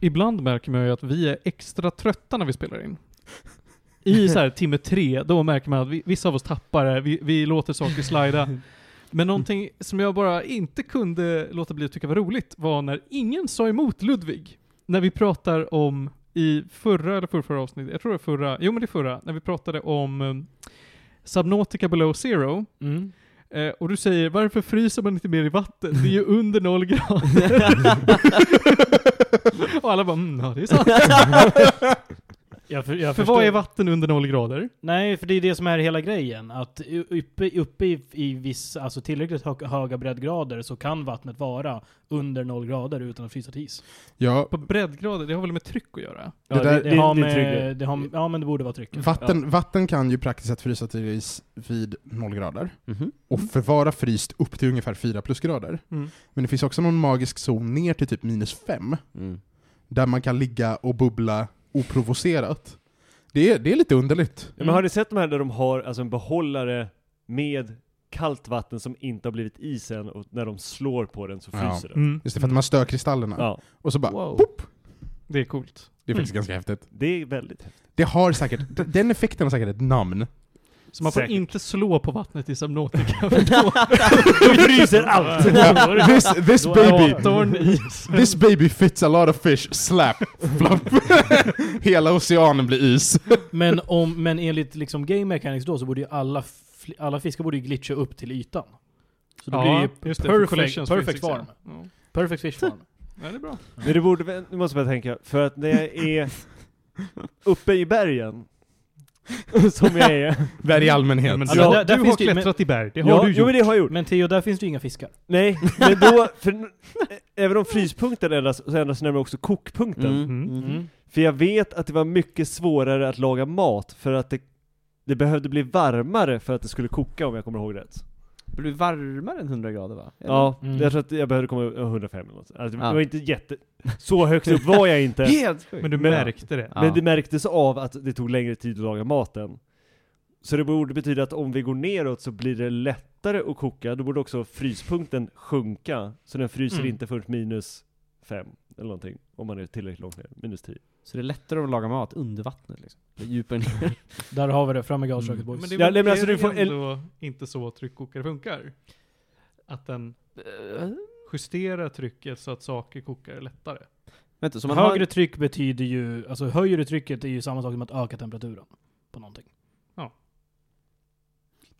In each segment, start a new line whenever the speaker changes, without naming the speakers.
ibland märker man ju att vi är extra trötta när vi spelar in. I så här timme tre, då märker man att vi, vissa av oss tappar det, vi, vi låter saker slida. Men någonting som jag bara inte kunde låta bli att tycka var roligt var när ingen sa emot Ludvig. När vi pratar om, i förra eller förrförra avsnittet, jag tror det var förra, jo men det är förra, när vi pratade om um, Subnautica Below Zero,
Mm.
Eh, och du säger varför fryser man inte mer i vatten? Det är ju under noll grader. och alla bara mm, ja det är sant.
Jag för, jag
För
förstår.
vad är vatten under noll grader?
Nej, för det är det som är hela grejen. Att u- uppe, uppe i, i viss, alltså tillräckligt hö- höga breddgrader så kan vattnet vara under noll grader utan att frysa till is.
Ja,
På breddgrader, det har väl med tryck att göra?
Det där-
det,
det-
har
det
med,
tryggar.
det har, ja men det borde vara trycket.
vatten, vatten kan ju praktiskt sett frysa till is vid noll grader
Mhm.
och förvara fryst upp till ungefär fyra plusgrader.
Mm.
Men det finns också någon magisk zon ner till typ minus fem
Mm.
där man kan ligga och bubbla oprovocerat. Det är, det är lite underligt.
Ja, men har ni sett de här där de har alltså en behållare med kallt vatten som inte har blivit is än och när de slår på den så
Ja.
fryser den?
Mm.
Just det, för att man stör kristallerna.
Ja,
Och så bara
Wow.
pop!
Det är coolt.
Det är faktiskt ganska häftigt.
det är väldigt häftigt.
Det har säkert, d- den effekten har säkert ett namn.
Så man får
Säkert.
inte slå på vattnet i Subnautica.
Då fryser allt!
this, this
Då är
baby,
jag-
Torn is.
this baby fits a lot of fish, slap, flop. Hela oceanen blir is.
Men, om, men enligt liksom game mechanics då så borde ju alla, fl- alla fiskar borde ju glitcha upp till ytan. Så det blir ju
just det, för liksom.
perfect,
collisions
perfect
physics,
farm.
Ja. Ja.
Perfect fish farm.
Ja, det är bra.
Men det borde, väl- nu måste jag tänka, för att när jag är uppe i bergen, som jag är.
Värld i allmänhet.
Ja, men du,
Alltså,
har-
där- där
du har
finns det ju-
klättrat i berg, det har
ja,
du
jo, men
gjort.
det har jag gjort.
Men Theo, där finns det ju inga fiskar.
Nej, men då, för, n- ä- även om fryspunkten ändras, så ändras nämligen också kokpunkten.
Mm.
För jag vet att det var mycket svårare att laga mat, för att det, det behövde bli varmare för att det skulle koka om jag kommer ihåg rätt.
Det blir varmare än 100 grader va? Eller?
Ja,
Mm.
jag tror att jag behövde komma upp- 105 eller något. Alltså, det
Ja.
var inte jätte... Så högt upp var jag inte.
Helt sjukt!
Men du
Men-
märkte det.
Ja.
Men det märktes av att det tog längre tid att laga maten. Så det borde betyda att om vi går neråt så blir det lättare att koka, då borde också fryspunkten sjunka. Så den fryser
Mm.
inte förrän minus fem eller någonting, om man är tillräckligt långt ner, minus tio.
Så det är lättare att laga mat under vattnet liksom? Det är Djupare ner.
Där har vi det, fram med gasköket
Mm.
boys.
Men det är,
Ja,
väl-
nej, men
är
alltså,
det
du får-
ändå inte så tryckkokare funkar? Att den
Eh,
justerar trycket så att saker kokar lättare?
Vänta, så man
Högre
har...
tryck betyder ju, alltså höjer du trycket är ju samma sak som att öka temperaturen på någonting.
Mm.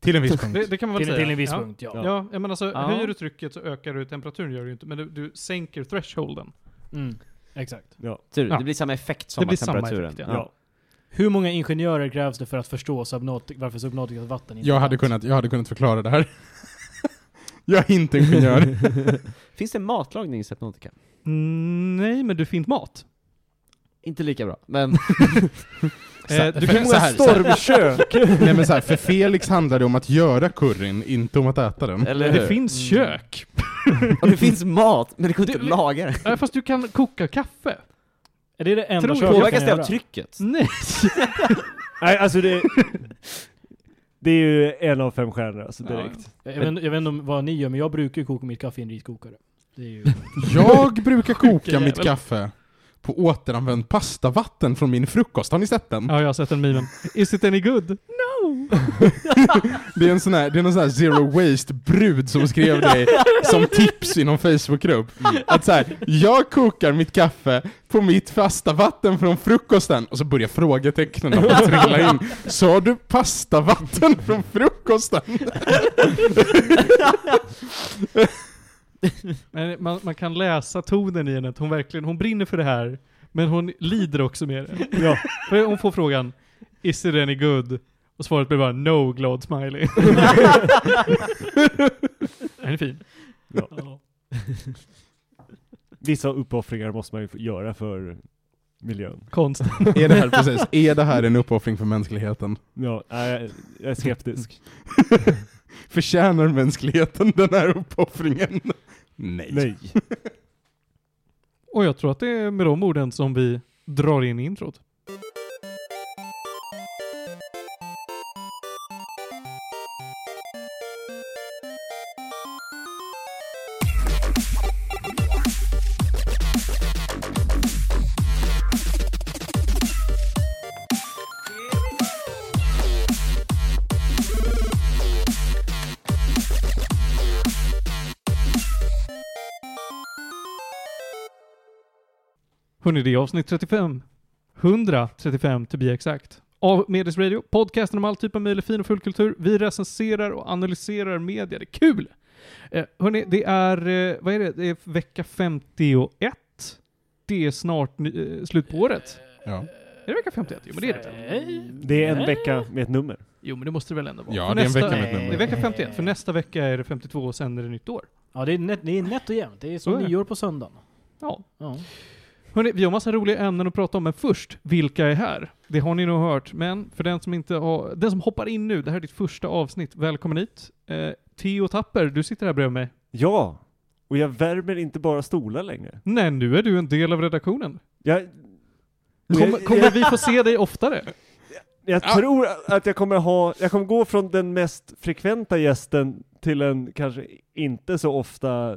Till en viss punkt.
Det, det kan man väl
Till,
säga?
till en viss
ja.
punkt, ja.
Ja, ja men alltså
Ja.
höjer du trycket så ökar du temperaturen, gör du ju inte. Men du, du sänker thresholden.
Mm, exakt.
Ja.
Tur,
Ja.
det blir samma effekt
Det
som
blir
av
samma
temperaturen.
effekt, ja.
Ja.
Hur många ingenjörer krävs det för att förstå subnautic, varför subnauticas vatten inte
Jag
är
hade,
kallt?
kunnat, jag hade kunnat förklara det här. Jag är inte ingenjör.
Finns det matlagning i Sepnotica?
Mm, nej, men du fint mat.
Inte lika bra, men...
Eh, du kan
så här, så här.
Stormkök!
Nej men så här, för Felix handlar det om att göra curryn, inte om att äta den.
Eller hur?
det finns kök.
Och det finns mat, men det går inte
Du-
att laga det.
Eh, Fast du kan koka kaffe.
Är det det enda
Tror-
kök jag
Påverkas
kan
det av
göra?
trycket?
Nej.
Nej, alltså det... Det är ju en av fem stjärnor alltså
Ja,
direkt.
Jag, jag, vet, jag vet inte om vad ni gör, men jag brukar ju koka mitt kaffe i en riskokare. Det är ju...
Jag brukar koka
Sjuka
mitt
jävel.
kaffe på återanvänt pastavatten från min frukost. Har ni sett den?
ja, jag har sett den memen. Is it any good?
Det är en sån här, det är någon sån här zero waste brud som skrev det som tips i någon Facebookgrupp. Att så här, jag kokar mitt kaffe på mitt fasta vatten från frukosten. Och så börjar frågetecknen att trilla in. Sa du pastavatten från frukosten?
Men man, man kan läsa tonen i henne, att hon verkligen hon brinner för det här, men hon lider också med det.
Ja.
För hon får frågan Is it any good? Och svaret blir bara No, glad smiley. Den är fin.
Ja. Vissa uppoffringar måste man ju få göra för miljön.
Konst.
Är det här, precis, är det här en uppoffring för mänskligheten?
Ja, nej, jag är skeptisk.
Förtjänar mänskligheten den här uppoffringen? Nej.
Nej.
Och jag tror att det är med de orden som vi drar in introt. Hörrni, det är avsnitt 35. 135 to be exakt. Av Medis Radio, podcasten om all typ av möjlig fin och full kultur. Vi recenserar och analyserar media. Det är kul! Eh, hörni, det är, eh, vad är det? Det är vecka 51. Det är snart ny, eh, slut på året.
Ja.
Är det vecka 51? Jo men det är det väl?
Eh, Nej.
Det är en
Nej.
vecka med ett nummer.
Jo men det måste det väl ändå vara?
Ja,
För
det är en
nästa,
vecka med
ett nummer.
Det är vecka 51, för nästa vecka är det 52 och sen är det nytt år.
Ja, det är, nätt, det är nätt och jämnt. Det är
Så
som
är det.
nyår på söndagen.
Ja.
Ja.
Hörrni, vi har massa roliga ämnen att prata om, men först, vilka är här? Det har ni nog hört, men för den som inte har, den som hoppar in nu, det här är ditt första avsnitt, välkommen hit. Eh, Theo Tapper, du sitter här bredvid mig.
Ja! Och jag värmer inte bara stolar längre.
Nej, nu är du en del av redaktionen.
Jag,
Kommer, kommer vi få se dig oftare?
jag tror att jag kommer ha, jag kommer gå från den mest frekventa gästen till en kanske inte så ofta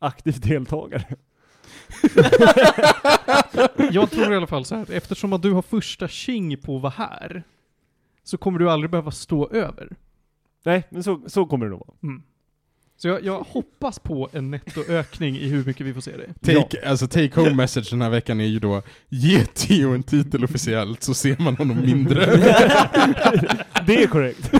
aktiv deltagare.
Jag tror i alla fall så här, eftersom att du har första tjing på att vara här, så kommer du aldrig behöva stå över.
Nej, men så, så kommer det nog vara.
Mm. Så jag, jag hoppas på en nettoökning i hur mycket vi får se dig.
Take, alltså take home message den här veckan är ju då Ge Theo en titel officiellt så ser man honom mindre.
Det är korrekt.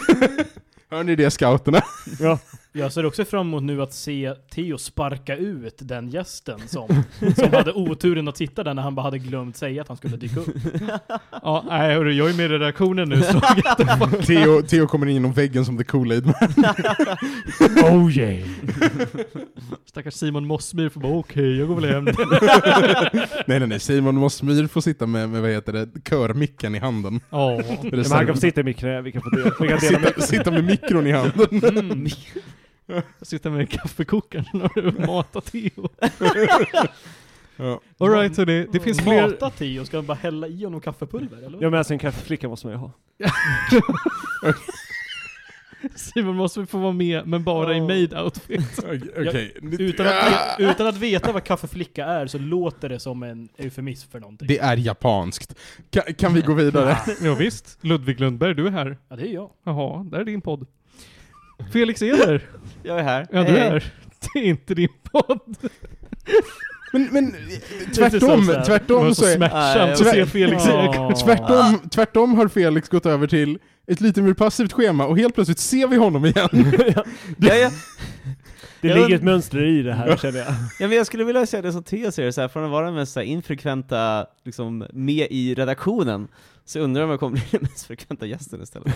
Hör ni det scouterna?
Ja.
Jag ser också fram emot nu att se Theo sparka ut den gästen som, som hade oturen att sitta där när han bara hade glömt säga att han skulle dyka upp.
Ja, nej hörru, jag är med i redaktionen nu så
Theo, Theo kommer in genom väggen som the Kool-Aid man.
Oh yeah.
stackars Simon Mossmyr får bara okej, jag går väl hem nu.
Nej nej nej, Simon Mossmyr får sitta med, med vad heter det, körmicken i handen.
Ja.
Men han kan få sitta i mitt knä, vi kan få dela, vi kan dela med.
sitta, sitta med mikron i handen.
Mm. Jag sitter med kaffekokaren och matar Theo.
Ja.
Alright hörni, det finns fler...
Mata Theo, ska han bara hälla i honom kaffepulver eller?
Ja men alltså en kaffeflicka måste man ju ha.
Simon Mossmyr får vara med, men bara i made outfit.
Okej.
Utan att, utan att veta vad kaffeflicka är så låter det som en eufemism för någonting.
Det är japanskt. Kan, kan vi gå vidare?
Ja, visst. Ludvig Lundberg, du är här.
Ja, det är jag.
Jaha, där är din podd. Felix Eder,
Jag är här.
ja du är här. Det är inte din podd.
Men, men
som
tvärtom,
så här.
Det var
tvärtom
så
så är...
smärtsamt att
Nej,
se
jag-
Felix Eder.
Åh.
Tvärtom, tvärtom har Felix gått över till ett lite mer passivt schema och helt plötsligt ser vi honom igen.
Ja, ja.
Det
Jag
ligger
und-
ett mönster i det här känner jag.
Ja, men jag skulle vilja säga det som Theo säger, så här, från att vara den mest så här, infrekventa, liksom, med i redaktionen, så jag undrar om jag kommer bli den mest frekventa gästen istället.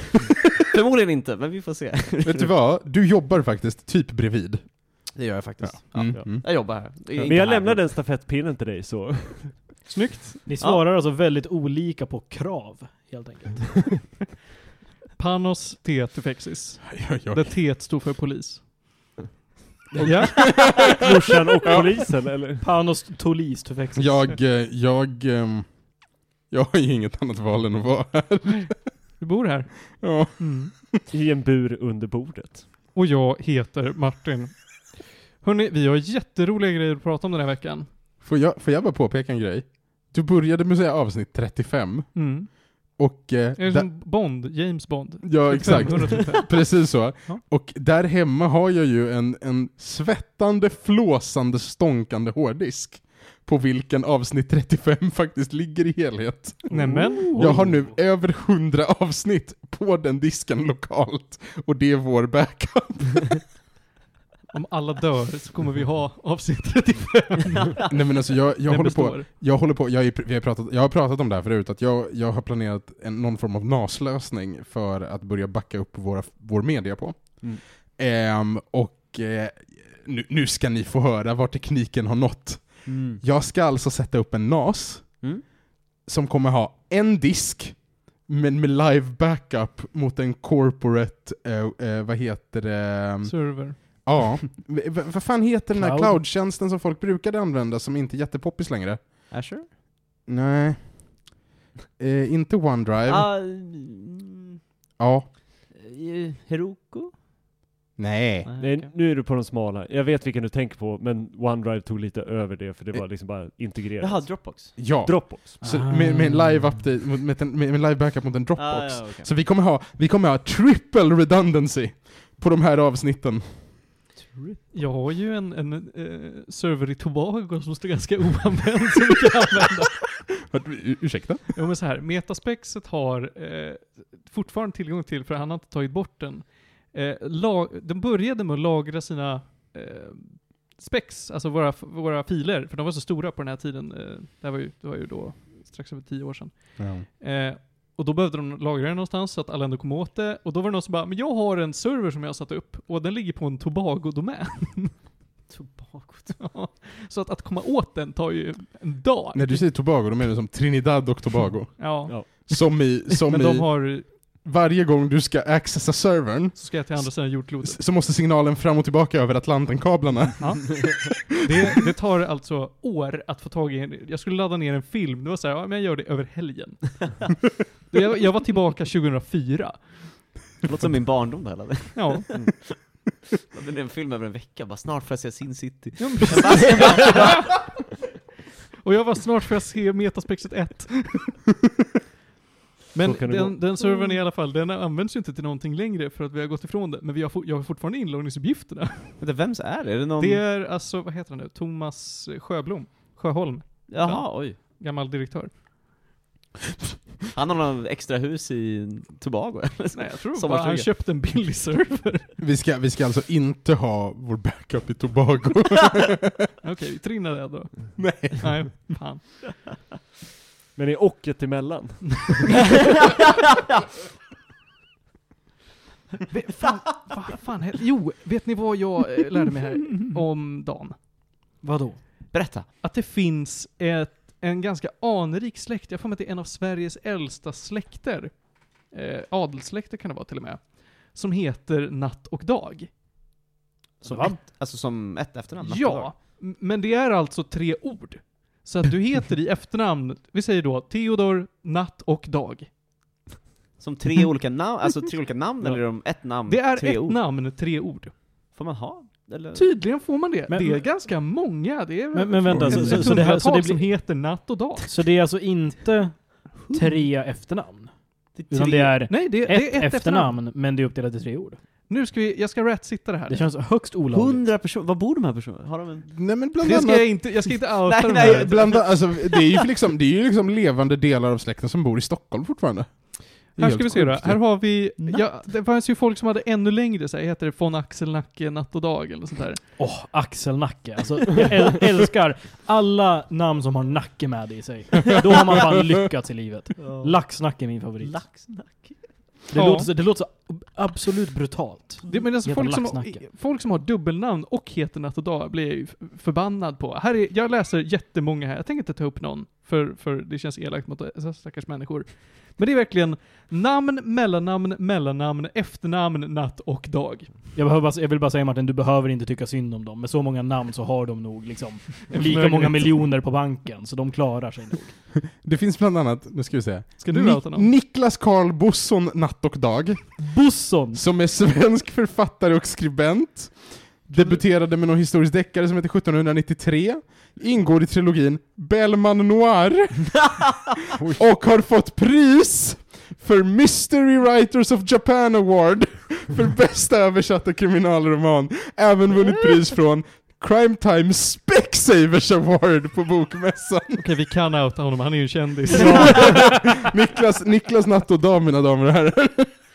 Förmodligen inte, men vi får se.
Vet du vad? Du jobbar faktiskt typ bredvid.
Det gör jag faktiskt. Ja.
Mm.
ja.
Mm.
Jag jobbar här. Det är inte
Men jag
här.
lämnar den stafettpinnen till dig så.
Snyggt.
Ni svarar alltså väldigt olika på krav, helt enkelt.
Panos T. Tufexis.
Ja, ja.
Där T står för polis. Ja.
Morsan och polisen eller?
Panos Tolis Tufexis.
Jag, eh, jag, ehm, jag har ju inget annat val än att vara här.
Du bor här. Mm.
Ja.
I en bur under bordet.
Och jag heter Martin. Hörni, vi har jätteroliga grejer att prata om den här veckan.
Får, jag, får jag bara påpeka en grej? Du började med att säga avsnitt 35
Mm.
och... eh,
Är det
där-
som Bond? James Bond?
ja, exakt.
535.
Precis så.
Ja.
Och där hemma har jag ju en, en svettande, flåsande, stånkande hårddisk. På vilken avsnitt 35 faktiskt ligger i helhet.
Nämen.
Jag har nu över 100 avsnitt på den disken lokalt. Och det är vår backup.
Om alla dör så kommer vi ha avsnitt 35.
Nej men alltså jag, jag
Den
håller på,
består.
jag håller på, jag, är, vi har pratat, jag har pratat om det här förut, att jag, jag har planerat en, någon form av NAS-lösning för att börja backa upp våra, vår media på.
Mm.
Ehm, och eh, nu, nu ska ni få höra var tekniken har nått.
Mm.
Jag ska alltså sätta upp en NAS
Mm.
som kommer ha en disk, men med live backup mot en corporate, eh, eh, vad heter det?
Server.
Ja. V- v- vad fan heter den här
Cloud.
cloud-tjänsten som folk brukade använda som inte är jättepoppis längre?
Asher?
Nej. Eh, inte OneDrive.
Ah, mm,
Ja.
eh, Heroku?
Nej.
Nej, nu är du på den smala. Jag vet vilken du tänker på, men OneDrive tog lite över det för det var liksom bara integrerat.
Eh. Jaha, Dropbox.
Ja.
Dropbox.
så med, med en live update, mot- med, en- med, med live backup mot en Dropbox.
Ah, ja, okej.
Så vi kommer, ha, vi kommer ha triple redundancy på de här avsnitten.
Jag har ju en, en eh, server i Tobago som står ganska oanvänd som vi kan använda.
Hört- u- Ursäkta?
Jo men så här, metaspexet har eh, fortfarande tillgång till, för han har inte tagit bort den. Eh, la- de började med att lagra sina eh, spex, alltså våra, våra filer, för de var så stora på den här tiden. Eh, det, här var ju, det var ju då strax över tio år sedan. Eh, och då behövde de lagra det någonstans så att alla ändå kom åt det. Och då var det någon som bara, men jag har en server som jag har satt upp och den ligger på en Tobago-domän.
Tobak.
Ja. så att, att komma åt den tar ju en dag.
När du säger Tobago, då menar du som Trinidad och Tobago.
Ja.
Ja.
Som i, som
Men de
i
har,
varje gång du ska accessa servern
så ska jag till andra sidan jordklotet.
s- så måste signalen fram och tillbaka över Atlantenkablarna.
Ja. Det, det tar alltså år att få tag i en, jag skulle ladda ner en film, det var såhär, ja men jag gör det över helgen. Det- jag, jag var tillbaka 2004.
Det låter som min barndom det här. Lalle.
Ja.
Jag hade en film över en vecka, bara snart får jag se Sin City.
Ja, men precis. Och jag var snart får jag se Metaspexet 1. Men
Så kan det
den, den servern i alla fall, den används ju inte till någonting längre för att vi har gått ifrån det. Men vi har, for- jag har fortfarande inloggningsuppgifterna.
Vänta, vems är det? Är det någon...
Det är alltså, vad heter han nu? Thomas Sjöblom? Sjöholm?
Jaha, oj.
Gammal direktör?
Han har någon extra hus i Tobago eller?
Nej, jag tror bara
Sommarstuga.
han köpte en billig server.
Vi ska, vi ska alltså inte ha vår backup i Tobago.
Okej, vi trinnar det då.
Mm.
Nej.
Nej, fan.
Men är ocket emellan?
Vad fan hel- Jo, vet ni vad jag eh, lärde mig här om dagen?
Vadå?
Berätta.
Att det finns ett, en ganska anrik släkt, jag får mig att det är en av Sveriges äldsta släkter. Eh, adelssläkter kan det vara till och med. Som heter Natt och Dag.
Som
Va?
ett, alltså som ett efternamn?
Ja, m- men det är alltså tre ord. Så att du heter i efternamn, vi säger då Theodor, Natt och Dag.
Som tre olika namn, alltså tre olika namn eller är de ett
Mm,
namn?
Det är
tre
ett
ord?
namn, tre ord.
Får man ha? Eller?
Tydligen får man det.
Men-
det är
men-
ganska många. Det är
Men- men vänta,
ett,
så- så-
ett
så det här- så
hundratal
det
som
blir-
heter natt och dag.
Så det är alltså inte tre efternamn? Utan det är ett,
Nej, det, det är ett efternamn.
efternamn, men det är uppdelat i tre ord.
Nu ska vi, jag ska rat-sitta det här.
Det känns högst olagligt.
Hundra personer, var bor de här personerna? Har de en...
Nej men bland
det ska
annat...
jag inte, jag ska inte outa
Nej,
de
nej,
här.
jag-
Bland, alltså, det, är ju liksom, det är ju liksom levande delar av släkten som bor i Stockholm fortfarande. Det är
Här
helt
ska vi se då.
sjukt.
Här har vi,
Natt.
ja, det fanns ju folk som hade ännu längre, så här, heter det von Axel Nacke, Natt och Dag eller sånt där.
Åh, axelnacke. Alltså, jag äl- älskar alla namn som har nacke med i sig. Då har man fan lyckats i livet. Laxnacke är min favorit.
Laxnack.
Det,
Ja.
låter, så- det låter så ab- absolut brutalt.
Det, men alltså
Jävla
folk, som,
laxnacke.
folk som har dubbelnamn och heter Natt och Dag blir jag ju f- förbannad på. Här är, jag läser jättemånga här, jag tänker inte ta upp någon, för, för det känns elakt mot dessa stackars människor. Men det är verkligen namn, mellannamn, mellannamn, efternamn, natt och dag.
Jag, behöver bara, jag vill bara säga Martin, du behöver inte tycka synd om dem. Med så många namn så har de nog liksom lika
förmögenhet.
många miljoner på banken, så de klarar sig nog.
Det finns bland annat, nu ska vi se.
Ska du
Ni-
outa någon?
Niklas Karl Bosson Natt och Dag,
Bosson!
som är svensk författare och skribent. Debuterade med någon historisk deckare som heter 1793. Ingår i trilogin Bellman Noir. och har fått pris för Mystery Writers of Japan Award för bästa översatta kriminalroman. Även vunnit pris från Crime Time Specsavers Award på bokmässan.
Okej, vi kan outa honom, han är ju en kändis.
Niklas, Niklas Natt och Dag, mina damer och herrar.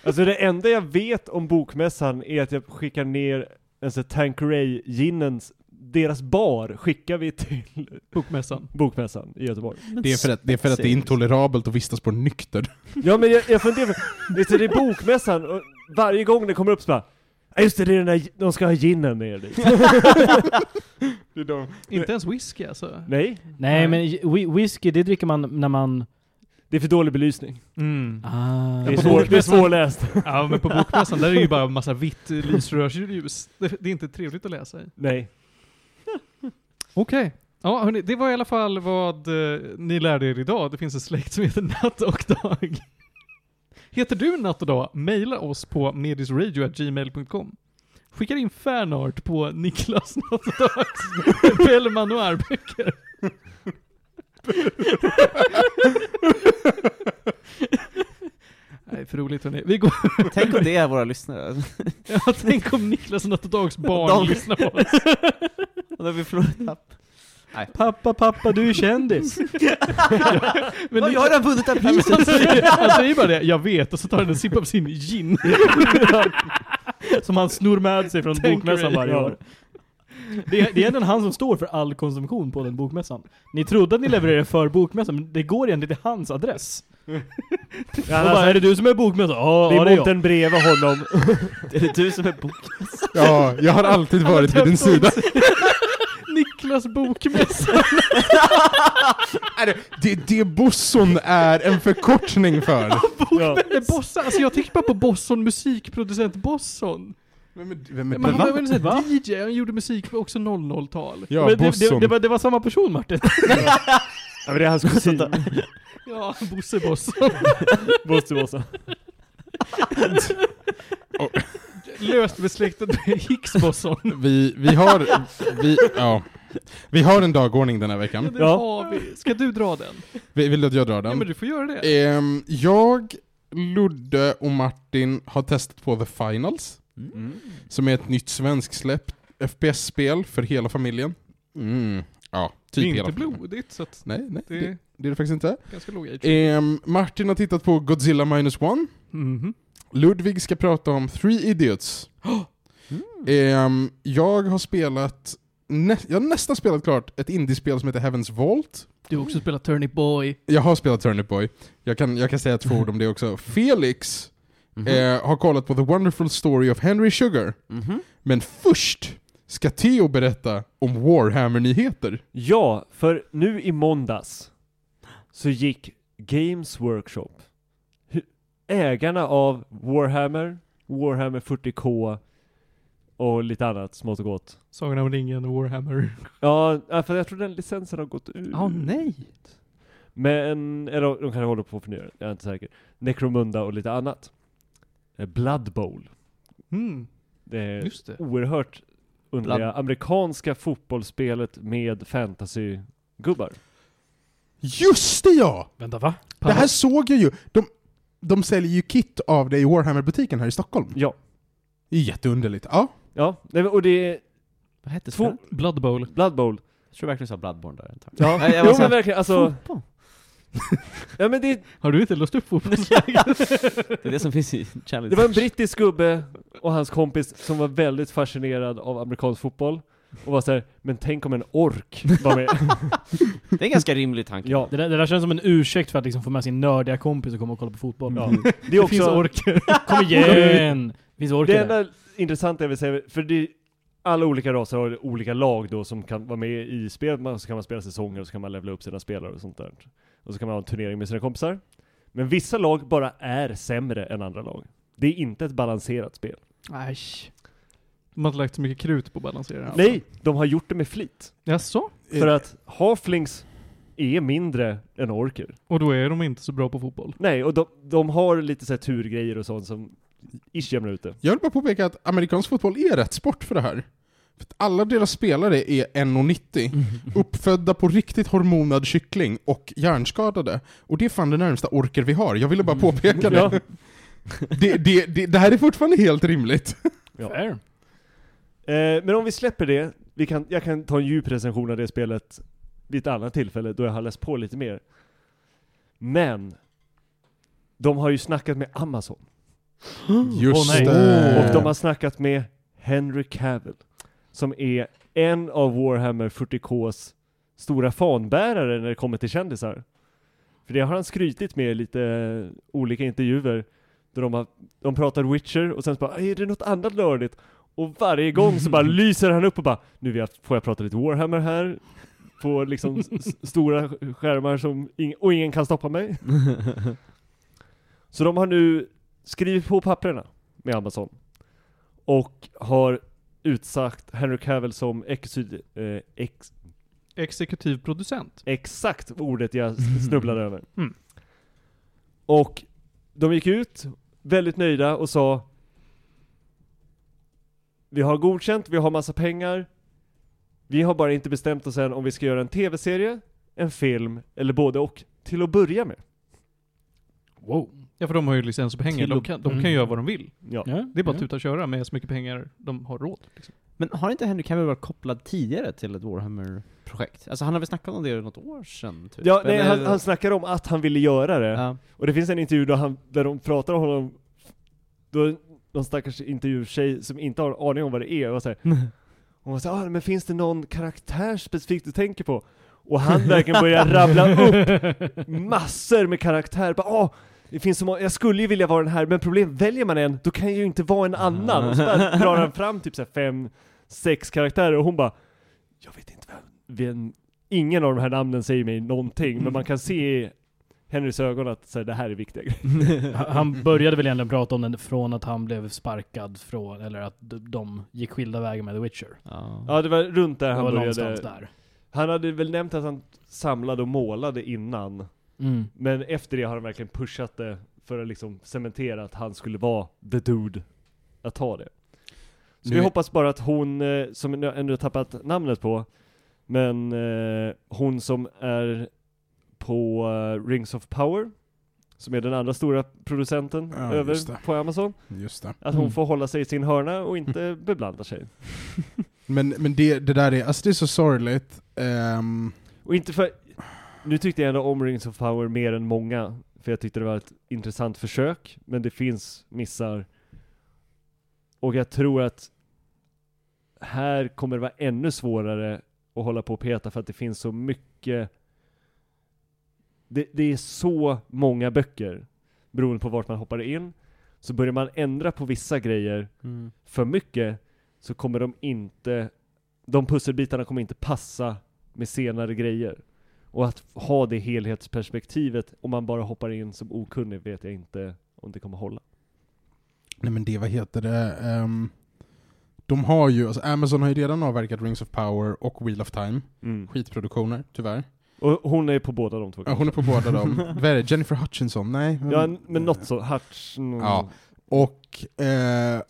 Alltså det enda jag vet om bokmässan är att jag skickar ner en sån Tanqueray ginens deras bar skickar vi till
Bokmässan.
bokmässan i Göteborg.
Det är för att det är, för att det är intolerabelt att vistas på nykter.
Ja men jag, jag funderar, på- vet du, det är bokmässan och varje gång det kommer upp så bara "Ja, just det, det är den där, de ska ha ginen ner dit.
Inte ens whisky alltså.
Nej,
Nej men whi- whisky, det dricker man när man...
det är för dålig belysning.
Mm.
Ah,
Det är, svår, det är svårläst.
Ja, men på bokmässan där är det ju bara en massa vitt eh, lysrörsljus. Det, det är inte trevligt att läsa i.
Nej.
Okej. Ja, hörni, det var i alla fall vad eh, ni lärde er idag. Det finns en släkt som heter Natt och Dag. Heter du Natt och Dag? Maila oss på medisradio.gmail.com. Skicka in fanart på Niklas Natt och Dags Bellman och Arböcker. Nej, för roligt. roligt hörni. Vi går,
Tänk om det är våra lyssnare.
jag tänk om Niklas och Dags barn
Dag-
lyssnar på oss.
Då har vi förlorat.
Pappa, pappa, du är kändis.
Men
Vad,
Niklas-
jag har redan vunnit det här
Nej, men
priset!
han, säger, han säger bara det, jag vet, och så tar han en sipp av sin gin.
som han snor med sig från
Tänker
bokmässan
vi,
varje
ja.
år. Det är, det är egentligen han som står för all konsumtion på den bokmässan. Ni trodde att ni levererade för bokmässan, men det går egentligen till hans adress.
Ja,
Och bara,
alltså,
är det du som är bokmässan? Ja,
det
ja, det
är
är
montern bredvid honom.
Det är du som är bok.
Ja, jag har alltid varit vid din sida.
Niklas bokmässa.
Är det, det, det Bosson är en förkortning för.
Ja.
Men Bosson, alltså jag tänkte bara på Bosson, musikproducent Bosson.
Vem är, vem
Men han var
denna?
väl en sån här DJ, han gjorde musik på också 00-tal.
Ja,
Men det, det,
Bosson.
det, var, det var samma person Martin.
Ja, men det är hans kusin.
Ja, Bosse Bosson.
Måste vara så.
Löst besläktad med Hicks Bosson.
Vi, vi har... Vi, ja. vi har en dagordning den här veckan.
Det
Ja.
har vi. Ska du dra den?
Vi- Vill du att jag drar
Ja
den?
men du får göra det.
Ehm, jag, Ludde och Martin har testat på The Finals,
Mm.
som är ett nytt svenskt släpp FPS-spel för hela familjen. Mm. Ja,
Det
typ
är
hela
inte
familjen.
blodigt, så att
Nej, nej,
det
det,
är
det är det faktiskt inte.
ganska låg age.
Ehm, Martin har tittat på Godzilla Minus One.
Mhm.
Ludvig ska prata om Three Idiots. Ehm, jag har spelat, nä- jag har nästan spelat klart ett indiespel som heter Heaven's Vault.
Du har också spelat Turnip Boy.
Jag har spelat Turnip Boy. Jag kan, jag kan säga två ord om det också. Felix
Mm.
eh, har kollat på The Wonderful Story of Henry Sugar.
Mm-hmm.
Men först ska Theo berätta om Warhammer-nyheter.
Ja, för nu i måndags så gick Games Workshop, hu- ägarna av Warhammer, Warhammer 40K och lite annat smått och gott.
Sagan om ringen, Warhammer.
Ja, ja, för jag tror den licensen har gått ut.
Åh nej!
Men, eller de kanske håller på att förnya den, jag är inte säker. Necromunda och lite annat. Eh, Blood Bowl.
Mm,
Det är
just det.
oerhört underliga
Blood-
amerikanska fotbollsspelet med fantasy-gubbar.
Just det ja!
Vänta va?
Det här såg jag ju. De, de säljer ju kit av det i Warhammer-butiken här i Stockholm.
Ja.
Det är jätteunderligt. Ja.
Ja, nej, men- och det är
Vad hette
två...
spelet?
Blood Bowl.
Blood Bowl.
Jag tror verkligen du sa Bloodborne där. antar jag.
Ja,
Nej, jag var
jo
så här-
men verkligen alltså,
Fotboll.
ja, men det,
Har du inte låst upp fotbollsläget?
Det är det som finns i Challenge.
det var en brittisk gubbe och hans kompis som var väldigt fascinerad av amerikansk fotboll och var såhär, men tänk om en ork var med.
Det är en ganska rimlig tanke.
Ja,
Det där, det där känns som en ursäkt för att liksom få med sin nördiga kompis och komma och kolla på fotboll.
ja. Det
Det,
är
finns
också,
orker. Kom igen! Det finns orker
det
där.
enda intressanta jag vill säga, för det, alla olika raser har olika lag då som kan vara med i spelet, Man- så kan man spela säsonger och så kan man levla upp sina spelare och sånt där. Och så kan man ha en turnering med sina kompisar. Men vissa lag bara är sämre än andra lag. Det är inte ett balanserat spel.
Nej. De har inte lagt så mycket krut på att balansera det.
Nej, de har gjort det med flit.
Jaså?
Eh.
För att halflings är mindre än orker.
Och då är de inte så bra på fotboll.
Nej, och de, de har lite så här turgrejer och sånt som ish jämnar ut det.
Jag vill bara påpeka att amerikansk fotboll är rätt sport för det här. För att alla deras spelare är 1,90,
Mm.
uppfödda på riktigt hormonad kyckling och hjärnskadade. Och det är fan det närmsta orker vi har, jag ville bara påpeka det.
Mm. Ja.
Det, det, det. Det här är fortfarande helt rimligt.
Ja.
Fair.
Eh, men om vi släpper det, vi kan, jag kan ta en djup recension av det spelet vid ett annat tillfälle då jag har läst på lite mer. Men, de har ju snackat med Amazon.
Just
nej.
det.
Och de har snackat med Henry Cavill, som är en av Warhammer 40Ks stora fanbärare när det kommer till kändisar. För det har han skrytit med i lite eh, olika intervjuer, där de, har, de pratar Witcher och sen så bara är det något annat lördigt? Och varje gång så bara lyser han upp och bara nu vill jag, får jag prata lite Warhammer här? På liksom s- s- stora skärmar som ing- och ingen kan stoppa mig. Så de har nu skrivit på papperna med Amazon. Och har utsagt Henry Cavill som exud, eh, ex,
Exekutiv producent.
exakt ordet jag s- snubblade över.
Mm.
Och de gick ut, väldigt nöjda, och sa Vi har godkänt, vi har massa pengar. Vi har bara inte bestämt oss än om vi ska göra en tv-serie, en film eller både och till att börja med.
Wow.
Ja för de har ju licenspengar, de kan, de kan göra vad de vill.
Ja.
Ja,
Det är bara att
ja.
tuta och köra med så mycket pengar de har råd. Liksom.
Men har inte Henry Cavill varit kopplad tidigare till ett Warhammer-projekt? Alltså han har väl snackat om det något år sedan? Typ.
Ja, nej,
Eller-
han, han snackar om att han ville göra det.
Ja.
Och det finns en intervju där, han, där de pratar om honom, då är någon stackars intervjutjej som inte har en aning om vad det är, och så här, hon var såhär ah, men finns det någon karaktär specifikt du tänker på? Och han verkligen börjar rabbla upp massor med karaktärer, bara ah, det finns så många, jag skulle ju vilja vara den här, men problemet, väljer man en, då kan jag ju inte vara en annan. Och så bara drar han fram typ så här fem, sex karaktärer, och hon bara, jag vet inte vem, vem ingen av de här namnen säger mig någonting, men man kan se i Henrys ögon att så här, det här är viktiga grejer.
Han började väl egentligen prata om den från att han blev sparkad från, eller att d- de gick skilda vägar med The Witcher.
Ja.
Ja, det var runt där
Det
han
var
började.
någonstans där.
Han hade väl nämnt att han samlade och målade innan,
Mm.
men efter det har han verkligen pushat det för att liksom cementera att han skulle vara the dude att ta det. Så
Nu
vi
är-
hoppas bara att hon, eh, som jag ändå tappat namnet på, men eh, hon som är på eh, Rings of Power, som är den andra stora producenten
Ja, just det.
över på Amazon,
Just det.
att hon
Mm.
får hålla sig i sin hörna och inte beblanda sig.
Men, men det, det där är, alltså det är så sorgligt. Ehm,
Och inte för... Nu tyckte jag ändå om Rings of Power mer än många, för jag tyckte det var ett intressant försök, men det finns missar. Och jag tror att här kommer det vara ännu svårare att hålla på och peta för att det finns så mycket... Det, det är så många böcker, beroende på vart man hoppar in. Så börjar man ändra på vissa grejer
Mm.
för mycket så kommer de inte, de pusselbitarna kommer inte passa med senare grejer. Och att ha det helhetsperspektivet om man bara hoppar in som okunnig vet jag inte om det kommer hålla.
nej men det, vad heter det? Ehm, de har ju, alltså Amazon har ju redan avverkat Rings of Power och Wheel of Time. Skitproduktioner, tyvärr.
Och hon är på båda de två.
Mm. Ja, hon är på båda dem. Vad är det? Jennifer Hutchinson? Nej?
ja, n- men något så, Hutch... mm.
Ja. Och, eh,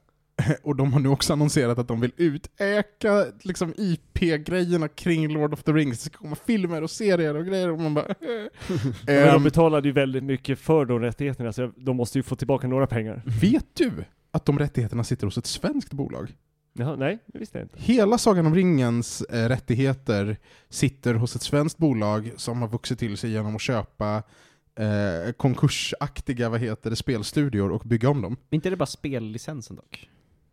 och de har nu också annonserat att de vill utöka liksom, IP-grejerna kring Lord of the Rings. Det ska komma filmer och serier och grejer och man bara... eh.
Men de
Ehm,
betalade ju väldigt mycket för de rättigheterna så jag- de måste ju få tillbaka några pengar.
vet du att de rättigheterna sitter hos ett svenskt bolag?
Jaha, nej, det visste jag inte.
Hela Sagan om ringens eh, rättigheter sitter hos ett svenskt bolag som har vuxit till sig genom att köpa eh, konkursaktiga vad heter det, spelstudior och bygga om dem.
Men inte är det bara spellicensen dock?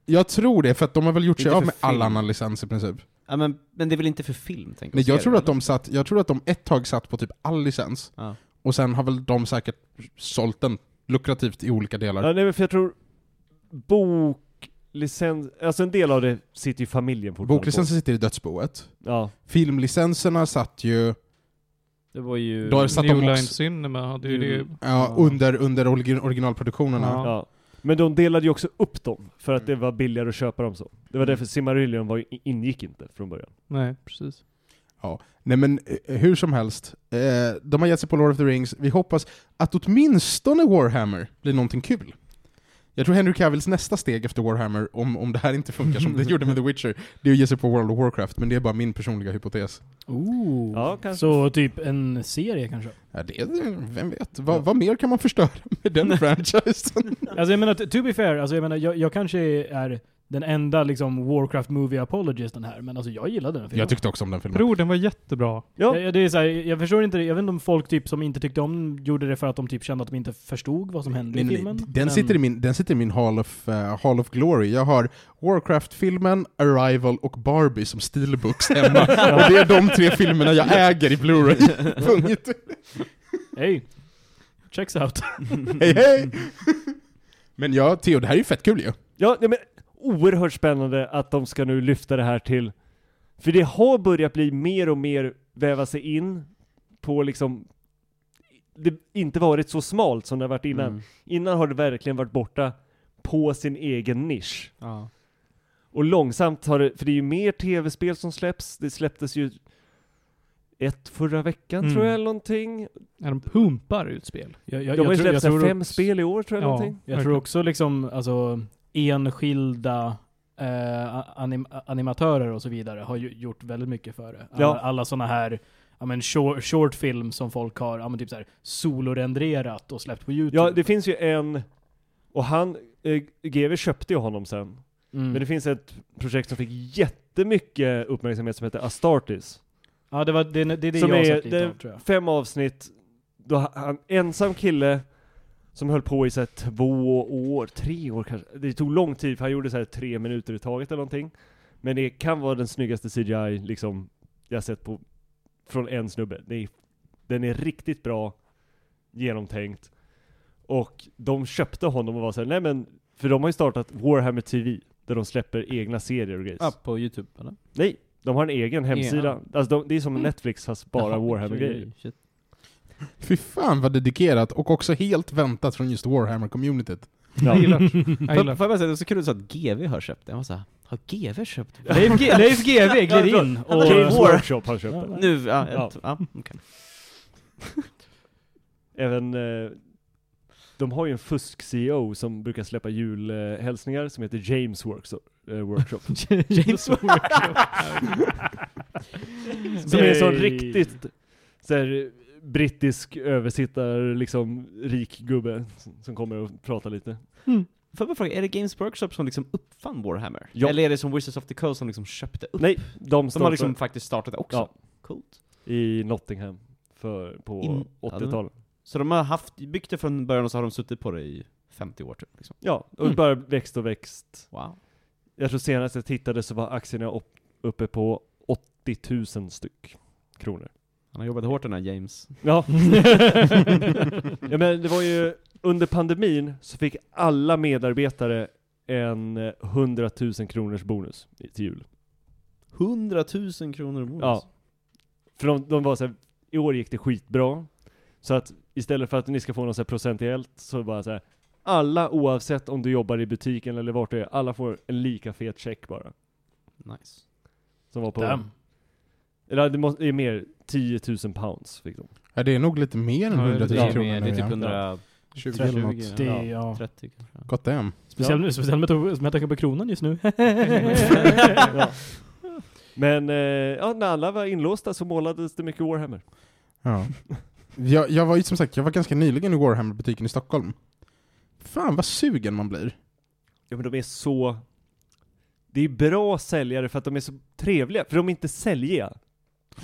Jag tror det, för att de har väl gjort
Inte
sig av
för
med all
film.
annan licens i princip.
Ja, men, men det är väl inte för film? Tänker
Nej, jag
Ser
tror
du,
att de satt, jag tror att de ett tag satt på typ all licens,
Ja.
och sen har väl de säkert sålt den lukrativt i olika delar.
Ja, nej men för jag tror boklicens, alltså en del av det sitter ju familjen fortfarande
Boklicensen sitter i dödsboet.
på. Ja.
Filmlicenserna satt ju
Det var ju...
Då har det satt
New
de också-
Line Cinema hade ju det.
Mm.
ja, under, under orgi- originalproduktionerna.
Ja.
Ja. Men de delade ju också upp dem, för att det var billigare att köpa dem så. Det var därför Simarillion var, ju- ingick inte från början.
Nej, precis.
Nej men eh, hur som helst, eh, de har gett sig på Lord of the Rings. Vi hoppas att åtminstone Warhammer blir någonting kul. Jag tror Henry Cavills nästa steg efter Warhammer, om, om det här inte funkar som det gjorde med The Witcher, det är att ge sig på World of Warcraft, men det är bara min personliga hypotes.
Ooh.
Ja, kanske.
Så typ en serie kanske?
Ja, det, vem vet? Vad- vad mer kan man förstöra med den franchisen?
Alltså jag menar, t- to be fair, alltså jag menar, jag, jag kanske är den enda liksom Warcraft Movie apologisten här, men alltså jag gillade den filmen.
Jag tyckte också om den filmen.
Bror, den var jättebra.
Ja,
Ja, det är så här, jag förstår inte, jag vet inte om folk typ som inte tyckte om den gjorde det för att de typ kände att de inte förstod vad som hände
Nej,
i
nej,
filmen.
nej. Den, sitter i min, den sitter i min Hall of, eh, Hall of Glory. Jag har Warcraft-filmen, Arrival och Barbie som steelbooks hemma. och det är de tre filmerna jag äger i Blu-ray. Punkt.
Hey. Checks out.
Hej hej! Men ja, Theo, det här är ju fett kul ju.
ja nej, men oerhört spännande att de ska nu lyfta det här till... För det har börjat bli mer och mer väva sig in på liksom... Det inte varit så smalt som det har varit innan.
Mm.
Innan har det verkligen varit borta på sin egen nisch.
Ja.
Och långsamt har det, för det är ju mer tv-spel som släpps, det släpptes ju ett förra veckan
Mm.
tror jag eller någonting.
Ja, de pumpar ut spel.
Jag,
De
jag,
har ju
jag, tror,
släppt
jag,
så här
tror,
fem
också,
spel i år tror jag
Ja.
någonting.
jag tror också liksom, alltså enskilda eh, anim, animatörer och så vidare har ju gjort väldigt mycket för det. Alla,
Ja.
alla sådana här ja, men short, short film som folk har ja, men typ så här, solorenderat och släppt på YouTube.
Ja, det finns ju en, och han, eh, GV köpte ju honom sen.
mm.
Men det finns ett projekt som fick jättemycket uppmärksamhet som heter Astartes.
ja, det, var, det, det är det
som
jag
är
har sett lite av, tror
det,
jag.
fem avsnitt, då ha- han, ensam kille som höll på i så här två år, tre år kanske. Det tog lång tid för han gjorde så här tre minuter i taget eller någonting. Men det kan vara den snyggaste CGI liksom jag sett på, från en snubbe. Det är, den är riktigt bra, genomtänkt. Och de köpte honom och var såhär, nej men, för de har ju startat Warhammer TV, där de släpper egna serier och grejer.
Ja, på Youtube eller?
Nej, de har en egen hemsida. Alltså de, det är som Netflix fast bara
Jaha,
Warhammer-grejer.
shit.
Fy fan vad dedikerat och också helt väntat från just Warhammer-communityt.
Ja.
Jag gillar Jag
Får
gillar
får jag bara säga, det var så kul att du sa att GV har köpt det. Jag var såhär, har GV köpt det?
Leif, G- Leif GW glider in och...
Games Workshop har köpt den.
Nu, ja,
Ja.
ja. ja okej.
Även, eh, de har ju en fusk-CEO som brukar släppa julhälsningar som heter James Workshop. eh, workshop.
James Workshop.
som är en sån
Yay.
riktigt så här, brittisk översittar, liksom rik gubbe som- som kommer och pratar lite.
Får jag bara fråga, är det Games Workshop som liksom uppfann Warhammer?
Ja.
Eller är det som Wizards of the Coast som liksom köpte upp?
Nej, de
de har
startar
liksom faktiskt startat det också?
Ja.
Coolt.
i Nottingham för, på
In-
80-talet.
Så de har haft, byggt det från början och så har de suttit på det i 50 år typ? Liksom.
Ja, och
Mm.
bara växt och växt.
Wow.
Jag tror senast jag tittade så var aktierna upp, uppe på 80 000 styck kronor.
Han har jobbat hårt den här James.
Ja. ja men det var ju under pandemin så fick alla medarbetare en eh, 100 000 kronors bonus i- till jul.
100 000 kronor om året.
Ja. För de, de var så här, i år gick det skitbra. Så att istället för att ni ska få något så här procentuellt så bara så här, alla oavsett om du jobbar i butiken eller vart du är, alla får en lika fet check bara.
Nice.
Som var på...
Damn.
Eller det måste, det är mer, 10 000 pounds fick de.
Ja, det är nog lite mer än
Ja,
100 000
Det är,
kronor
det är
nu.
typ
ja.
120
20 eller något.
130
Det,
ja.
ja.
kanske. Ja.
Gott damn.
Speciellt, nu- speciellt med, to- med tanke på kronan just nu.
ja. Men eh, ja, när alla var inlåsta så målades det mycket Warhammer.
Ja. Jag, jag var ju som sagt, jag var ganska nyligen i Warhammer-butiken i Stockholm. Fan vad sugen man blir.
Ja men de är så... Det är bra säljare för att de är så trevliga, för de är inte säljiga.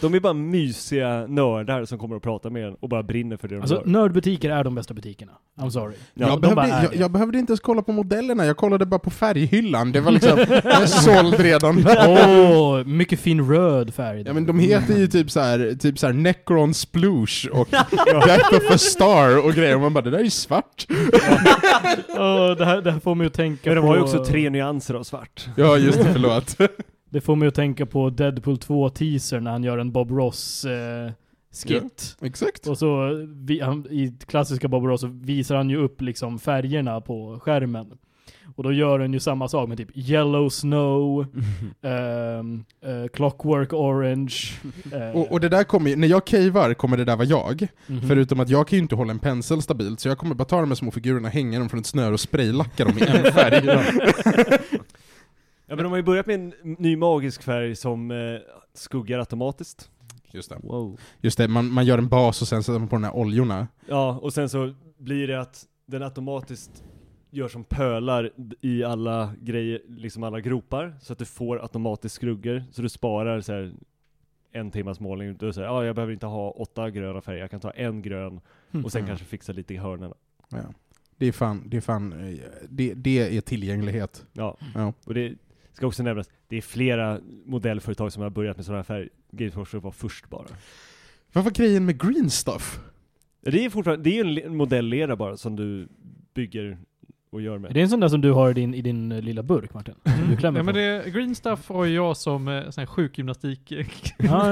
De är bara mysiga nördar som kommer och pratar med en och bara brinner för det de
Alltså,
gör.
nördbutiker är de bästa butikerna. I'm sorry.
Ja,
de
jag,
bara
behövde,
är
jag,
det.
jag behövde inte ens kolla på modellerna, jag kollade bara på färghyllan. Det var liksom, jag är såld redan.
Åh, mycket fin röd färg.
Ja men de heter ju typ så här, typ så här Necron Sploosh och Death of a Star och grejer. Och man bara, det där är ju svart.
Åh, det, här, det här får mig att tänka
Men de
på...
har ju också tre nyanser av svart.
Ja just det, förlåt.
Det får mig att tänka på Deadpool 2-teaser när han gör en Bob Ross eh, skit.
Exakt.
Och så vi, han, i klassiska Bob Ross så visar han ju upp liksom färgerna på skärmen. Och då gör han ju samma sak med typ Yellow Snow, ehm, eh, Clockwork Orange. eh,
Och, och det där kommer ju, när jag cavar kommer det där vara jag.
mhm.
Förutom att jag kan ju inte hålla en pensel stabilt, så jag kommer bara ta de här små figurerna, hänga dem från ett snöre och spraylacka dem i en färg.
Ja men de har ju börjat med en ny magisk färg som eh, skuggar automatiskt.
Just det.
Wow.
Just det, man, man gör en bas och sen sätter man på de här oljorna.
Ja, och sen så blir det att den automatiskt gör som pölar i alla grejer, liksom alla gropar, så att du får automatiskt skuggor, så du sparar så här en timmas målning. Du säger, ja ah, jag behöver inte ha åtta gröna färger, jag kan ta en grön och sen
Mm.
kanske fixa lite i hörnen.
Ja. Det är fan, det är fan, eh, det, det är tillgänglighet.
Ja.
Ja.
Och det ska också nämnas, det är flera modellföretag som har börjat med sådana här färger. Games Workshop var först bara.
Vad var grejen med green stuff?
Det är fortfarande, det är ju en le- modellera bara som du bygger och gör
Är
med.
det en sån där som du har i din, i din eh, lilla burk Martin? Du klämmer
Ja, men
på.
det, green stuff har ju jag som eh, sån här sjukgymnastik.
Ja,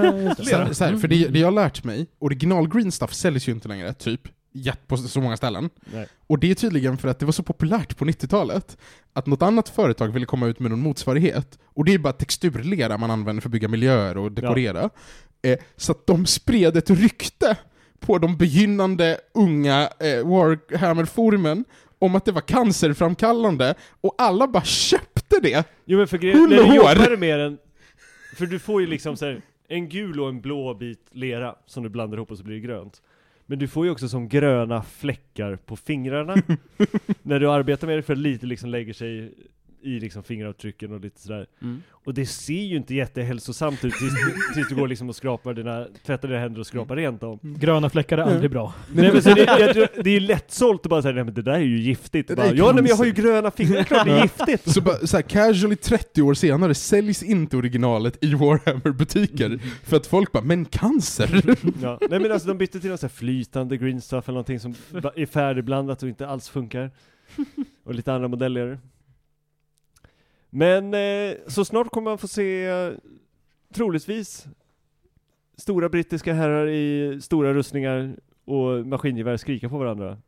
ja, just det.
Så här, så här, för det, det jag har lärt mig, original green stuff säljs ju inte längre, typ, jätt- på så många ställen.
Nej.
Och det är tydligen för att det var så populärt på 90-talet att något annat företag ville komma ut med någon motsvarighet. Och det är bara texturlera man använder för att bygga miljöer och dekorera. Eh, så att de spred ett rykte på de begynnande unga eh, Warhammer-forumen om att det var cancerframkallande och alla bara köpte det.
Jo men för grejen,
Hull
när
och
du
hår.
jobbar med den, för du får ju liksom så här, en gul och en blå bit lera som du blandar ihop och så blir det grönt. Men du får ju också som gröna fläckar på fingrarna när du arbetar med det för lite liksom lägger sig i liksom fingeravtrycken och lite sådär.
Mm.
Och det ser ju inte jättehälsosamt ut tills, tills du går liksom och skrapar dina, tvättar dina händer och skrapar rent dem.
Mm.
Mm. Gröna fläckar är aldrig bra.
Nej men så det, jag, tror- det är ju lättsålt att bara säga nej men det där är ju giftigt.
Det där
bara,
är
ja nej, men jag har ju
cancer."
gröna fingrar, det är klart det är giftigt.
Så, bara, så här, casually 30 år senare säljs inte originalet i Warhammer-butiker. För att folk bara 'Men cancer?'
Ja. Nej men alltså de bytte till något så här flytande green stuff eller någonting som ba- är färdigblandat och inte alls funkar. Och lite andra modeller. Men eh, så snart kommer man få se eh, troligtvis stora brittiska herrar i stora rustningar och maskingevär skrika på varandra.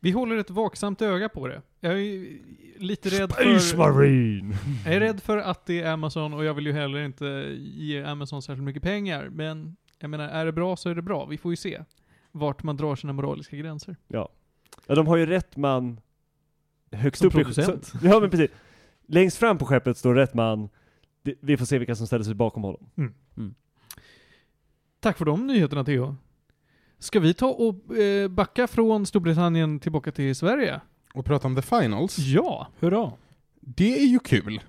Vi håller ett vaksamt öga på det. Jag är ju lite rädd för,
Space Marine!
jag är rädd för att det är Amazon och jag vill ju heller inte ge Amazon särskilt mycket pengar. Men jag menar, är det bra så är det bra. Vi får ju se vart man drar sina moraliska gränser.
Ja de har ju rätt man högst
Som
upp i-
producent.
så- Ja men precis. Längst fram på skeppet står rätt man. Det- Vi får se vilka som ställer sig bakom honom.
Tack för de nyheterna Theo. Ska vi ta och eh, backa från Storbritannien tillbaka till Sverige?
Och prata om The Finals.
Ja!
Hurra.
Det är ju kul.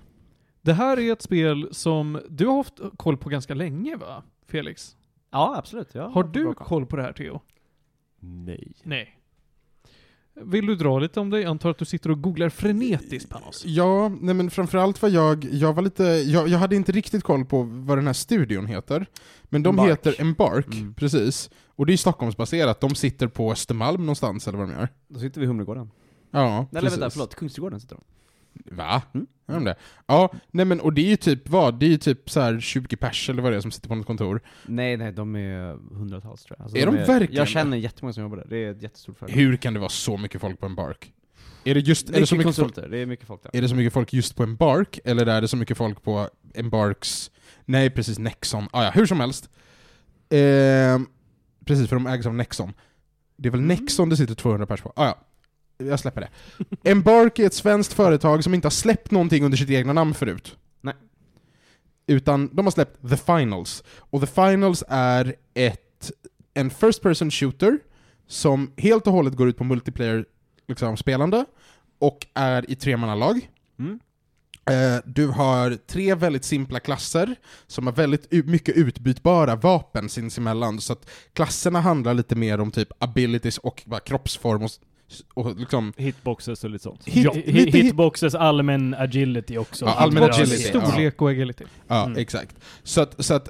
Det här är ett spel som du har haft koll på ganska länge va, Felix?
Ja, absolut. Ja,
Har
bra
du
koll.
koll på det här Theo?
Nej.
Nej. Vill du dra lite om det? Jag antar att du sitter och googlar frenetiskt Panos.
Ja, nej men framförallt var jag, jag var lite, jag, jag hade inte riktigt koll på vad den här studion heter. Men de
Embark.
heter Embark,
Mm.
precis. Och det är ju Stockholmsbaserat, de sitter på Östermalm någonstans eller vad de gör.
Då sitter vi i Humlegården.
Ja,
Nej,
precis.
vänta, förlåt. Kungsträdgården sitter de.
Va?
Mm.
Gör de det? Ja, nej men och det är ju typ vad? Det är ju typ så här 20 pers eller vad det är som sitter på något kontor.
Nej, nej, de är hundratals tror jag. Alltså,
Är de verkligen
Jag känner jättemånga som jobbar där. Det är ett jättestort företag.
Hur kan det vara så mycket folk på Embark? Är det just, är det så
Mycket
mycket folk,
konsulter. Det är mycket folk där.
är det så mycket folk just på Embark? Eller är det så mycket folk på Embarks... Nej, precis, Nexon. Ah, ja, hur som helst. Ehm, precis, för de ägs av Nexon. Det är väl Nexon det sitter 200 pers på? Ah, ja. Jag släpper det. Embark är ett svenskt företag som inte har släppt någonting under sitt egna namn förut.
Nej.
Utan de har släppt The Finals. Och The Finals är ett, en First Person Shooter som helt och hållet går ut på multiplayer liksom, spelande och är i tremannalag.
Mm.
Eh, Du har tre väldigt simpla klasser som har väldigt u- mycket utbytbara vapen sinsemellan, så att klasserna handlar lite mer om typ abilities och bara kroppsform och, s- och liksom...
Hitboxes och lite sånt.
Hit,
ja, hi-
lite hit,
hitboxes allmän agility också.
Ja, allmän
Hitboxes
agility, ja.
Storlek och agility.
ja,
Mm.
exakt. Så att, så att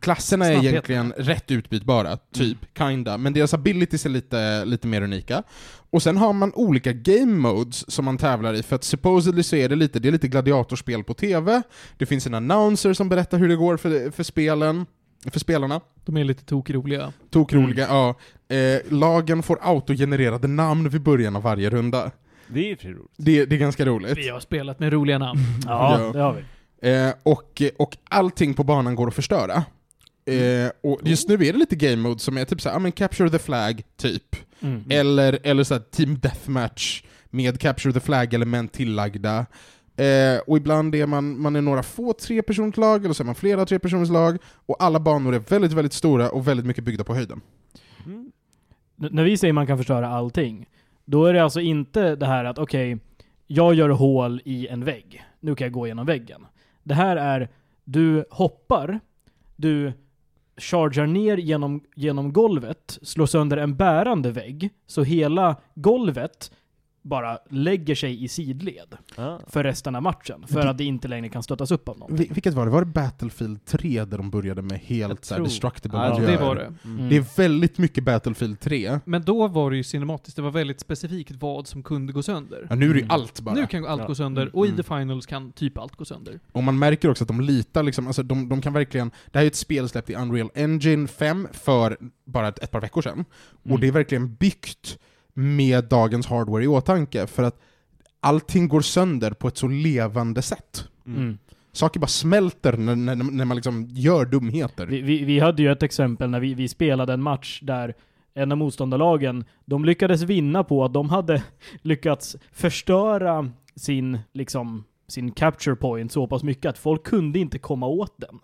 klasserna är
Snabbhet.
egentligen rätt utbytbara, typ, kinda, men deras abilities är lite, lite mer unika. Och sen har man olika game modes som man tävlar i, för att supposedly så är det lite, det är lite gladiatorspel på TV, det finns en announcer som berättar hur det går för, för spelen, för spelarna.
De är lite tokroliga.
Tokroliga, ja. Eh, lagen får autogenererade namn vid början av varje runda.
Det är ju fri roligt.
Det, det är ganska roligt.
Vi har spelat med roliga namn.
Ja,
Ja.
det har vi.
Eh, och, och allting på banan går att förstöra. Eh, och just nu är det lite game mode som är typ såhär, ja men capture the flag, typ.
Mm.
Eller, eller såhär team deathmatch med capture the flag-element tillagda. Eh, och ibland är man, man är några få trepersonslag, eller så är man flera trepersonslag, och alla banor är väldigt, väldigt stora och väldigt mycket byggda på höjden.
Mm.
N- när vi säger man kan förstöra allting, då är det alltså inte det här att okej, jag gör hål i en vägg. Nu kan jag gå genom väggen. Det här är, du hoppar, du chargar ner genom, genom golvet, slår sönder en bärande vägg, så hela golvet bara lägger sig i sidled
Ah.
för resten av matchen. För
Det-
att det inte längre kan stöttas upp av någon.
Vi- Vilket var det? Var det Battlefield 3 där de började med helt
Jag
såhär
tror-
destructible
Ja,
Ja,
miljöer?
det var det.
Mm.
Det är väldigt mycket Battlefield 3.
Men då var det ju cinematiskt. Det var väldigt specifikt vad som kunde gå sönder.
Ja, nu är det ju
Mm.
allt bara.
Nu kan allt
Ja.
gå sönder och i
Mm.
the finals kan typ allt gå sönder.
Och man märker också att de litar liksom, alltså de, de kan verkligen, det här är ju ett spel släppt i Unreal Engine 5 för bara ett, ett par veckor sedan. Och
Mm.
det är verkligen byggt med dagens hardware i åtanke, för att allting går sönder på ett så levande sätt.
Mm.
Saker bara smälter när, när, när man liksom gör dumheter.
Vi, vi, vi hade ju ett exempel när vi, vi spelade en match där en av motståndarlagen, de lyckades vinna på att de hade lyckats förstöra sin, liksom, sin capture point så pass mycket att folk kunde inte komma åt den.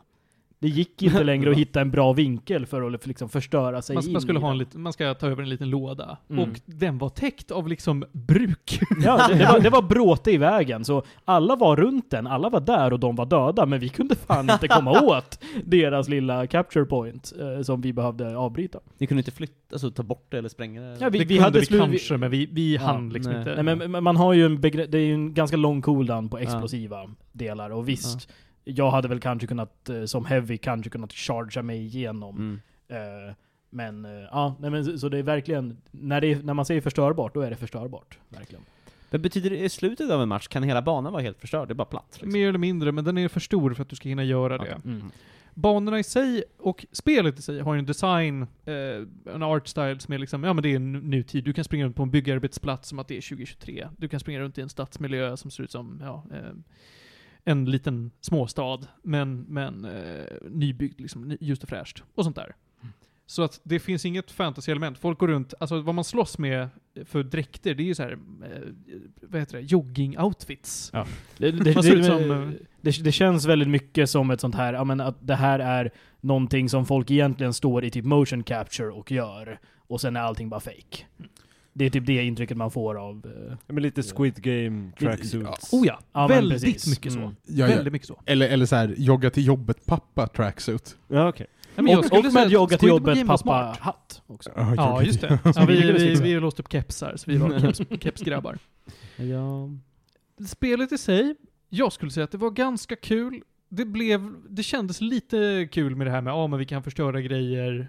Det gick inte längre att hitta en bra vinkel för att liksom förstöra sig
Man,
in
man, skulle
i
ha en
den.
liten, man ska ta över en liten låda.
Mm.
Och den var täckt av liksom bruk.
Ja, det, det, var, det var bråte i vägen, så alla var runt den, alla var där och de var döda, men vi kunde fan inte komma åt deras lilla capture point eh, som vi behövde avbryta.
Ni kunde inte flytta, alltså ta bort det eller spränga det?
Ja, vi,
det
vi
kunde
hade
vi
slut,
kanske, men vi, vi
Ja,
hann liksom
nej.
inte.
Nej, men men man har ju en, begre- det är ju en ganska lång cooldown på explosiva delar och visst, jag hade väl kanske kunnat, eh, som heavy, kanske kunnat chargea mig igenom.
Mm.
Eh, Men eh, ja, nej, men så- så det är verkligen, när, det är, när man säger förstörbart, då är det förstörbart. Verkligen.
Men betyder det i slutet av en match, kan hela banan vara helt förstörd? Det är bara platt liksom.
Mer eller mindre, men den är för stor för att du ska hinna göra
Okej.
det.
Mm.
Banorna i sig och spelet i sig har ju en design, eh, en art style som är liksom, ja men det är en nutid. Du kan springa runt på en byggarbetsplats som att det är 2023. Du kan springa runt i en stadsmiljö som ser ut som, ja, eh, en liten småstad, men, men eh, nybyggd liksom, ny- ljust och fräscht. Och sånt där. Så att det finns inget fantasy-element. Folk går runt, alltså vad man slåss med för dräkter, det är ju så här, eh, vad heter det, jogging-outfits.
Det, det,
Man ser
det,
ut som, eh,
det, det känns väldigt mycket som ett sånt här, ja men att det här är någonting som folk egentligen står i typ motion capture och gör, och sen är allting bara fake. Det är typ det intrycket man får av... eh,
Ja, Men lite Squid Game tracksuits.
Oh ja,
Ja, men
väldigt
precis.
mycket så.
Mm.
Ja, ja.
Väldigt mycket så.
Eller, eller så här, jogga till jobbet pappa tracksuit.
Ja, okej.
Nej, men jag
och
skulle
och
säga
med
att
jogga till
Squid Game
jobbet
var smart.
pappa-hatt också.
Ja,
Ja, just det. Ja, vi, vi, vi låste upp kepsar, så vi var keps, kepsgrabbar.
Ja.
Spelet i sig, jag skulle säga att det var ganska kul. Det, blev, det kändes lite kul med det här med ah, men vi kan förstöra grejer.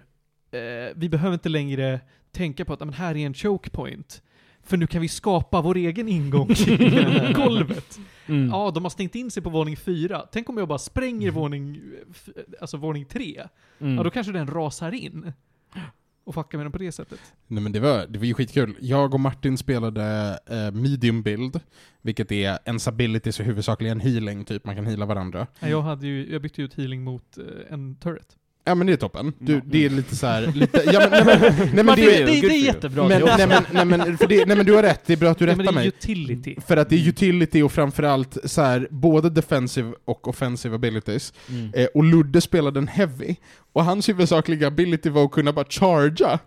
Eh, vi behöver inte längre tänka på att ah, men här är en choke point. För nu kan vi skapa vår egen ingång i golvet.
Mm.
Ja, de har stängt in sig på våning fyra. Tänk om jag bara spränger våning, f- alltså våning tre.
Mm.
Ja, då kanske den rasar in. Och fuckar med den på det sättet.
Nej men det var, det var ju skitkul. Jag och Martin spelade eh, medium build, vilket är ens abilities och huvudsakligen healing, typ man kan heala varandra.
Nej, Jag, hade ju, jag bytte ju ut healing mot eh, en turret.
Ja men det är toppen. Du,
Mm.
det är lite så här, lite, ja men, nej, men, nej, men
Martin,
det,
det,
är-
det
for
är
you.
jättebra.
men,
det också.
nej, men, nej, men, för det, nej men du har rätt, det är bra att du
Nej,
rättar
men det är
mig. Mm.
utility.
För att det är utility och framförallt så här, både defensive och offensive abilities.
Mm.
Eh, och Ludde spelade en heavy, och hans huvudsakliga ability var att kunna bara charga.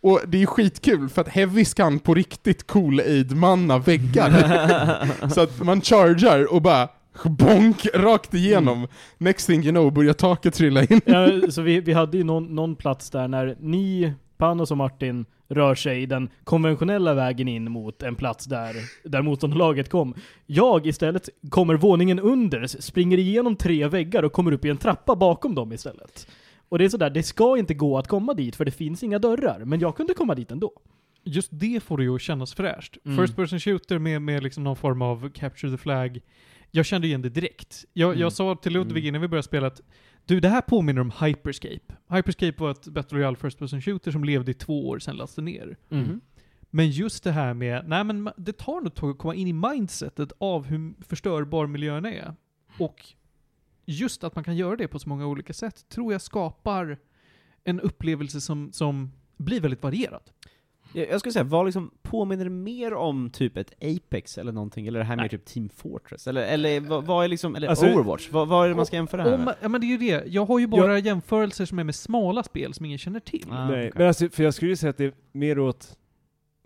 Och det är ju skitkul, för att heavy kan på riktigt cool aid manna väggar. så att man chargar och bara bonk rakt igenom. Next thing you know börjar taket trilla
Mm,
in.
Ja, så vi, vi hade ju någon, någon plats där när ni, Panos och Martin, rör sig den konventionella vägen in mot en plats där, där motståndarlaget kom. Jag istället kommer våningen under, springer igenom tre väggar och kommer upp i en trappa bakom dem istället. Och det är sådär, det ska inte gå att komma dit för det finns inga dörrar, men jag kunde komma dit ändå.
Just det får det ju att kännas fräscht.
Mm.
First person shooter med, med liksom någon form av capture the flag. Jag kände igen det direkt. Jag,
Mm.
jag sa till Ludvig
Mm.
innan vi började spela att du, det här påminner om Hyperscape. Hyperscape var ett Battle Royale First person shooter som levde i två år, sen lades det ner. Men just det här med, nej men ma- det tar nog ett tag att komma in i mindsetet av hur förstörbar miljön är. Och just att man kan göra det på så många olika sätt tror jag skapar en upplevelse som, som blir väldigt varierad.
Jag, jag skulle säga, vad liksom påminner det mer om typ ett Apex eller någonting? Eller det här med typ Team Fortress? Eller, eller vad, vad är liksom, eller
Alltså-
Overwatch? Vad, vad är det man ska jämföra det här
Om,
med?
ja men det är ju det, jag har ju bara jämförelser som är med smala spel som ingen känner till.
Ah,
Nej,
okej.
men alltså, för jag skulle ju säga att det är mer åt...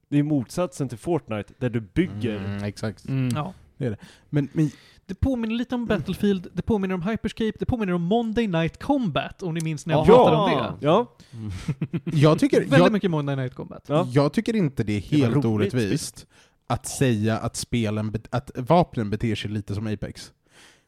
Det är motsatsen till Fortnite, där du bygger.
exakt.
Mm.
Ja.
Men, men
Det påminner lite om Battlefield, det påminner om Hyperscape, det påminner om Monday Night Combat om ni minns när jag
Ja.
pratade om det.
Ja,
jag tycker,
Väldigt
jag,
mycket Monday Night Combat.
ja.
jag tycker inte det är
Det var
helt
roligt
orättvist att säga att, spelen, bet- att vapnen beter sig lite som Apex.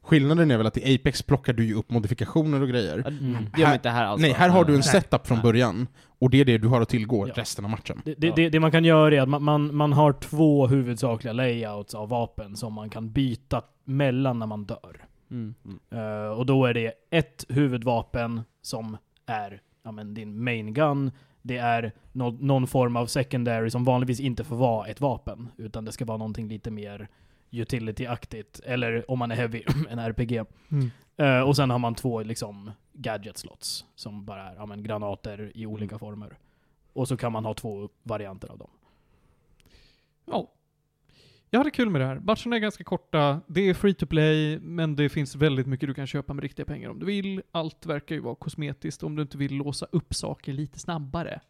Skillnaden är väl att i Apex plockar du ju upp modifikationer och grejer.
Ja,
Mm.
Det gör man inte här alls.
Nej,
va?
här har du en
Nej.
setup från
Alltså, eh, Nej.
början, och det är det du har att tillgå
Ja.
resten av matchen.
Det, det,
Ja.
det, det man kan göra är att man, man, man har två huvudsakliga layouts av vapen som man kan byta mellan när man dör.
Mm.
Eh, och då är det ett huvudvapen som är ja, men din main gun. Det är nå- någon form av secondary som vanligtvis inte får vara ett vapen. Utan det ska vara någonting lite mer utility-aktigt. Eller om man är heavy, en RPG.
Mm.
Eh, och sen har man två liksom gadget slots. Som bara är ja, men granater i olika former. Och så kan man ha två varianter av dem.
Ja. Jag hade kul med det här. Matcherna är ganska korta, det är free to play, men det finns väldigt mycket du kan köpa med riktiga pengar om du vill. Allt verkar ju vara kosmetiskt om du inte vill låsa upp saker lite snabbare.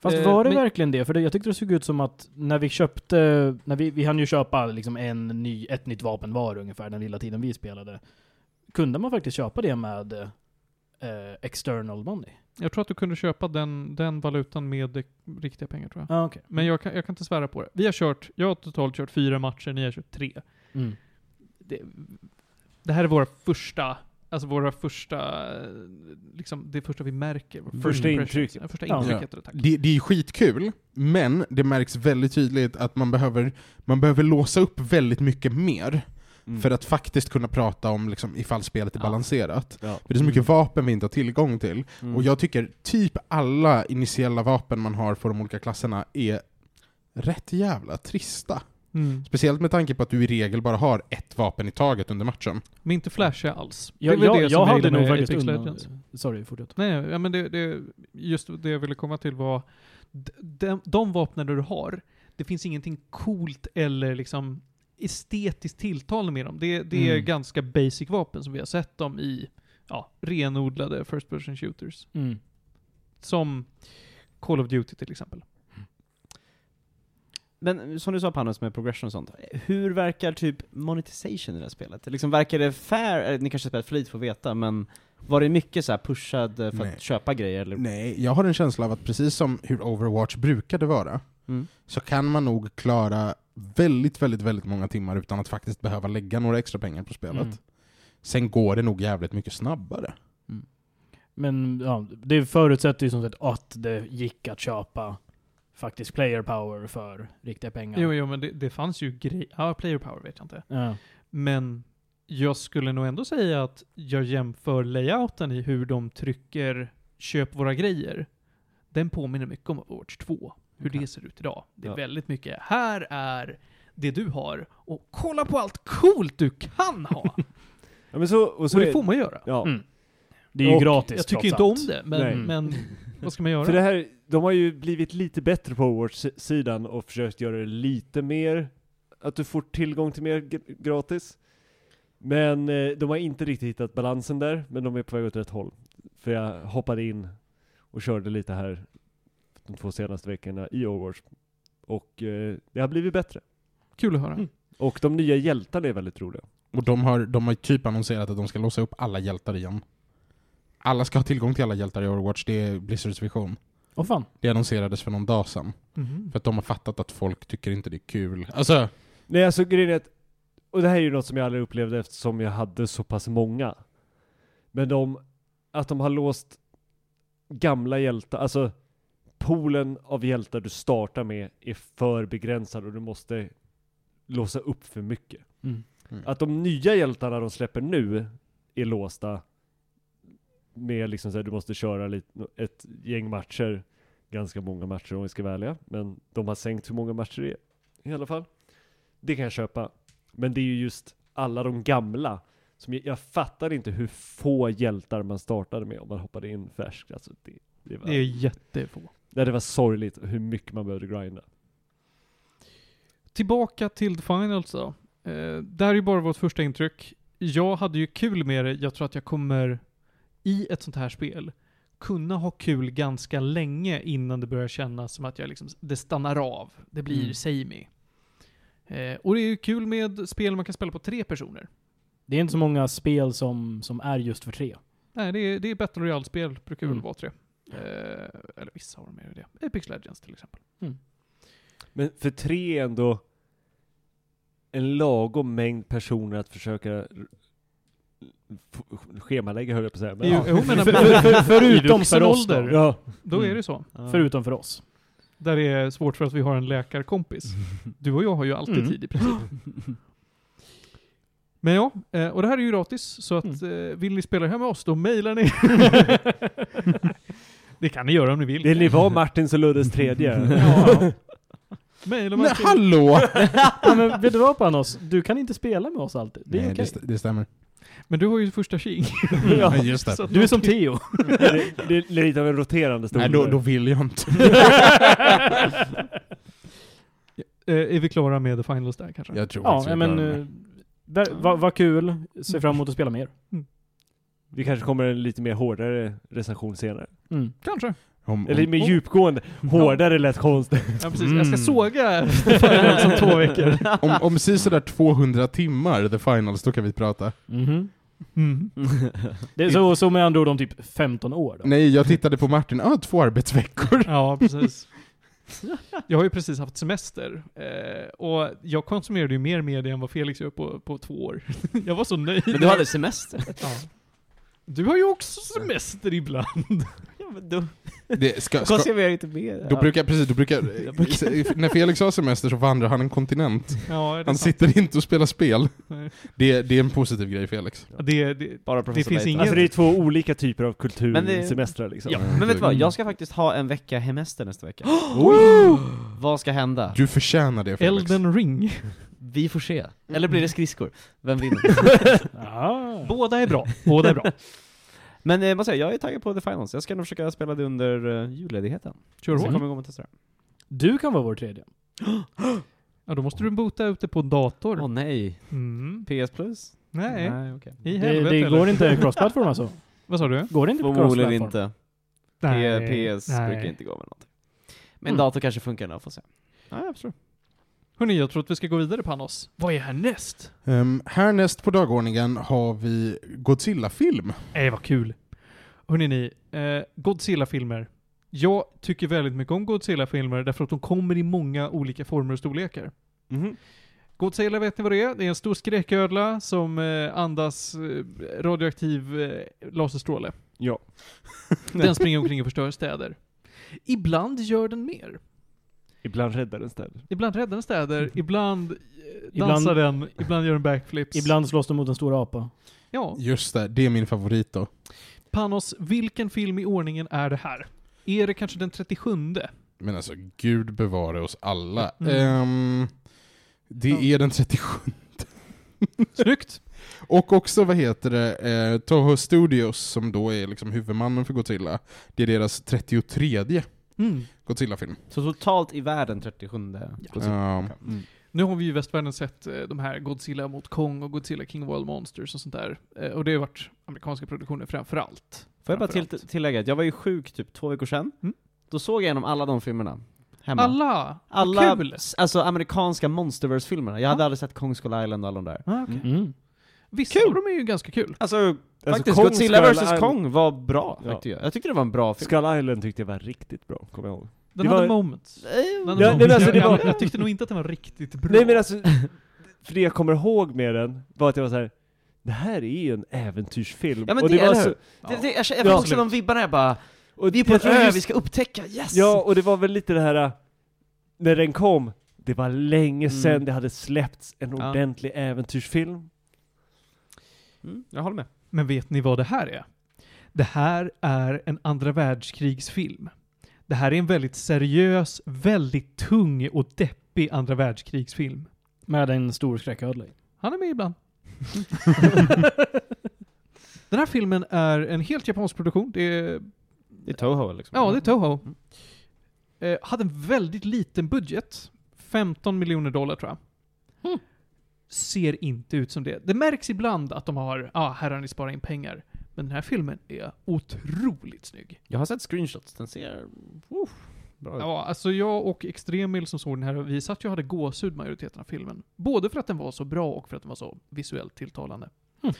Fast
Eh,
var det
men-
verkligen det? För det, jag tyckte det såg ut som att när vi köpte, när vi, vi hann ju köpa liksom en ny, ett nytt vapen var ungefär den lilla tiden vi spelade. Kunde man faktiskt köpa det med eh, external money?
Jag tror att du kunde köpa den, den valutan med eh, riktiga pengar tror jag.
Ja, ah, okej.
Men jag kan, jag kan inte svära på det. Vi har kört, jag har totalt kört fyra matcher, ni har kört tre.
Mm.
det, det här är våra första, alltså våra första, eh, liksom det första vi märker. vår
Första
impression.
intrycket.
Ja, Första
Ja.
intrycket, heter det, tack.
Det, det är skitkul, men det märks väldigt tydligt att man behöver, man behöver låsa upp väldigt mycket mer
Mm.
för att faktiskt kunna prata om liksom, ifall spelet är
Ja.
balanserat.
Ja.
För det är så mycket vapen vi inte har tillgång till,
Mm.
och jag tycker typ alla initiella vapen man har för de olika klasserna är rätt jävla trista.
Mm.
Speciellt med tanke på att du i regel bara har ett vapen i taget under matchen.
De är inte flashiga alls.
Jag,
det är väl
jag,
det
jag
som
hade
gillar
nog
med
faktiskt
Apex
undan...
Legends.
Sorry, fortsätt.
Nej, ja, men det, det, just det jag ville komma till var, d- de, de vapnen du har, det finns ingenting coolt eller liksom estetiskt tilltalande med dem. Det, det är
Mm.
ganska basic vapen som vi har sett dem i, ja, renodlade first person shooters.
Mm.
Som Call of Duty till exempel.
Men som du sa Panos med progression och sånt, hur verkar typ monetization i det här spelet? Liksom verkar det fair, eh, ni kanske spelat för lite för att veta, men var det mycket så här pushad eh, för
Nej.
att köpa grejer eller?
Nej, jag har en känsla av att precis som hur Overwatch brukade vara,
Mm.
så kan man nog klara väldigt, väldigt, väldigt många timmar utan att faktiskt behöva lägga några extra pengar på spelet.
Mm.
Sen går det nog jävligt mycket snabbare.
Men ja, det förutsätter ju som sagt att det gick att köpa faktiskt player power för riktiga pengar.
Jo, jo, men det, det fanns ju grejer. Ja, player power vet jag inte.
Ja.
Men jag skulle nog ändå säga att jag jämför layouten i hur de trycker köp våra grejer. Den påminner mycket om Overwatch 2. Hur
Okej.
det ser ut idag. Det är
Ja.
väldigt mycket, här är det du har och kolla på allt coolt du kan ha!
Ja, men så, och
Så
så
det
är-
får man göra.
ja.
Mm. Det är ju
Och
gratis
Jag tycker
trots
inte
allt.
om det,
Nej.
men, men vad ska man göra?
För det här, de har ju blivit lite bättre på Overwatch-sidan och försökt göra det lite mer, att du får tillgång till mer g- gratis. Men eh, de har inte riktigt hittat balansen där, men de är på väg åt rätt håll. För jag hoppade in och körde lite här de två senaste veckorna i Overwatch. Och eh, det har blivit bättre.
Kul att höra.
Mm.
Och de nya hjältarna är väldigt roliga.
Och de har, de har typ annonserat att de ska låsa upp alla hjältar igen. Alla ska ha tillgång till alla hjältar i Overwatch, det är Blizzards vision.
Åh fan.
Det annonserades för någon dag sedan.
Mhm.
För att de har fattat att folk tycker inte det är kul. Alltså,
Nej alltså grejen är att, och det här är ju något som jag aldrig upplevde eftersom jag hade så pass många. Men de, att de har låst gamla hjältar, alltså poolen av hjältar du startar med är för begränsad och du måste låsa upp för mycket.
Mm.
Att de nya hjältarna de släpper nu är låsta med liksom så här, du måste köra lite, ett gäng matcher, ganska många matcher om vi ska vara ärliga, men de har sänkt hur många matcher det är i alla fall. Det kan jag köpa. Men det är ju just alla de gamla som jag, jag fattar inte hur få hjältar man startade med om man hoppade in färsk. Alltså det, det, var,
Det är jättefå.
Nej, det var sorgligt hur mycket man behövde grinda.
Tillbaka till The Finals då. Eh, det här är ju bara vårt första intryck. Jag hade ju kul med det. Jag tror att jag kommer, i ett sånt här spel, kunna ha kul ganska länge innan det börjar kännas som att jag liksom, det stannar av. Det blir
Mm.
samey. Eh, och det är ju kul med spel man kan spela på tre personer.
Det är inte så många spel som, som är just för tre.
Nej, det är, det är Battle Royale-spel, brukar väl
Mm.
vara tre. Eh, eller vissa har de mer än det. Apex Legends till exempel.
Men för tre är ändå en lagom mängd personer att försöka r- f- schemalägga höll jag på att säga. Men,
Jo,
ja.
jo, men-
För- för- för-
förutom
Iduk för oss
sin
då.
ålder.
ja.
Då är
Mm.
det så.
Ja.
Förutom för oss.
Där det är svårt för att vi har en läkarkompis. Du och jag har ju alltid
Mm.
tid i princip. Men ja, eh, och det här är ju gratis, så att eh, vill ni spela här med oss, då mejlar ni. det kan ni göra om ni vill.
Vill ni vara Martins och Luddes tredje?
Ja. Mejla man
nej
till-
hallå!
ja, men vet du vad Panos? Du kan inte spela med oss alltid. Det är
Nej,
okej. Mm.
det, st- det stämmer.
Men du har ju första tjing.
Ja, just det.
Så att
Du är
någon-
som Theo.
det, det är lite av en roterande stol.
Nej, då, då vill jag inte.
eh, är vi klara med The Finals där kanske?
Jag tror
Ja,
faktiskt vi
nej,
är
men
klara med det.
eh, där- vad vad kul. Ser fram emot att spela mer.
Vi kanske kommer en lite mer hårdare recension senare.
Mm.
Kanske.
Om-
Eller
om-
mer djupgående. Hårdare lät konstigt.
Ja, precis. Jag ska
Mm.
såga The Finals om två veckor.
Om, om sådär 200 timmar, the finals, då kan vi prata.
Mhm.
Mm.
Det är så, så med andra ord om typ 15 år då.
Nej, jag tittade på Martin. Ah, två arbetsveckor.
Ja, precis. Jag har ju precis haft semester eh, och jag konsumerade ju mer media än vad Felix gör på, på två år. Jag var så nöjd.
Men du hade semester.
Ja. Du har ju också semester ibland.
Ja, men då
Det ska, ska,
konsumerar jag inte mer.
då brukar, precis, då brukar,
Jag brukar-
när Felix har semester så vandrar han en kontinent.
Ja, det, är
Han
sant.
sitter inte och spelar spel.
Nej.
Det, det är en positiv grej Felix.
det, det,
Bara
det finns inget-
Alltså det är två olika typer av
Men det-
kultursemestrar liksom.
Ja, men vet du vad? Jag ska faktiskt ha en vecka hemester nästa vecka.
Ah.
Vad ska hända?
Du förtjänar det Felix.
Elden ring.
Vi får se. Eller blir det skridskor? Vem vinner?
Ah.
Båda är bra. Båda är bra.
Men eh, jag måste säga, jag är taggad på The Finals. Jag ska nog försöka spela det under uh, julledigheten.
Kör
Så jag
hårt.
kommer igång och testa det.
Du kan vara vår tredje.
Ja, då måste du bota ut det på
Åh
dator.
nej.
Mm.
PS Plus?
Nej,
Nej, okej.
i
Det,
helvete
det
eller?
går inte cross-platform alltså?
Vad sa du?
Går det inte på
Förmodligen
cross-platform?
inte. P- PS brukar inte gå med någonting. Men
Mm.
dator kanske funkar nu, får se. Ja, jag förstår.
Hörni, jag tror att vi ska gå vidare Panos. Vad är härnäst?
Ehm, härnäst på dagordningen har vi Godzilla-film.
Nej, vad kul. Hörni ni, eh, Godzilla-filmer. Jag tycker väldigt mycket om Godzilla-filmer därför att de kommer i många olika former och storlekar.
Mhm.
Godzilla vet ni vad det är? Det är en stor skräcködla som eh, andas eh, radioaktiv eh, laserstråle.
Ja.
Den springer omkring och förstör städer. Ibland gör den mer.
Ibland räddar den städer.
Ibland räddar den städer, ibland eh,
Mm. Ibland-
dansar den, ibland gör den backflips.
Ibland slåss de mot en stor apa.
Ja.
Just det, det är min favorit då.
Panos, vilken film i ordningen är det här? Är det kanske den 37?
Men alltså, gud bevare oss alla.
Mm.
Ehm, det
Ja.
är den 37
Snyggt!
Och också, vad heter det, eh, Toho Studios som då är liksom huvudmannen för Godzilla. Det är deras 33
Mm.
Godzilla-film.
Så totalt i världen 37 Godzilla.
Ja.
Nu har vi ju i västvärlden sett eh, de här Godzilla mot Kong och Godzilla King of Wild Monsters och sånt där. Eh, och det har varit amerikanska produktioner framför allt.
Får jag bara till,
Framförallt.
tillägga att jag var ju sjuk typ två veckor sedan.
Mm.
Då såg jag igenom alla de filmerna. Hemma.
Alla!
alla
Vad kul!
s- alltså amerikanska Monsterverse-filmerna. Jag hade aldrig sett Kong Skull Island och alla de där.
Ah, okej.
Mm.
Vissa
Kul.
av dem är ju ganska kul.
Alltså, faktiskt,
Kong
Godzilla
Skull
vs
Island-
Kong var bra,
Ja.
tyckte jag. Jag tyckte det var en bra film.
Skull Island tyckte jag var riktigt bra, kommer jag ihåg.
Den
Det
hade
var-
moments. Den
Eh,
hade
Ja, nej, men
moments.
alltså, det
jag,
var-
jag, jag tyckte nog inte att den var riktigt bra.
Nej men alltså, för det jag kommer ihåg med den var att jag var så här. det här är ju en äventyrsfilm.
Ja, men
och
det-
var
eller
så,
hur? Det, det, jag jag
Ja.
fick också de vibbarna, jag bara
och
Vi är på
jag
en
tror
ö,
just-
vi ska upptäcka, yes!
Ja, och det var väl lite det här, äh, när den kom, det var länge sedan
Mm.
det hade släppts en
Ja.
ordentlig äventyrsfilm.
Mm, jag håller med.
Men vet ni vad det här är? Det här är en andra världskrigsfilm. Det här är en väldigt seriös, väldigt tung och deppig andra världskrigsfilm.
Med en stor skräcködla i.
Han är med ibland. Den här filmen är en helt japansk produktion. Det är,
Det är Toho liksom.
ja, det är Toho. Eh, hade en väldigt liten budget. 15 miljoner dollar tror jag. Hmm.
Mm.
Ser inte ut som det. Det märks ibland att de har, ja, här har ni sparat in pengar. Men den här filmen är otroligt snygg.
Jag har sett screenshots, den ser... Uh, bra ut.
Ja, alltså jag och Extremil som såg den här, vi satt ju och hade gåshud majoriteten av filmen. Både för att den var så bra och för att den var så visuellt tilltalande.
Mm.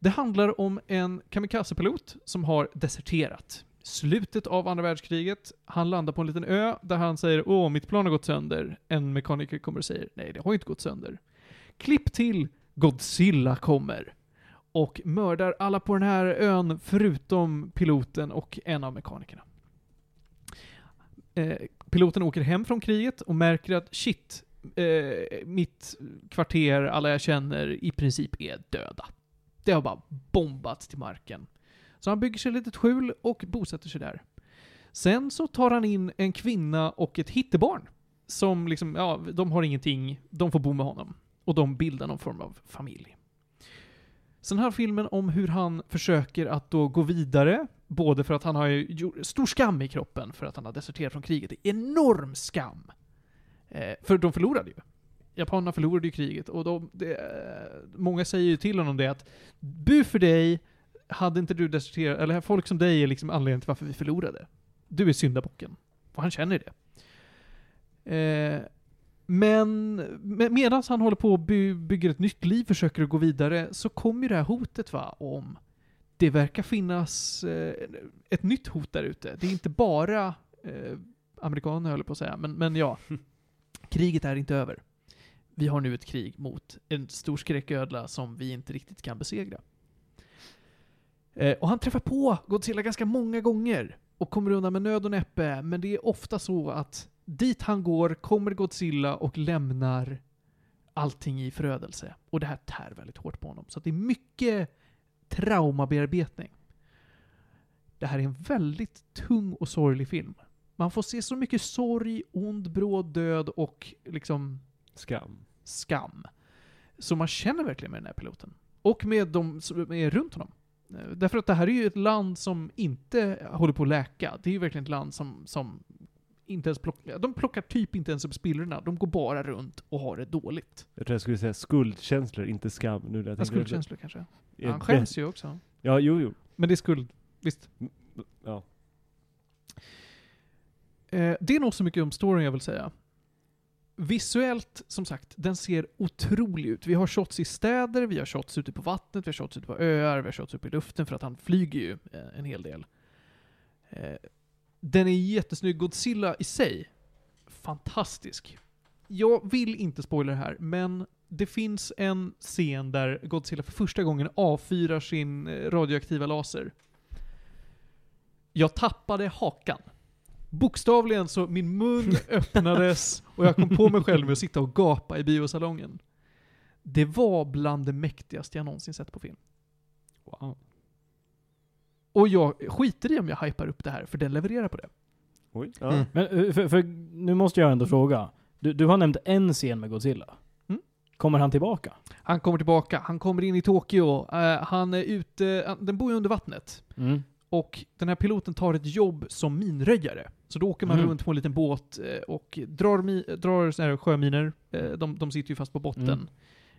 Det handlar om en kamikazepilot som har deserterat. Slutet av andra världskriget, han landar på en liten ö där han säger Åh, mitt plan har gått sönder. En mekaniker kommer och säger Nej, det har ju inte gått sönder. Klipp till Godzilla kommer och mördar alla på den här ön förutom piloten och en av mekanikerna. Eh, piloten åker hem från kriget och märker att shit, eh, mitt kvarter, alla jag känner, i princip är döda. Det har bara bombats till marken. Så han bygger sig ett litet skjul och bosätter sig där. Sen så tar han in en kvinna och ett hittebarn. Som liksom, ja, de har ingenting, de får bo med honom. Och de bildar någon form av familj. Sen har filmen om hur han försöker att då gå vidare, både för att han har ju gjort- stor skam i kroppen för att han har deserterat från kriget. Enorm skam! Eh, för de förlorade ju. Japanerna förlorade ju kriget och de, det, eh, många säger ju till honom det att bu för dig, hade inte du deserterat, eller folk som dig är liksom anledningen till varför vi förlorade. Du är syndabocken. Och han känner det. Eh, men me- medan han håller på och by, bygger ett nytt liv, försöker att gå vidare, så kommer ju det här hotet va, om det verkar finnas eh, ett nytt hot där ute. Det är inte bara eh, amerikaner höll jag på att säga, men, men ja. Kriget är inte över. Vi har nu ett krig mot en stor skräcködla som vi inte riktigt kan besegra. Eh, och han träffar på Godzilla ganska många gånger och kommer undan med nöd och näppe, men det är ofta så att dit han går kommer Godzilla och lämnar allting i förödelse. Och det här tär väldigt hårt på honom. Så att det är mycket traumabearbetning. Det här är en väldigt tung och sorglig film. Man får se så mycket sorg, ond, bråd, död och liksom
Skam.
skam. Så man känner verkligen med den här piloten. Och med de som är runt honom. Eh, Därför att det här är ju ett land som inte håller på att läka. Det är ju verkligen ett land som, som inte ens plockar, de plockar typ inte ens upp spillrorna. De går bara runt och har det dåligt.
Jag tror jag skulle säga skuldkänslor, inte skam nu när jag tänker efter.
Skuldkänslor kanske.
Är
Han
det-
skäms ju också.
Ja, jo, jo.
Men det är skuld, visst.
Ja.
Eh, det är nog så mycket om storyn jag vill säga. Visuellt, som sagt, den ser otrolig ut. Vi har shots i städer, vi har shots ute på vattnet, vi har shots ute på öar, vi har shots uppe i luften för att han flyger ju eh, en hel del. Eh, den är jättesnygg. Godzilla i sig, fantastisk. Jag vill inte spoila det här, men det finns en scen där Godzilla för första gången avfyrar sin eh, radioaktiva laser. Jag tappade hakan. Bokstavligen så min mun öppnades och jag kom på mig själv med att sitta och gapa i biosalongen. Det var bland det mäktigaste jag någonsin sett på film.
Wow.
Och jag skiter i om jag hypar upp det här, för den levererar på det.
Oj. Ja.
Mm.
Men eh, för, för nu måste jag ändå fråga. Du, du har nämnt en scen med Godzilla.
Mm.
Kommer han tillbaka?
Han kommer tillbaka, han kommer in i Tokyo, eh, han är ute, han- den bor ju under vattnet.
Mm.
Och den här piloten tar ett jobb som minröjare. Så då åker man
Mm.
runt på en liten båt eh, och drar, mi- drar såna här sjöminer. Eh, De, de sitter ju fast på botten.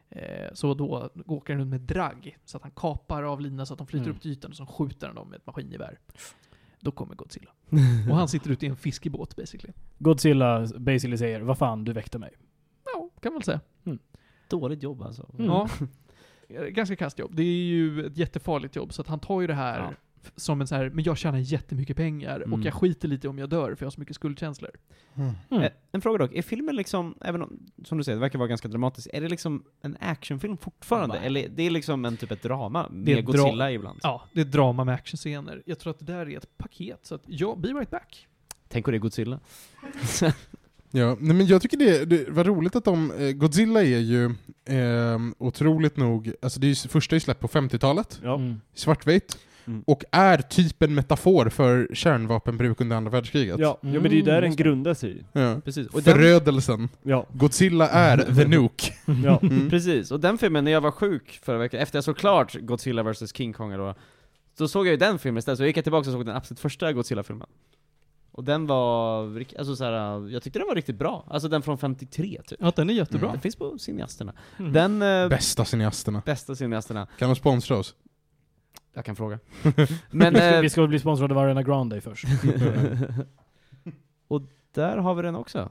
Eh, Så då åker han runt med dragg, så att han kapar av linan så att de flyter
Mm.
upp till ytan och så skjuter han dem med ett maskingevär. Då kommer Godzilla. Och han sitter ute i en fiskebåt basically.
Godzilla basically säger vad fan, du väckte mig.
Ja, kan man väl säga.
Dåligt jobb alltså.
Mm.
Ja. Eh, Ganska kasst jobb. Det är ju ett jättefarligt jobb, så att han tar ju det här
Ja.
f- som en så här, men jag tjänar jättemycket pengar
Mm.
och jag skiter lite om jag dör för jag har så mycket skuldkänslor.
Mm.
Eh, En fråga dock, är filmen liksom, även om, som du säger, det verkar vara ganska dramatiskt, är det liksom en actionfilm fortfarande?
Nej.
Eller det är liksom en typ ett drama med
Det är ett
Godzilla ibland?
Ja, det är drama med actionscener. Jag tror att det där är ett paket, så att ja, be right back.
Tänk om det är Godzilla?
Ja, nej men jag tycker det, det var roligt att de, eh, Godzilla är ju eh, otroligt nog, alltså det är ju s- första är släppt på 50-talet,
Ja.
Mm.
svartvitt,
Mm.
och är typ en metafor för kärnvapenbruk under andra världskriget.
Ja, ja, men det är ju där
Mm,
den
just det.
grundar sig i.
Ja.
Precis. Och den,
Förödelsen.
Ja,
Godzilla är the nuke.
ja.
Mm.
precis. Och den filmen, när jag var sjuk förra veckan, efter jag såg klart Godzilla vs King Kong då, då såg jag ju den filmen istället, så jag gick jag tillbaka och såg den absolut första Godzilla-filmen. Och den var, rikt- alltså så här, jag tyckte den var riktigt bra. Alltså den från 53 typ.
Ja, den är jättebra.
Den finns på cineasterna.
Mm.
Den eh,
Bästa cineasterna.
bästa cineasterna,
Kan de sponsra oss?
jag kan fråga. Men
Vi ska-
eh,
Vi ska väl bli sponsrade av Arena Grande först.
och där har vi den också.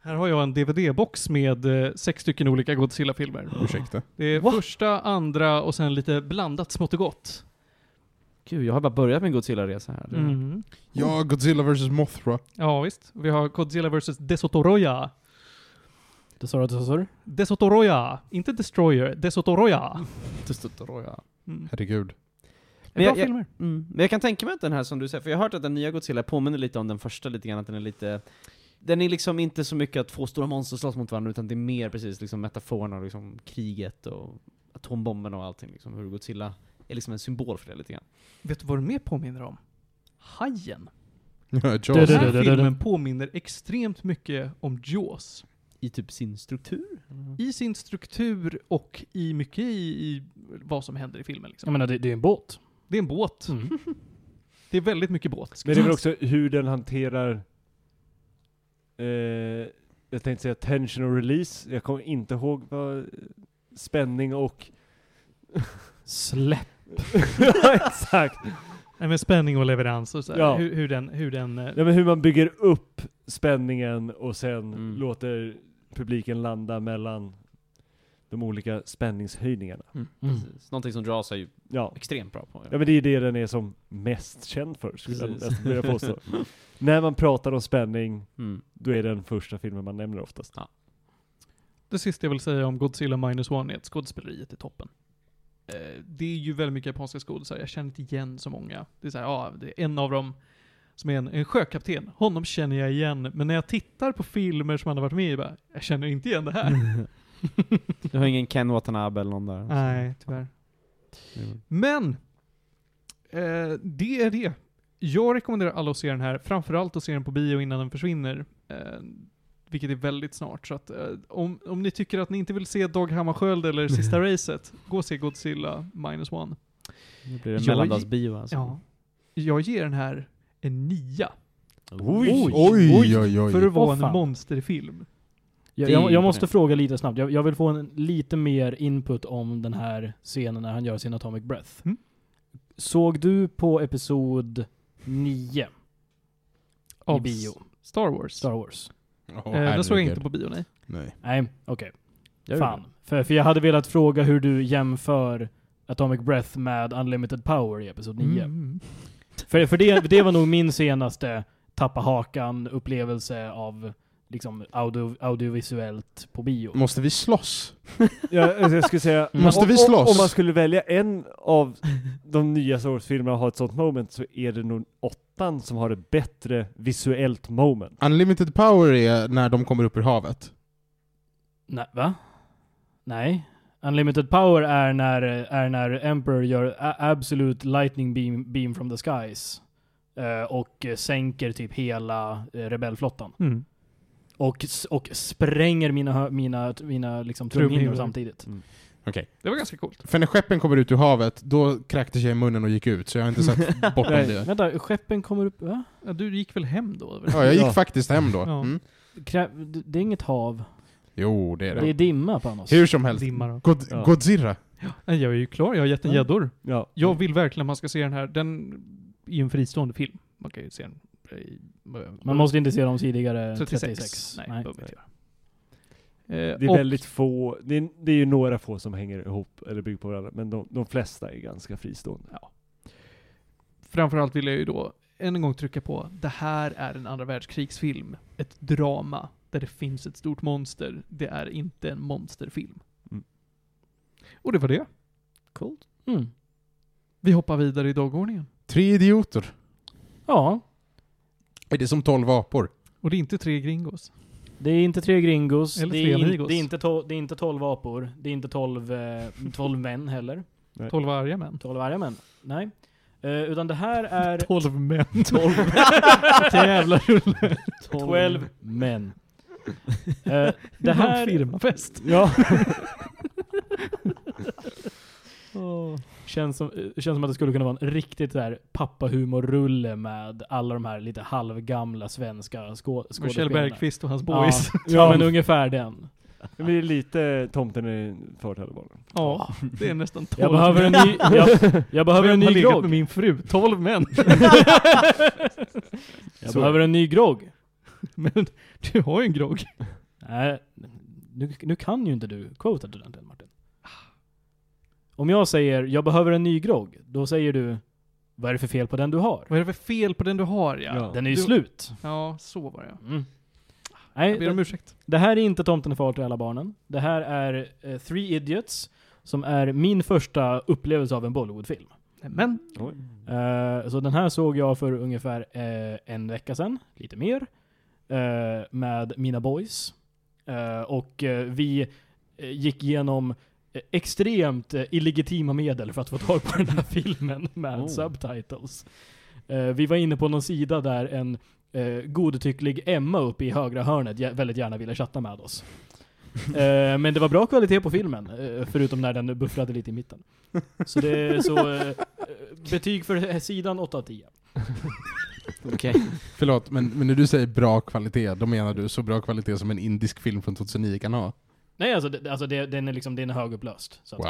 Här har jag en DVD-box med eh, sex stycken olika Godzilla-filmer.
Ursäkta.
Det är
Va?
första, andra och sen lite blandat smått och gott.
Gud, jag har bara börjat min Godzilla-resa här.
Mm.
Mm.
Ja, Godzilla vs Mothra.
Ja, visst. Vi har Godzilla vs. Desotoroya.
Det sa du, det sa du?
Desotoroya. Inte Destroyer. Desotoroya. Mm.
Herregud.
Bra
Men jag- jag-
filmer.
Mm. Men jag kan tänka mig att den här som du säger, för jag har hört att den nya Godzilla påminner lite om den första lite grann, att den är lite den är liksom inte så mycket att två stora monster slåss mot varandra, utan det är mer precis liksom metaforerna och liksom kriget och atombomberna och allting liksom. Hur Godzilla är liksom en symbol för det lite grann.
Vet du vad den mer påminner om? Hajen.
Ja,
Det-
Den
Jaws.
det-
här filmen påminner extremt mycket om Jaws.
I typ sin struktur?
i sin struktur och i mycket i, i vad som händer i filmen. Liksom.
Jag menar, det, det är en båt.
Det är en båt.
Mm.
Det är väldigt mycket båt.
Men det är väl också hur den hanterar eh, jag tänkte säga tension och release. Jag kommer inte ihåg vad eh, spänning och...
Släpp.
ja, exakt.
Nej, men spänning och leverans och så här.
Ja.
Hur, hur den, hur den... eh,
Ja, men hur man bygger upp spänningen och sen
Mm.
låter publiken landa mellan de olika spänningshöjningarna.
Mm.
Precis. Någonting som Jaws är ju
Ja.
extremt bra på.
ja, men det är ju det den är som mest känd för, skulle jag
Precis.
nästan vilja påstå. När man pratar om spänning,
Mm.
då är det den första filmen man nämner oftast.
Det sista jag vill säga om Godzilla Minus One är att skådespeleriet är toppen. Eh, Det är ju väldigt mycket japanska skådisar, jag känner inte igen så många. Det är så här, ja, det är en av dem som är en, en sjökapten, honom känner jag igen, men när jag tittar på filmer som han har varit med i, bara, jag känner inte igen det här.
Du har ingen Ken Watanabe eller någon där? alltså.
Nej, tyvärr. Men, eh, det är det. Jag rekommenderar alla att se den här, framförallt att se den på bio innan den försvinner. Eh, vilket är väldigt snart. Så att, eh, om, om ni tycker att ni inte vill se Dag Hammarskjöld eller Sista Racet, gå och se Godzilla Minus One.
Nu blir
Jag-
det mellandagsbio alltså.
Ja. Jag ger den här en nia.
Oj, oj, oj. oj.
För att vara
Åh,
en
fan.
monsterfilm.
Jag,
Det är
jag, jag måste
imponerande.
fråga lite snabbt. Jag, jag vill få en, lite mer input om den här scenen när han gör sin Atomic Breath.
Mm.
Såg du på episod 9 i
Av
bio?
Star Wars.
Star Wars?
Åh,
Eh, den såg jag
herregud.
inte på bio, nej.
Nej.
Nej, okej.
Jag gjorde
Fan. För, för jag hade velat fråga hur du jämför Atomic Breath med Unlimited Power i episod 9.
Mm.
För, för det, det var nog min senaste tappa hakan-upplevelse av liksom audio, audiovisuellt på bio.
Måste vi slåss?
Ja, alltså jag skulle säga,
Mm.
Mm.
Måste
om,
vi
om-
slåss?
Om man skulle välja en av de nya Star Wars-filmerna och ha ett sånt moment så är det nog åttan som har ett bättre visuellt moment.
Unlimited power är när de kommer upp ur havet.
Nej, va? Nej. Unlimited power är när, är när Emperor gör a- absolute lightning beam, beam from the skies. eh, Och eh, sänker typ hela eh, rebellflottan.
Mm.
Och, s- och spränger mina, hö- mina, mina liksom, trumhinnor
Trumhinnor.
samtidigt.
Okej.
Det var ganska coolt.
För när skeppen kommer ut ur havet, då kräktes jag i munnen och gick ut, så jag har inte sett bortom
Nej.
det.
Vänta, skeppen kommer upp... Va?
Ja, du gick väl hem då? eller?
Ja, jag gick
Ja.
faktiskt hem då.
Ja.
Mm.
Krä, det, det är inget hav.
Jo, det är
Det är
det.
dimma, Panos.
Hur som helst.
Dimma då.
God,
Ja.
Godzilla.
Nej, Jag är ju klar, jag har gett en
Ja.
gäddor.
Ja.
Jag vill verkligen att man ska se den här. Den är ju en fristående film. Man kan ju se den i...
Man måste inte se dem tidigare
36.
36.
Nej,
Nej.
behöver vi inte göra. Eh,
Det är
och-
väldigt få, det är, det är ju några få som hänger ihop eller bygger på varandra, men de, de flesta är ganska fristående.
framförallt vill jag ju då än en gång trycka på, det här är en andra världskrigsfilm. Ett drama där det finns ett stort monster. Det är inte en monsterfilm.
Mm.
Och det var det.
Coolt.
Mm.
Vi hoppar vidare i dagordningen.
Tre idioter.
Ja,
Är det som tolv apor?
Och det är inte tre gringos.
Det är inte tre gringos,
Eller
det,
tre
är in,
amigos.
det, är inte to, det är inte tolv apor, det är inte tolv, eh, tolv män heller.
Tolv arga män.
Tolv arga män. Nej. Eh, utan det här är...
Tolv män. Tolv. jävla rulle.
Tolv män. Eh,
Det
det
här...
här
Firmafest.
Ja,
känns som, eh, känns som att det skulle kunna vara en riktigt där pappahumorrulle med alla de här lite halvgamla svenska skå,
Och Kjell
skådespelarna.
Bergqvist och hans boys.
Ja, ja, men ungefär den.
men det är lite tomten i förtällbarnen.
Ja, det är nästan 12
Jag behöver en
män.
ny, jag, jag behöver en
Vem har
ny
legat
grogg.
med min fru? 12 män.
Jag
Så.
behöver en ny grogg.
Men du har ju en grogg.
Nej, nu, nu kan ju inte du quoted den till Martin. Om jag säger jag behöver en ny grogg, då säger du vad är det för fel på den du har?
Vad är det för fel på den du har ja?
Ja.
Den är ju
Du-
slut.
Ja, så var jag.
Mm.
Jag
Nej,
ber om
det,
ursäkt.
det här är inte Tomten är far till alla barnen. Det här är eh, Three Idiots, som är min första upplevelse av en Bollywoodfilm.
Men,
Mm.
Eh, så den här såg jag för ungefär eh, en vecka sedan, lite mer, eh, med mina boys. Eh, och eh, vi eh, gick igenom eh, extremt eh, illegitima medel för att få tag på den här filmen med
Oh.
subtitles. Eh, vi var inne på någon sida där en eh, godtycklig Emma uppe i högra hörnet gär- väldigt gärna ville chatta med oss. Eh, men det var bra kvalitet på filmen, eh, förutom när den buffrade lite i mitten. eh, Så det är så, eh, eh, betyg för sidan 8 av 10.
Okej.
Förlåt, men, men när du säger bra kvalitet, då menar du så bra kvalitet som en indisk film från 2009 kan ha?
Nej alltså, det, alltså det, den är liksom, den är högupplöst. Så, att,
Wow.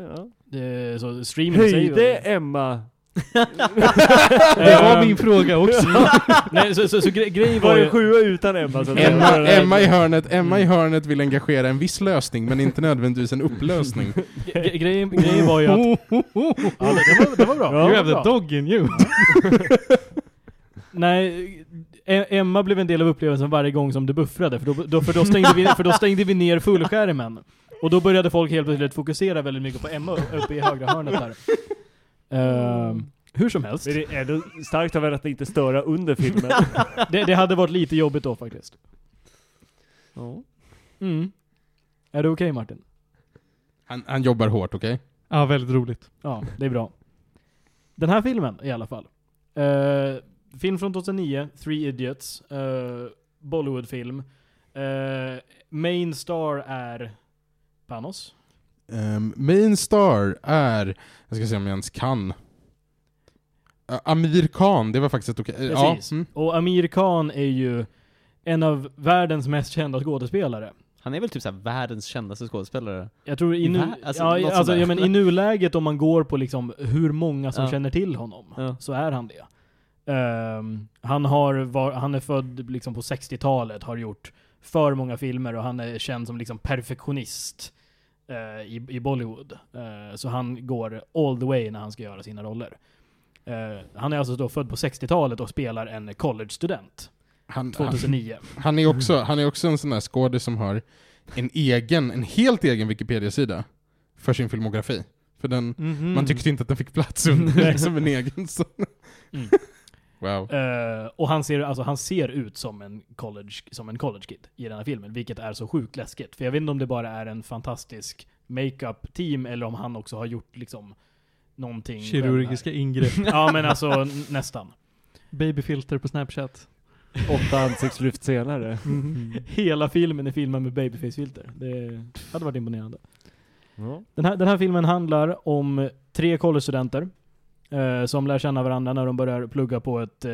Ja, ja.
det, så streaming
Höjde Emma...
Det var min fråga också.
Ehm, Nej, så, så, så gre- grejen
Var
var
det
ju...
sjua utan Emma? Så att-
Emma, Emma, i hörnet, Mm. Emma i hörnet vill engagera en viss lösning, men inte nödvändigtvis en upplösning.
Gre- grejen, grejen var ju att... Ja, det, det, var, det var bra.
You
det var
have
bra.
the dog in you.
Nej, E- Emma blev en del av upplevelsen varje gång som det buffrade, för då, då, för då, stängde, vi, för då stängde vi ner fullskärmen. Och då började folk helt plötsligt fokusera väldigt mycket på Emma uppe i högra hörnet där.
Mm.
Ehm, hur som helst.
Men det är ändå starkt av henne att inte störa under filmen.
Det, det hade varit lite jobbigt då faktiskt.
Ja.
Mm. Är det okej Martin?
Han, han jobbar hårt, okej?
Ja, väldigt roligt.
Ja, det är bra. Den här filmen i alla fall. Eh, film från 2009, Three Idiots. eh, Bollywoodfilm. Eh, main star är Panos.
Um, main star är, jag ska se om jag ens kan. Ä- Amir Khan, det var faktiskt ett okej... eh, Ja,
Precis.
mm.
Och Amir Khan är ju en av världens mest kända skådespelare.
Han är väl typ såhär världens kändaste skådespelare?
Jag tror i, nu,
Va? Alltså,
ja,
något
i- alltså,
sådär.
ja, men i nuläget om man går på liksom hur många som
Ja.
känner till honom,
Ja.
så är han det. Ehm, han, har var, han är född liksom på 60-talet, har gjort för många filmer och han är känd som liksom perfektionist eh, i, i Bollywood. Eh, så han går all the way när han ska göra sina roller. Eh, han är alltså då född på 60-talet och spelar en college-student,
han, han,
2009.
han, är också, han är också en sån där skådis som har en egen, en helt egen Wikipedia-sida för sin filmografi. För den,
Mhm.
man tyckte inte att den fick plats under liksom en egen sån.
Mm.
Wow.
Eh, och han ser, alltså, han ser ut som en, college, som en college kid i den här filmen, vilket är så sjukt läskigt. För jag vet inte om det bara är en fantastisk makeup team eller om han också har gjort liksom någonting. själv här.
Kirurgiska ingrepp.
Ja men alltså n- nästan.
Babyfilter på Snapchat.
Åtta ansiktslyft senare.
Hela filmen är filmad med babyface-filter. Det hade varit imponerande.
Ja.
Den här, den här filmen handlar om tre collegestudenter eh, som lär känna varandra när de börjar plugga på ett eh,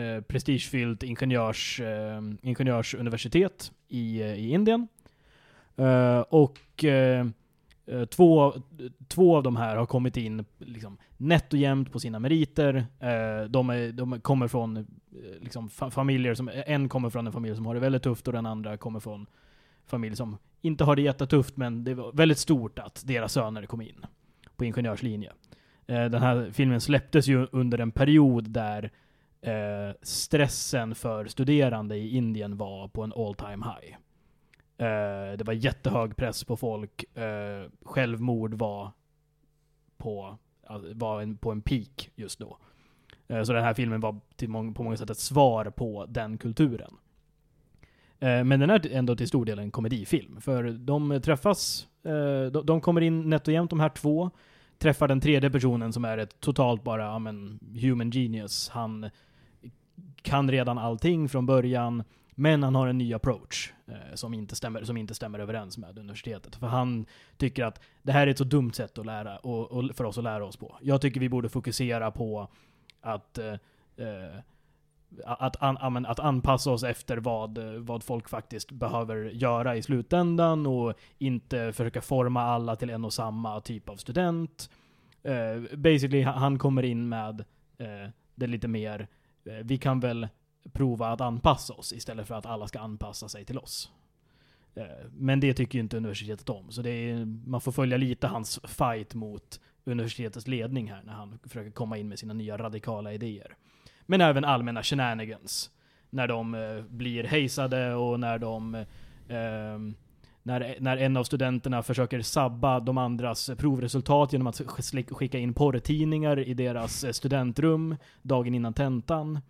eh, prestigefyllt ingenjörs, eh, ingenjörsuniversitet i, eh, i Indien. Eh, och eh, eh, två, två av de här har kommit in liksom, nätt och jämnt på sina meriter. Eh, de, är, de kommer från eh, liksom, fa- familjer som, en kommer från en familj som har det väldigt tufft och den andra kommer från familj som inte har det jättetufft, men det var väldigt stort att deras söner kom in på ingenjörslinje. Eh, Den här filmen släpptes ju under en period där eh, stressen för studerande i Indien var på en all time high. Eh, Det var jättehög press på folk. eh, Självmord var på, alltså, var en, på en peak just då. Eh, Så den här filmen var till mång- på många sätt ett svar på den kulturen. Eh, Men den är ändå till stor del en komedifilm. För de träffas, eh, de- de kommer in nätt och jämnt de här två. Träffar den tredje personen som är ett totalt bara, ja men, human genius. Han kan redan allting från början. Men han har en ny approach eh, som, inte stämmer, som inte stämmer överens med universitetet. För han tycker att det här är ett så dumt sätt att lära, och, och för oss att lära oss på. Jag tycker vi borde fokusera på att eh, eh, att, an, ja, men att anpassa oss efter vad, eh, vad folk faktiskt behöver göra i slutändan och inte försöka forma alla till en och samma typ av student. Eh, basically, ha- han kommer in med eh, det lite mer, eh, vi kan väl prova att anpassa oss istället för att alla ska anpassa sig till oss. Eh, men det tycker ju inte universitetet om, så det är, man får följa lite hans fight mot universitetets ledning här när han försöker komma in med sina nya radikala idéer. Men även allmänna shenanigans. När de eh, blir hejsade och när de... ehm, när, när en av studenterna försöker sabba de andras provresultat genom att sk- skicka in porrtidningar i deras eh, studentrum dagen innan tentan.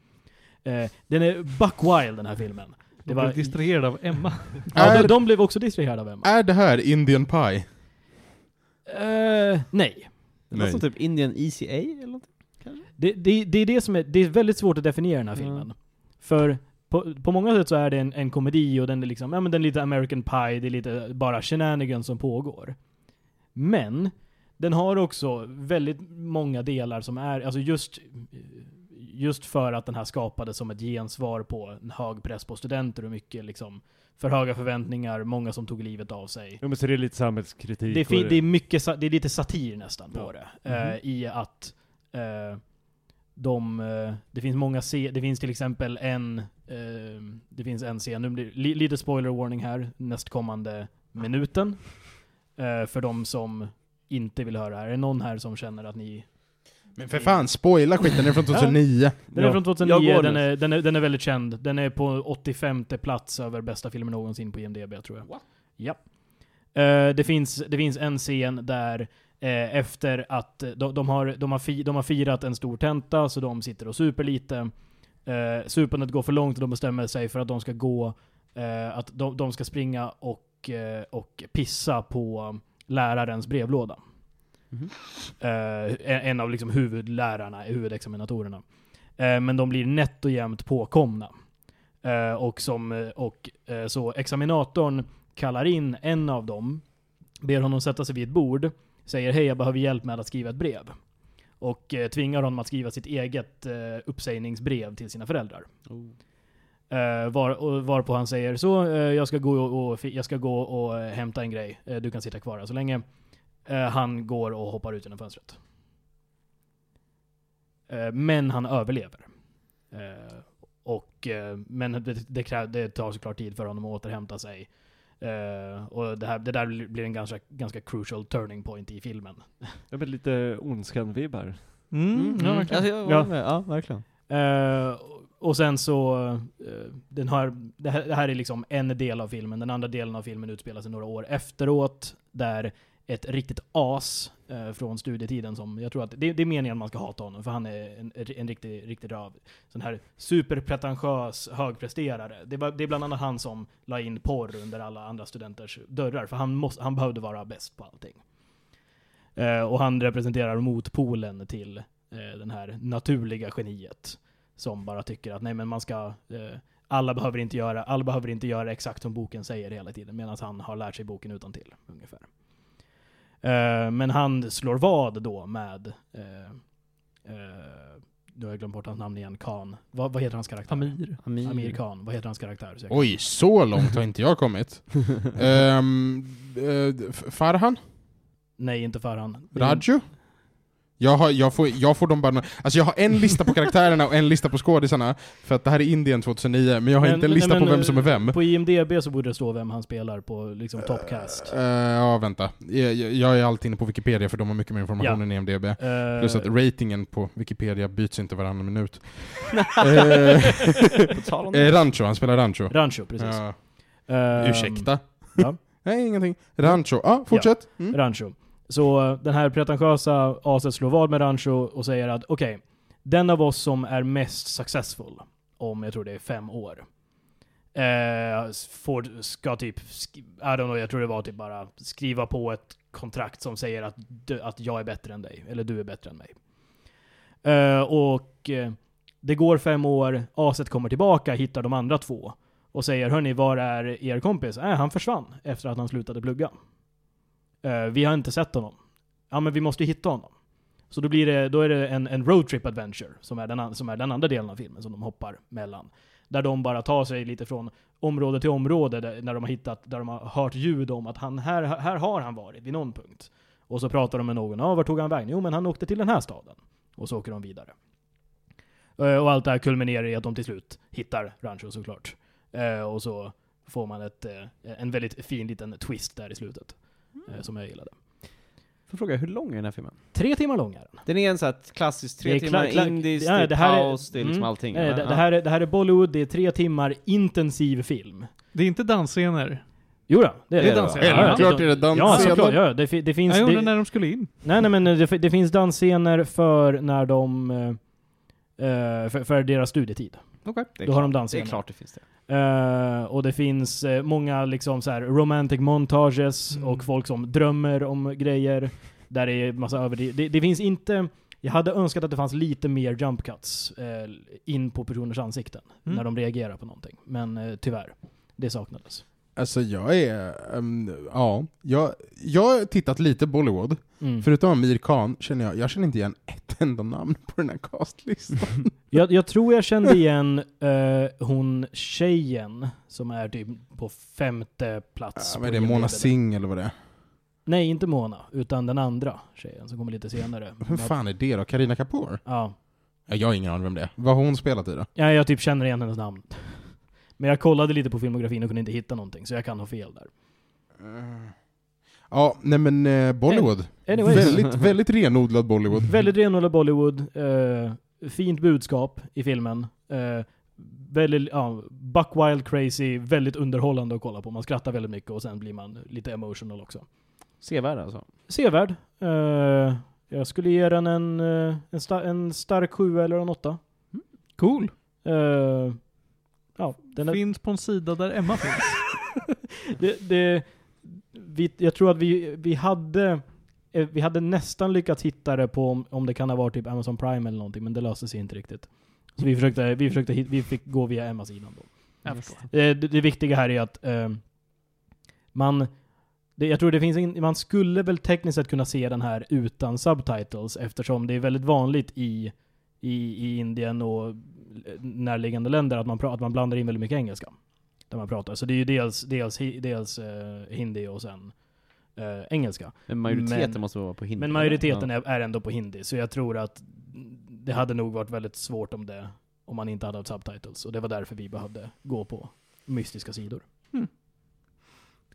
Eh, den är buck wild den här filmen.
De
Det var,
blev distraherade av Emma.
ja, de,
Är-
de blev också distraherade av Emma.
Är det här Indian Pie?
Eh, nej.
Det
Alltså,
låter som typ Indian ECA eller något.
Det, det, det är det som är, det är väldigt svårt att definiera den här filmen.
Mm.
För på, på många sätt så är det en, en komedi och den är liksom, ja men den är lite American Pie, det är lite bara shenanigans som pågår. Men, den har också väldigt många delar som är, alltså just eh, just för att den här skapades som ett gensvar på en hög press på studenter och mycket liksom för höga förväntningar, många som tog livet av sig.
Ja men så det är lite samhällskritik.
Det är, fi-
och
det är, mycket, sa- det är lite satir nästan på
Ja. Mm-hmm.
det. eh, I att eh, de, eh, det finns många se- det finns till exempel en, eh, det finns en scen, nu blir li- lite spoiler warning här, nästkommande minuten. Eh, för de som inte vill höra det här. Är det någon här som känner att ni...
Men för fan, spoila skiten, den är från 2009.
Den är
Ja.
från
Jag
2009,
går
den
nu.
är, den, är, den är väldigt känd. Den är på 85 plats över bästa filmer någonsin på IMDB tror jag.
What?
Ja. Eh, det, finns, det finns en scen där eh, efter att eh, de, de, har, de, har fi, de har firat en stor tenta, så de sitter och super lite. Eh, supandet går för långt och de bestämmer sig för att de ska gå, eh, att de, de ska springa och, eh, och pissa på lärarens brevlåda.
Mhm.
Eh, en, en av liksom huvudlärarna, huvudexaminatorerna. Eh, men de blir nätt och jämnt påkomna. Eh, och som, eh, och eh, så examinatorn kallar in en av dem, ber honom sätta sig vid ett bord, säger hej jag behöver hjälp med att skriva ett brev. Och eh, tvingar honom att skriva sitt eget eh, uppsägningsbrev till sina föräldrar.
Oh.
Eh, var, och varpå han säger så, eh, jag ska gå och, och, jag ska gå och eh, hämta en grej, Eh, du kan sitta kvar här så länge. Eh, han går och hoppar ut genom fönstret. Eh, men han överlever. Eh, och, eh, men det, det, krä, det tar såklart tid för honom att återhämta sig. Eh, och det, här, det där blir en ganska, ganska crucial turning point i filmen.
Ja men lite Ondskan-vibbar.
Mm, ja, verkligen.
Alltså, jag
Ja.
ja. Med. ja, verkligen.
Eh, och sen så, eh, den här, det, här, det här är liksom en del av filmen. Den andra delen av filmen utspelar sig några år efteråt, där ett riktigt as eh, från studietiden som, jag tror att, det, det är meningen man ska hata honom, för han är en, en riktig, riktig röv. Sån här superpretentiös högpresterare. Det, var, det är bland annat han som la in porr under alla andra studenters dörrar, för han, måste, han behövde vara bäst på allting. Eh, och han representerar motpolen till eh, den här naturliga geniet som bara tycker att nej men man ska, eh, alla, behöver inte göra, alla behöver inte göra exakt som boken säger hela tiden, medan han har lärt sig boken utan till ungefär. Eh, men han slår vad då med, eh, eh, nu har jag glömt bort hans namn igen, Khan. Vad- vad heter hans karaktär?
Amir.
Amir.
Amir Khan, vad heter hans karaktär? Så jag kan-
Oj, så långt har inte jag kommit. Ehm, eh, F- Farhan?
Nej, inte Farhan. Det är-
Raju? Jag, har, jag, får, jag får dem bara... Alltså jag har en lista på karaktärerna och en lista på skådisarna, för att det här är Indien 2009, men jag har
Men-
inte en
nej,
lista
men,
på vem som är vem.
På IMDB så borde det stå vem han spelar på liksom topcast.
Eh, ja, vänta. Jag, jag- jag är alltid inne på Wikipedia för de har mycket mer information
Ja.
än E IMDB.
Eh,
Plus att ratingen på Wikipedia byts inte varannan minut. Eh,
På tal om
eh,
det.
Rancho, han spelar Rancho.
Rancho, precis.
Ja.
Ehm,
Ursäkta?
ja.
Nej, ingenting. Rancho. Ja, ah, fortsätt. Mm.
Rancho. Så eh, den här pretentiösa aset slår vad med Rancho och säger att okej, den av oss som är mest successful om jag tror det är fem år. Eh, får, ska typ, sk- I don't know, jag tror det var typ bara skriva på ett kontrakt som säger att, du, att jag är bättre än dig, eller du är bättre än mig. Eh, och eh, det går fem år, aset kommer tillbaka, hittar de andra två och säger hörni, var är er kompis? Äh, han försvann efter att han slutade plugga. Eh, vi har inte sett honom. Ja, men vi måste ju hitta honom. Så då, blir det, då är det en, en roadtrip adventure, som är, den, an- som är den andra delen av filmen som de hoppar mellan. Där de bara tar sig lite från område till område, där, när de har hittat, där de har hört ljud om att han, här, här har han varit vid någon punkt. Och så pratar de med någon, ja ah, vart tog han vägen? Jo men han åkte till den här staden. Och så åker de vidare. Eh, och allt det här kulminerar i att de till slut hittar Rancho såklart. Eh, och så får man ett, eh, en väldigt fin liten twist där i slutet eh, som jag gillade.
Får fråga, hur lång är den här filmen?
Tre timmar lång är den.
Den är en sån här klassisk tre
Det är
timmar
kla- kla-
indisk,
ja,
det,
det
är
här är-
paus, det är liksom
mm.
allting.
Eh,
Ja,
det,
ja.
det, här är, det här är Bollywood, det är tre timmar intensiv film.
Det är inte dansscener.
Jo då, det är
Det är
det.
dans-
Ja, ja,
Självklart är det
Ja,
dansscener.
såklart. Ja, det, fi- det finns...
Jag gjorde
det,
när de skulle in.
nej, nej, men eh, det, fi- det finns dansscener för när de... eh, eh, för, för deras studietid.
Okej.
Det är
Då har de
klart- Det
dansscener.
är klart det finns det.
Eh, och det finns eh, många liksom så här romantic montages
Mm.
och folk som drömmer om grejer. Där det är massa överdrivet. Det, det finns inte... Jag hade önskat att det fanns lite mer jump cuts eh, in på personers ansikten
Mm.
när de reagerar på någonting. Men eh, tyvärr, det saknades.
Alltså jag är, ehm, ja, jag, jag har tittat lite Bollywood,
Mm.
förutom Amir Khan känner jag, jag känner inte igen ett enda namn på den här castlistan.
Jag, jag tror jag kände igen eh, hon tjejen som är typ på femte plats.
Ja,
på
men det är
IMDb.
Mona Singh eller vad det är.
Nej, inte Mona, utan den andra tjejen som kommer lite senare.
Vem fan är det då? Karina Kapoor?
Ja.
Ja, jag har ingen aning vem det är. Vad har hon spelat i då?
ja, jag typ känner igen hennes namn. Men jag kollade lite på filmografin och kunde inte hitta någonting, så jag kan ha fel där.
Ja, nej men eh, Bollywood.
Eh. Anyways.
Väldigt, väldigt renodlad Bollywood.
Väldigt renodlad Bollywood, eh, fint budskap i filmen. Eh, väldigt, ja, buckwild crazy, väldigt underhållande att kolla på. Man skrattar väldigt mycket och sen blir man lite emotional också.
Sevärd alltså.
Sevärd. Eh, jag skulle ge den en, eh, en, sta- en stark 7 eller en 8.
Cool.
Eh, ja, den är,
Finns på en sida där Emma finns.
det, det, vi, jag tror att vi, vi hade eh, vi hade nästan lyckats hitta det på om, om det kan ha varit typ Amazon Prime eller någonting, men det löste sig inte riktigt. Så vi försökte, vi försökte, hit- vi fick gå via Emma-sidan då.
Jag förstår.
Eh, Det, det viktiga här är att eh, man, det, jag tror det finns en, man skulle väl tekniskt sett kunna se den här utan subtitles eftersom det är väldigt vanligt i, i, i Indien och eh, närliggande länder att man, pra- att man blandar in väldigt mycket engelska. Där man pratar. Så det är ju dels, dels, hi- dels eh, hindi och sen eh, engelska.
Men majoriteten
Men-
måste vara på hinder.
Men majoriteten är, är ändå på hindi, så jag tror att det hade nog varit väldigt svårt om det om man inte hade haft subtitles. Och det var därför vi behövde gå på mystiska sidor.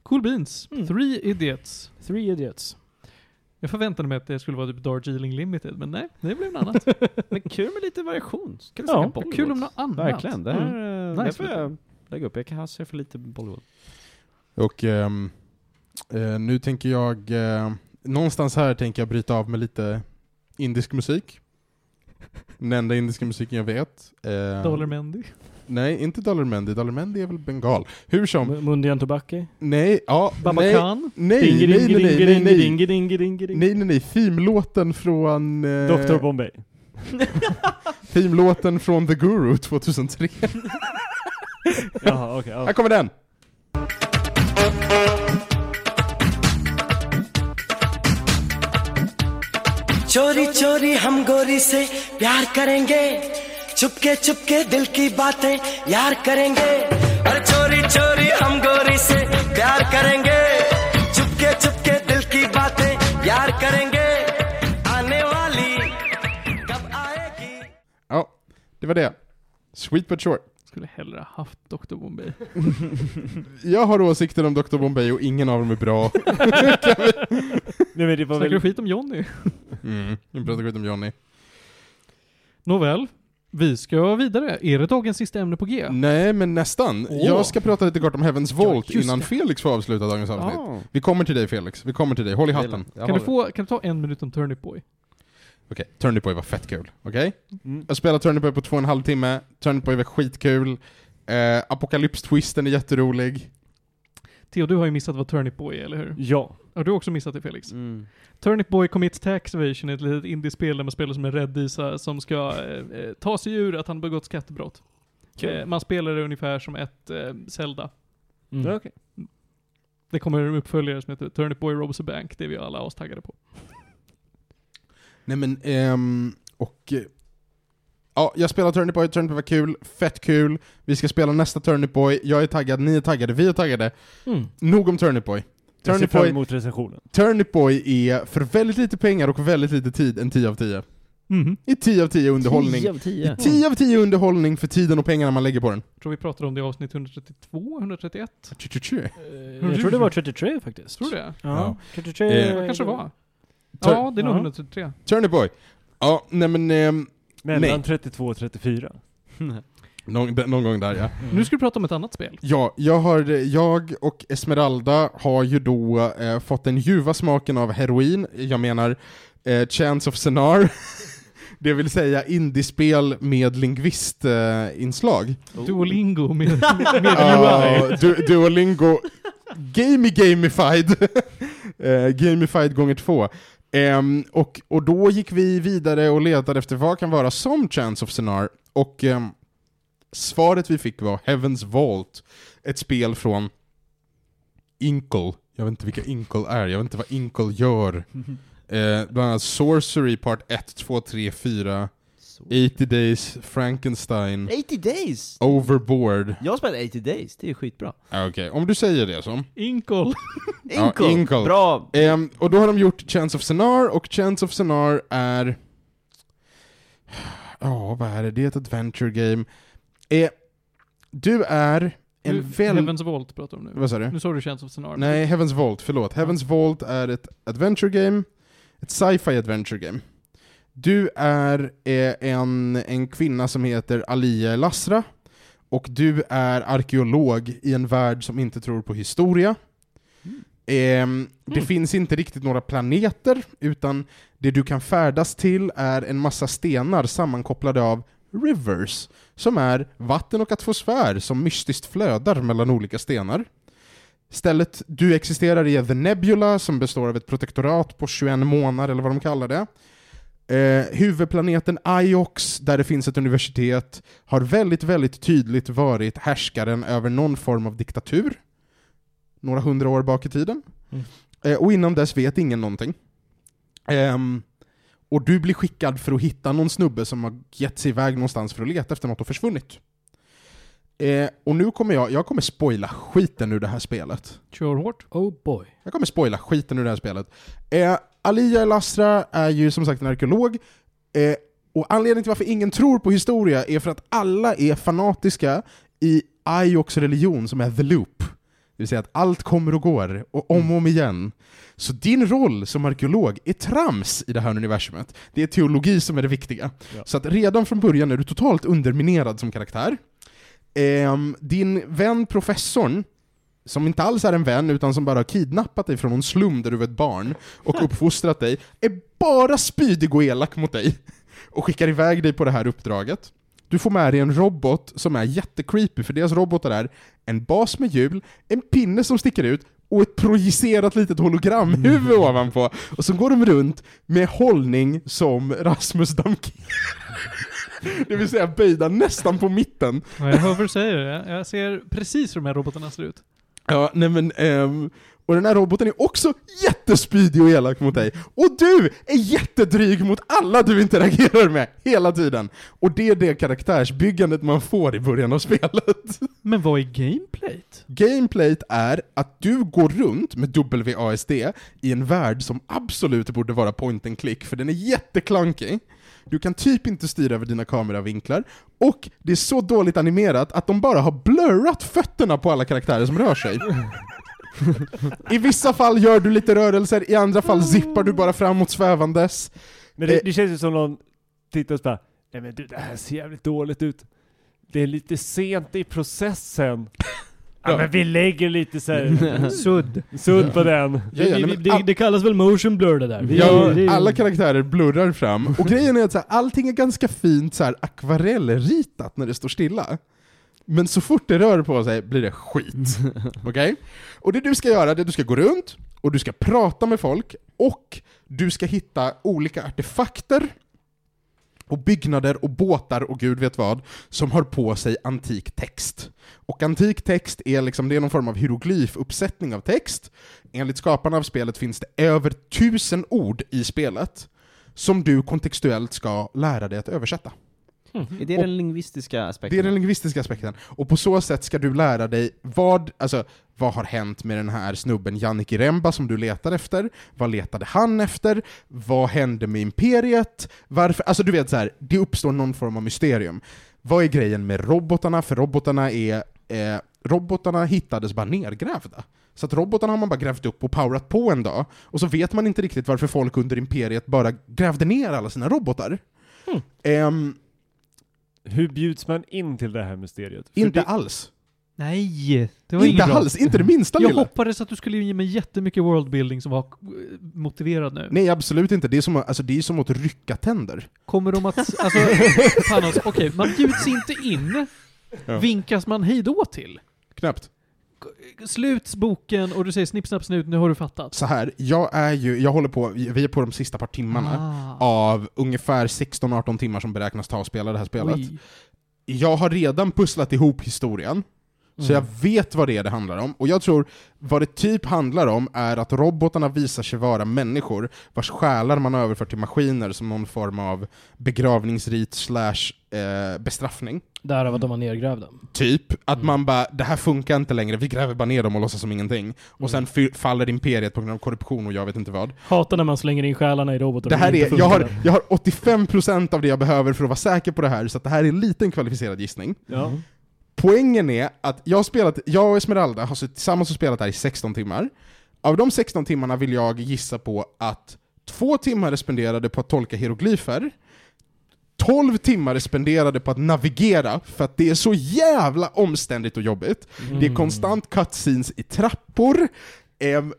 Cool beans.
Mm.
Three idiots.
Three Idiots.
Jag förväntade mig att det skulle vara typ Darjeeling Limited, men nej, det blev något annat.
Men kul med lite variation. Kan
Ja,
ja, Bollywood.
Kul om något annat. Mm.
Verkligen. Det här,
Mm.
eh, det
Nice.
får jag lägga upp. Jag kan se för lite Bollywood.
Och ehm, eh, nu tänker jag, eh, någonstans här tänker jag bryta av med lite indisk musik. Den enda indiska musiken jag vet. Eh,
Dollar Mendy.
Nej, inte Dollar Mendy. Dollar Mendy är väl bengal. Hur som,
M- Mundian Tobacco.
nej, ja,
Mm. Baba
nej,
Khan.
nej, nej, nej, nej, nej, nej, nej, nej, nej, filmlåten från... Eh,
Dr. Bombay.
Filmlåten från The Guru 2003.
Jaha, okej.
Här kommer den!
चोरी चोरी हम गोरी से प्यार करेंगे चुपके चुपके दिल की बातें यार करेंगे और चोरी चोरी हम गोरी से प्यार करेंगे चुपके चुपके दिल की बातें यार करेंगे आने वाली कब आएगी
Ja, det var det. Sweet but short.
Skulle hellre haft Dr. Bombay.
Jag har åsikter om Dr. Bombay och ingen av dem är bra.
Nej men det var
Snackar du
väl...
skit om Johnny?
Mm, nu pratar skit om Johnny.
Nåväl. Vi ska vidare. Är det dagens sista ämne på G?
Nej, men nästan.
Åh.
Jag ska prata lite kort om Heavens Vault
just
innan
det.
Felix får avsluta dagens avsnitt. Vi kommer till dig Felix, vi kommer till dig. Håll i hatten.
Kan du, få, kan du ta en minut om Turnip Boy?
Okej, Turnip Boy var fett kul. Okej?
Mm.
Jag spelade Turnip Boy på två och en halv timme, Turnip Boy var skitkul. Eh, Apokalyps-twisten är jätterolig.
Theo, du har ju missat vad Turnip Boy är, eller hur?
Ja.
Har du också missat det Felix?
Mm.
Turnip Boy Commits Taxation är ett litet indiespel där man spelar som en räddisa som ska eh, eh, ta sig ur att han begått skattebrott. Eh, man spelar det ungefär som ett eh, Zelda.
Ja,
Mm.
okej.
Det kommer en uppföljare som heter Turnip Boy Robs a Bank, det är vi alla astaggade på.
Nej men, ehm, och... eh, Ja, jag spelar Turnip Boy, Turnip Boy var kul, fett kul. Vi ska spela nästa Turnip Boy, jag är taggad, ni är taggade, vi är taggade.
Mm.
Nog om Turnip Boy.
Jag ser
Turnip
fram
Boy,
emot recensionen.
Turnip Boy är för väldigt lite pengar och väldigt lite tid en 10 av 10.
Mhm.
I 10 av 10 underhållning.
10 av 10.
10 av 10 underhållning för tiden och pengarna man lägger på den.
Jag tror vi pratade om det i avsnitt 132, 131?
Eh, Jag tror det var 33 faktiskt.
Tror du det?
Ja. 33...
Eh,
Vad kanske det var?
Tur-
Ja, det är nog
Ja.
133.
Turnip Boy. Ja, nej men... ehm,
Mellan
Nej.
32 och 34.
någon, d- någon gång där ja.
Nu ska vi prata om ett annat spel.
Ja, jag, har, jag och Esmeralda har ju då eh, fått den ljuva smaken av heroin, jag menar eh, Chance of Senar. Det vill säga indiespel med lingvistinslag. Eh, inslag.
Duolingo med, med
Ja,
UI.
du, Duolingo Gamey gamified Eh, Gamified gånger två Ehm, och, och då gick vi vidare och letade efter vad kan vara som Chance of Senar och ehm, svaret vi fick var Heaven's Vault ett spel från Inkle. Jag vet inte vilka Inkle är, jag vet inte vad Inkle gör. Eh, bland annat Sorcery Part 1, 2, 3, 4, 80 Days, Frankenstein,
80 Days!
Overboard.
Jag har spelat 80 Days, det är skitbra.
Ah, Okej, om du säger det så.
Inkol.
Ja,
Inkle!
Inkle.
Bra!
Ehm, och då har de gjort Chance of Senar, och Chance of Senar är... Ja, vad är det? Det är ett adventure game. Eh, du är en väldigt...
Heavens Volt pratar de nu.
Vad sa du?
Nu såg du Chance of Scenario.
Nej, Heaven's Vault, förlåt. Heaven's Vault är ett adventure game, ett sci-fi adventure game. Du är eh, en, en kvinna som heter Alia Lasra, och du är arkeolog i en värld som inte tror på historia. Ehm, det
Mm.
finns inte riktigt några planeter, utan det du kan färdas till är en massa stenar sammankopplade av rivers, som är vatten och atmosfär som mystiskt flödar mellan olika stenar. Stället du existerar i är The Nebula som består av ett protektorat på 21 månader eller vad de kallar det. Eh, huvudplaneten Iox, där det finns ett universitet, har väldigt, väldigt tydligt varit härskaren över någon form av diktatur. Några hundra år bak i tiden.
Mm.
Eh, och innan dess vet ingen någonting. Ehm, och du blir skickad för att hitta någon snubbe som har gett sig iväg någonstans för att leta efter något och försvunnit. Eh, och nu kommer jag, jag kommer spoila skiten ur det här spelet.
Kör hårt.
Oh boy.
Jag kommer spoila skiten ur det här spelet. Eh, Alia Lasra är ju som sagt en arkeolog, eh, och anledningen till varför ingen tror på historia är för att alla är fanatiska i Aioks religion som är the loop. Det vill säga att allt kommer och går, och om och om igen. Så din roll som arkeolog är trams i det här universumet. Det är teologi som är det viktiga.
Ja.
Så att redan från början är du totalt underminerad som karaktär. Ehm, din vän professorn, som inte alls är en vän utan som bara har kidnappat dig från någon slum där du var ett barn och uppfostrat dig, är bara spydig och elak mot dig och skickar iväg dig på det här uppdraget. Du får med dig en robot som är jättecreepy, för deras robotar är en bas med hjul, en pinne som sticker ut och ett projicerat litet hologramhuvud ovanpå. Och så går de runt med hållning som Rasmus Damkir. Det vill säga böjda nästan på mitten
Ja, jag hör vad du säger. Jag- Jag ser precis hur de här robotarna ser ut.
Ja, nej men, ehm, och den här roboten är också jättespydig och elak mot dig. Och du är jättedryg mot alla du interagerar med, hela tiden. Och det är det karaktärsbyggandet man får i början av spelet.
Men vad är gameplayt?
Gameplayt är att du går runt med WASD i en värld som absolut borde vara point and click, för den är jätteklankig. Du kan typ inte styra över dina kameravinklar, och det är så dåligt animerat att de bara har blurrat fötterna på alla karaktärer som rör sig. I vissa fall gör du lite rörelser, i andra fall zippar du bara framåt svävandes.
Men det,
Eh.
det känns ju som någon tittar och så bara, nej men du det här ser jävligt dåligt ut. Det är lite sent i processen. Ja,
Ja.
men vi lägger lite så här
Sudd.
sudd på den.
Ja, ja, nej, men
det, det kallas väl motion blur det där? Det-
Ja,
det-
alla karaktärer blurrar fram. Och grejen är att så här, allting är ganska fint så här, akvarellritat när det står stilla. Men så fort det rör på sig blir det skit. Okej? Och det du ska göra det är att du ska gå runt, och du ska prata med folk, och du ska hitta olika artefakter och byggnader och båtar och gud vet vad som har på sig antik text. Och antik text är liksom, det är någon form av hieroglyfuppsättning av text. Enligt skaparna av spelet finns det över tusen ord i spelet som du kontextuellt ska lära dig att översätta.
Är det den lingvistiska aspekten?
Det är den lingvistiska aspekten. Och på så sätt ska du lära dig vad, alltså, vad har hänt med den här snubben Jannik Remba som du letar efter? Vad letade han efter? Vad hände med imperiet? Varför? Alltså du vet så här, det uppstår någon form av mysterium. Vad är grejen med robotarna? För robotarna är... Eh, robotarna hittades bara nergrävda. Så att robotarna har man bara grävt upp och powerat på en dag. Och så vet man inte riktigt varför folk under imperiet bara grävde ner alla sina robotar.
Hmm.
Ehm,
Hur bjuds man in till det här mysteriet? För
inte
det,
alls.
Nej, det var
Inte
inget bra.
alls, inte det minsta
Jag
lilla.
hoppades att du skulle ge mig jättemycket worldbuilding som var eh, motiverad nu.
Nej, absolut inte. Det är som, alltså, det är som att rycka tänder.
Kommer de att... Alltså, Panos, okej, man bjuds inte in.
Ja.
Vinkas man hejdå till?
Knappt.
Sluts boken och du säger snipp, snapp, snut, nu har du fattat.
Så här, jag är ju, jag håller på, vi är på de sista par timmarna
Ah,
av ungefär 16-18 timmar som beräknas ta att spela det här spelet.
oj.
Jag har redan pusslat ihop historien
Mm.
Så jag vet vad det är det handlar om, och jag tror vad det typ handlar om är att robotarna visar sig vara människor vars själar man överför till maskiner som någon form av begravningsrit slash eh, bestraffning.
Därav att de var nergrävda.
Typ, att
Mm.
man bara det här funkar inte längre, vi gräver bara ner dem och låtsas som ingenting.
Mm.
Och sen fy- faller imperiet på grund av korruption och jag vet inte vad.
Hatar när man slänger in själarna i robotar.
Det
och
här
inte
är, jag,
funkar
har, jag har 85% av det jag behöver för att vara säker på det här, så att det här är en liten kvalificerad gissning.
Ja.
Poängen är att jag, har spelat, jag och Esmeralda har suttit tillsammans och spelat här i 16 timmar. Av de 16 timmarna vill jag gissa på att två timmar är spenderade på att tolka hieroglyfer, 12 timmar är spenderade på att navigera, för att det är så jävla omständigt och jobbigt. Det är konstant cutscenes i trappor, ehm,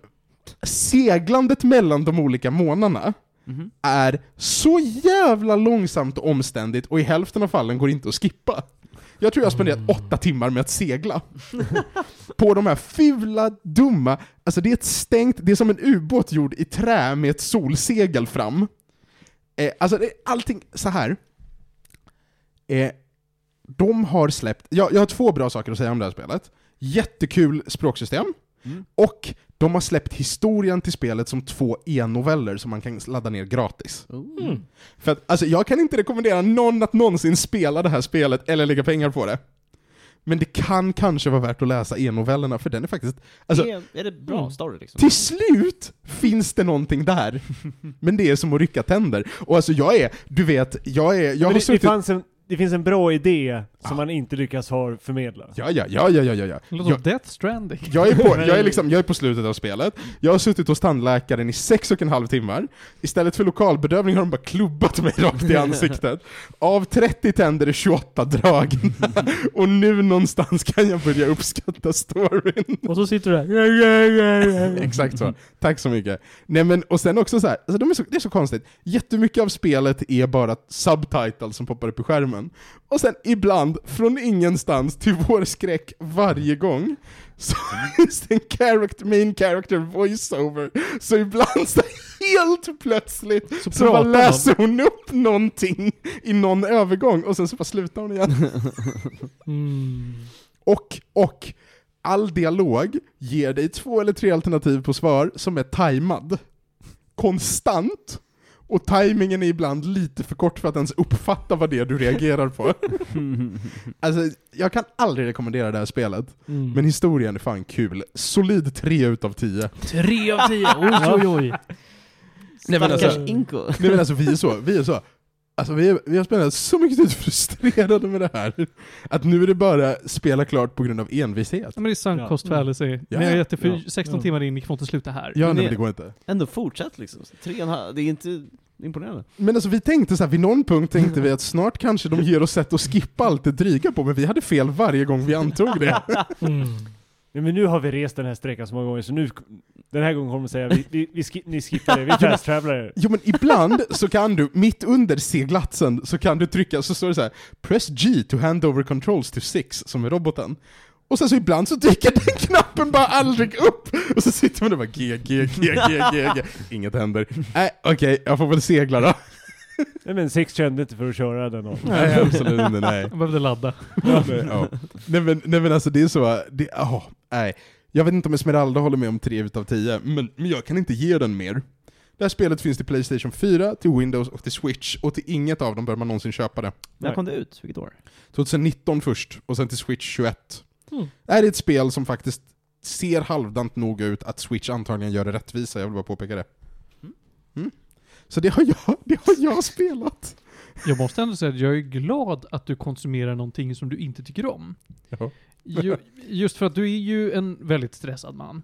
seglandet mellan de olika månarna
Mhm.
är så jävla långsamt och omständigt och i hälften av fallen går det inte att skippa. Jag tror jag har spenderat åtta timmar med att segla. på de här fula, dumma, alltså det är ett stängt, det är som en ubåt gjord i trä med ett solsegel fram. Eh, alltså det, allting, så här. Eh, de har släppt, jag, jag har två bra saker att säga om det här spelet. Jättekul språksystem,
Mm.
och de har släppt historien till spelet som två e-noveller som man kan ladda ner gratis.
Mm.
För att, alltså, jag kan inte rekommendera någon att någonsin spela det här spelet eller lägga pengar på det. Men det kan kanske vara värt att läsa e-novellerna, för den är faktiskt... Alltså,
det är, är det bra
Mm.
story liksom?
till slut finns det någonting där. Men det är som att rycka tänder. Och alltså jag är, du vet, jag är, jag
Men
har
det, det,
suttit... Ah.
fanns en, det finns en bra idé som
Ja.
man inte lyckas ha förmedla.
Ja, ja, ja, ja, ja, ja, ja.
Det låter som
Jag-
Death Stranding.
Jag är, på, jag, är liksom, jag är på slutet av spelet, jag har suttit hos tandläkaren i sex och en halv timmar, istället för lokalbedövning har de bara klubbat mig rakt i ansiktet. Av 30 tänder är 28 dragna, och nu någonstans kan jag börja uppskatta storyn.
Och så sitter du där.
Exakt så. Tack så mycket. Nej men, och sen också så här, alltså de är så, det är så konstigt. Jättemycket av spelet är bara subtitles som poppar upp i skärmen. Och sen ibland, från ingenstans till vår skräck varje gång, så finns det en character, main character voiceover. Så ibland så helt plötsligt
Så
så bara
pratar de.
läser hon upp någonting i någon övergång och sen så bara slutar hon igen.
Mm.
Och, och, all dialog ger dig två eller tre alternativ på svar som är tajmad. Konstant. Och tajmingen är ibland lite för kort för att ens uppfatta vad det är du reagerar på. alltså, jag kan aldrig rekommendera det här spelet.
Mm.
Men historien är fan kul. Solid 3 utav 10.
Tre av tio! Oj, oj, oj.
Nej, men
Stackars
alltså-
Inko.
Nej men alltså vi är så, vi är så. Alltså vi, är, vi har spelat så mycket tid frustrerade med det här. Att nu är det bara spela klart på grund av envishet.
Ja, men det är sann
Ja.
kost fallacy. Men jag är jättefyr, 16
Ja.
timmar in, ni får inte sluta här.
Ja, nej
Men det-
men det går inte.
Ändå fortsatt liksom. Tre och en halv, det är inte imponerande.
Men alltså vi tänkte så här, vid någon punkt tänkte vi att snart kanske de ger oss sätt att skippa allt det dryga på, men vi hade fel varje gång vi antog det.
Mm.
Nej, men nu har vi rest den här sträckan så många gånger så nu, den här gången kommer de säga vi, vi, vi skip, ni skippar det, vi fast travelar er.
Jo men ibland så kan du, mitt under seglatsen, så kan du trycka, så står det så här Press G to hand over controls to six, som är roboten. Och sen så ibland så dyker den knappen bara aldrig upp! Och så sitter man där och bara G, G, G, G, G, G. Inget händer. Nej, okej, jag får väl segla då.
Nej men sex kände inte för att köra den och,
Nej, absolut inte, nej.
Jag behövde ladda.
nej, ja. nej, men, nej men alltså det är så, det, oh, nej. Jag vet inte om Esmeralda håller med om 3 utav 10, men, men jag kan inte ge den mer. Det här spelet finns till Playstation 4, till Windows och till Switch, och till inget av dem bör man någonsin köpa det.
När kom det ut? Vilket år?
2019 först, och sen till Switch 21.
Mm.
Det här är ett spel som faktiskt ser halvdant nog ut att Switch antagligen gör det rättvisa, jag vill bara påpeka det. Mm. Så det har jag, det har jag spelat.
Jag måste ändå säga att jag är glad att du konsumerar någonting som du inte tycker om.
Ja.
Ju, just för att du är ju en väldigt stressad man.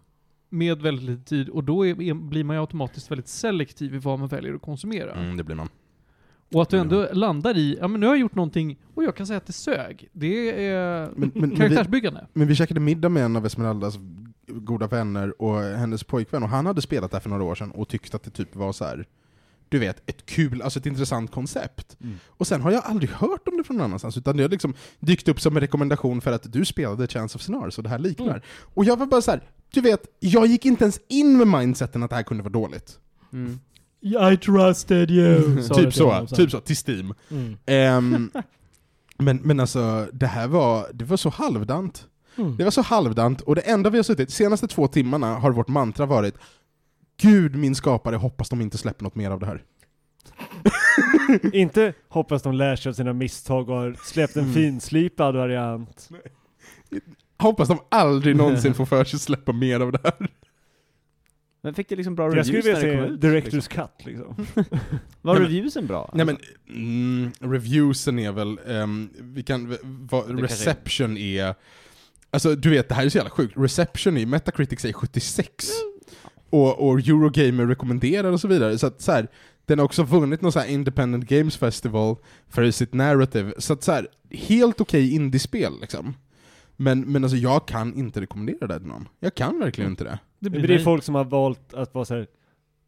Med väldigt lite tid och då är, är, blir man ju automatiskt väldigt selektiv i vad man väljer att konsumera.
Mm, det blir man.
Och att du ändå landar i, ja men nu har jag gjort någonting och jag kan säga att det sög. Det är
Men- men- men
karaktärsbyggande.
Men vi käkade middag med en av Esmeraldas goda vänner och hennes pojkvän, och han hade spelat det här för några år sedan och tyckte att det typ var så här. Du vet, ett kul, alltså ett intressant koncept.
Mm.
Och sen har jag aldrig hört om det från någon annanstans, utan det har liksom dykt upp som en rekommendation för att du spelade Chance of Scenarios och det här liknar.
Mm.
Och jag var bara så här, du vet, jag gick inte ens in med mindseten att det här kunde vara dåligt.
I trusted you. sa du
typ
till
så,
honom sen.
typ så, till Steam.
Mm.
Ehm, men, men alltså, det här var, det var så halvdant.
Mm.
Det var så halvdant, och det enda vi har suttit, senaste två timmarna har vårt mantra varit Gud min skapare, hoppas de inte släpper något mer av det här.
Inte hoppas de lär sig av sina misstag och har släppt en
Mm.
finslipad variant.
Hoppas de aldrig någonsin får för sig att släppa mer av det här.
Men fick det liksom bra
Jag
reviews
skulle
när
vilja
det
se
kom ut? liksom?
Directors Cut liksom.
Var
Nej, men-
reviewsen bra?
Nej men, mm, reviewsen är väl, ehm, vi kan, v- vad,
kanske-
reception är, alltså du vet det här är så jävla sjukt, reception i Metacritic säger 76. Och, och Eurogamer rekommenderar och så vidare, så att så här, den har också vunnit någon så här Independent Games Festival för sitt narrative, så att så här, helt okej indiespel liksom. Men, men alltså jag kan inte rekommendera det här till någon. Jag kan verkligen inte det.
Det
Men det är folk som har valt att vara så här.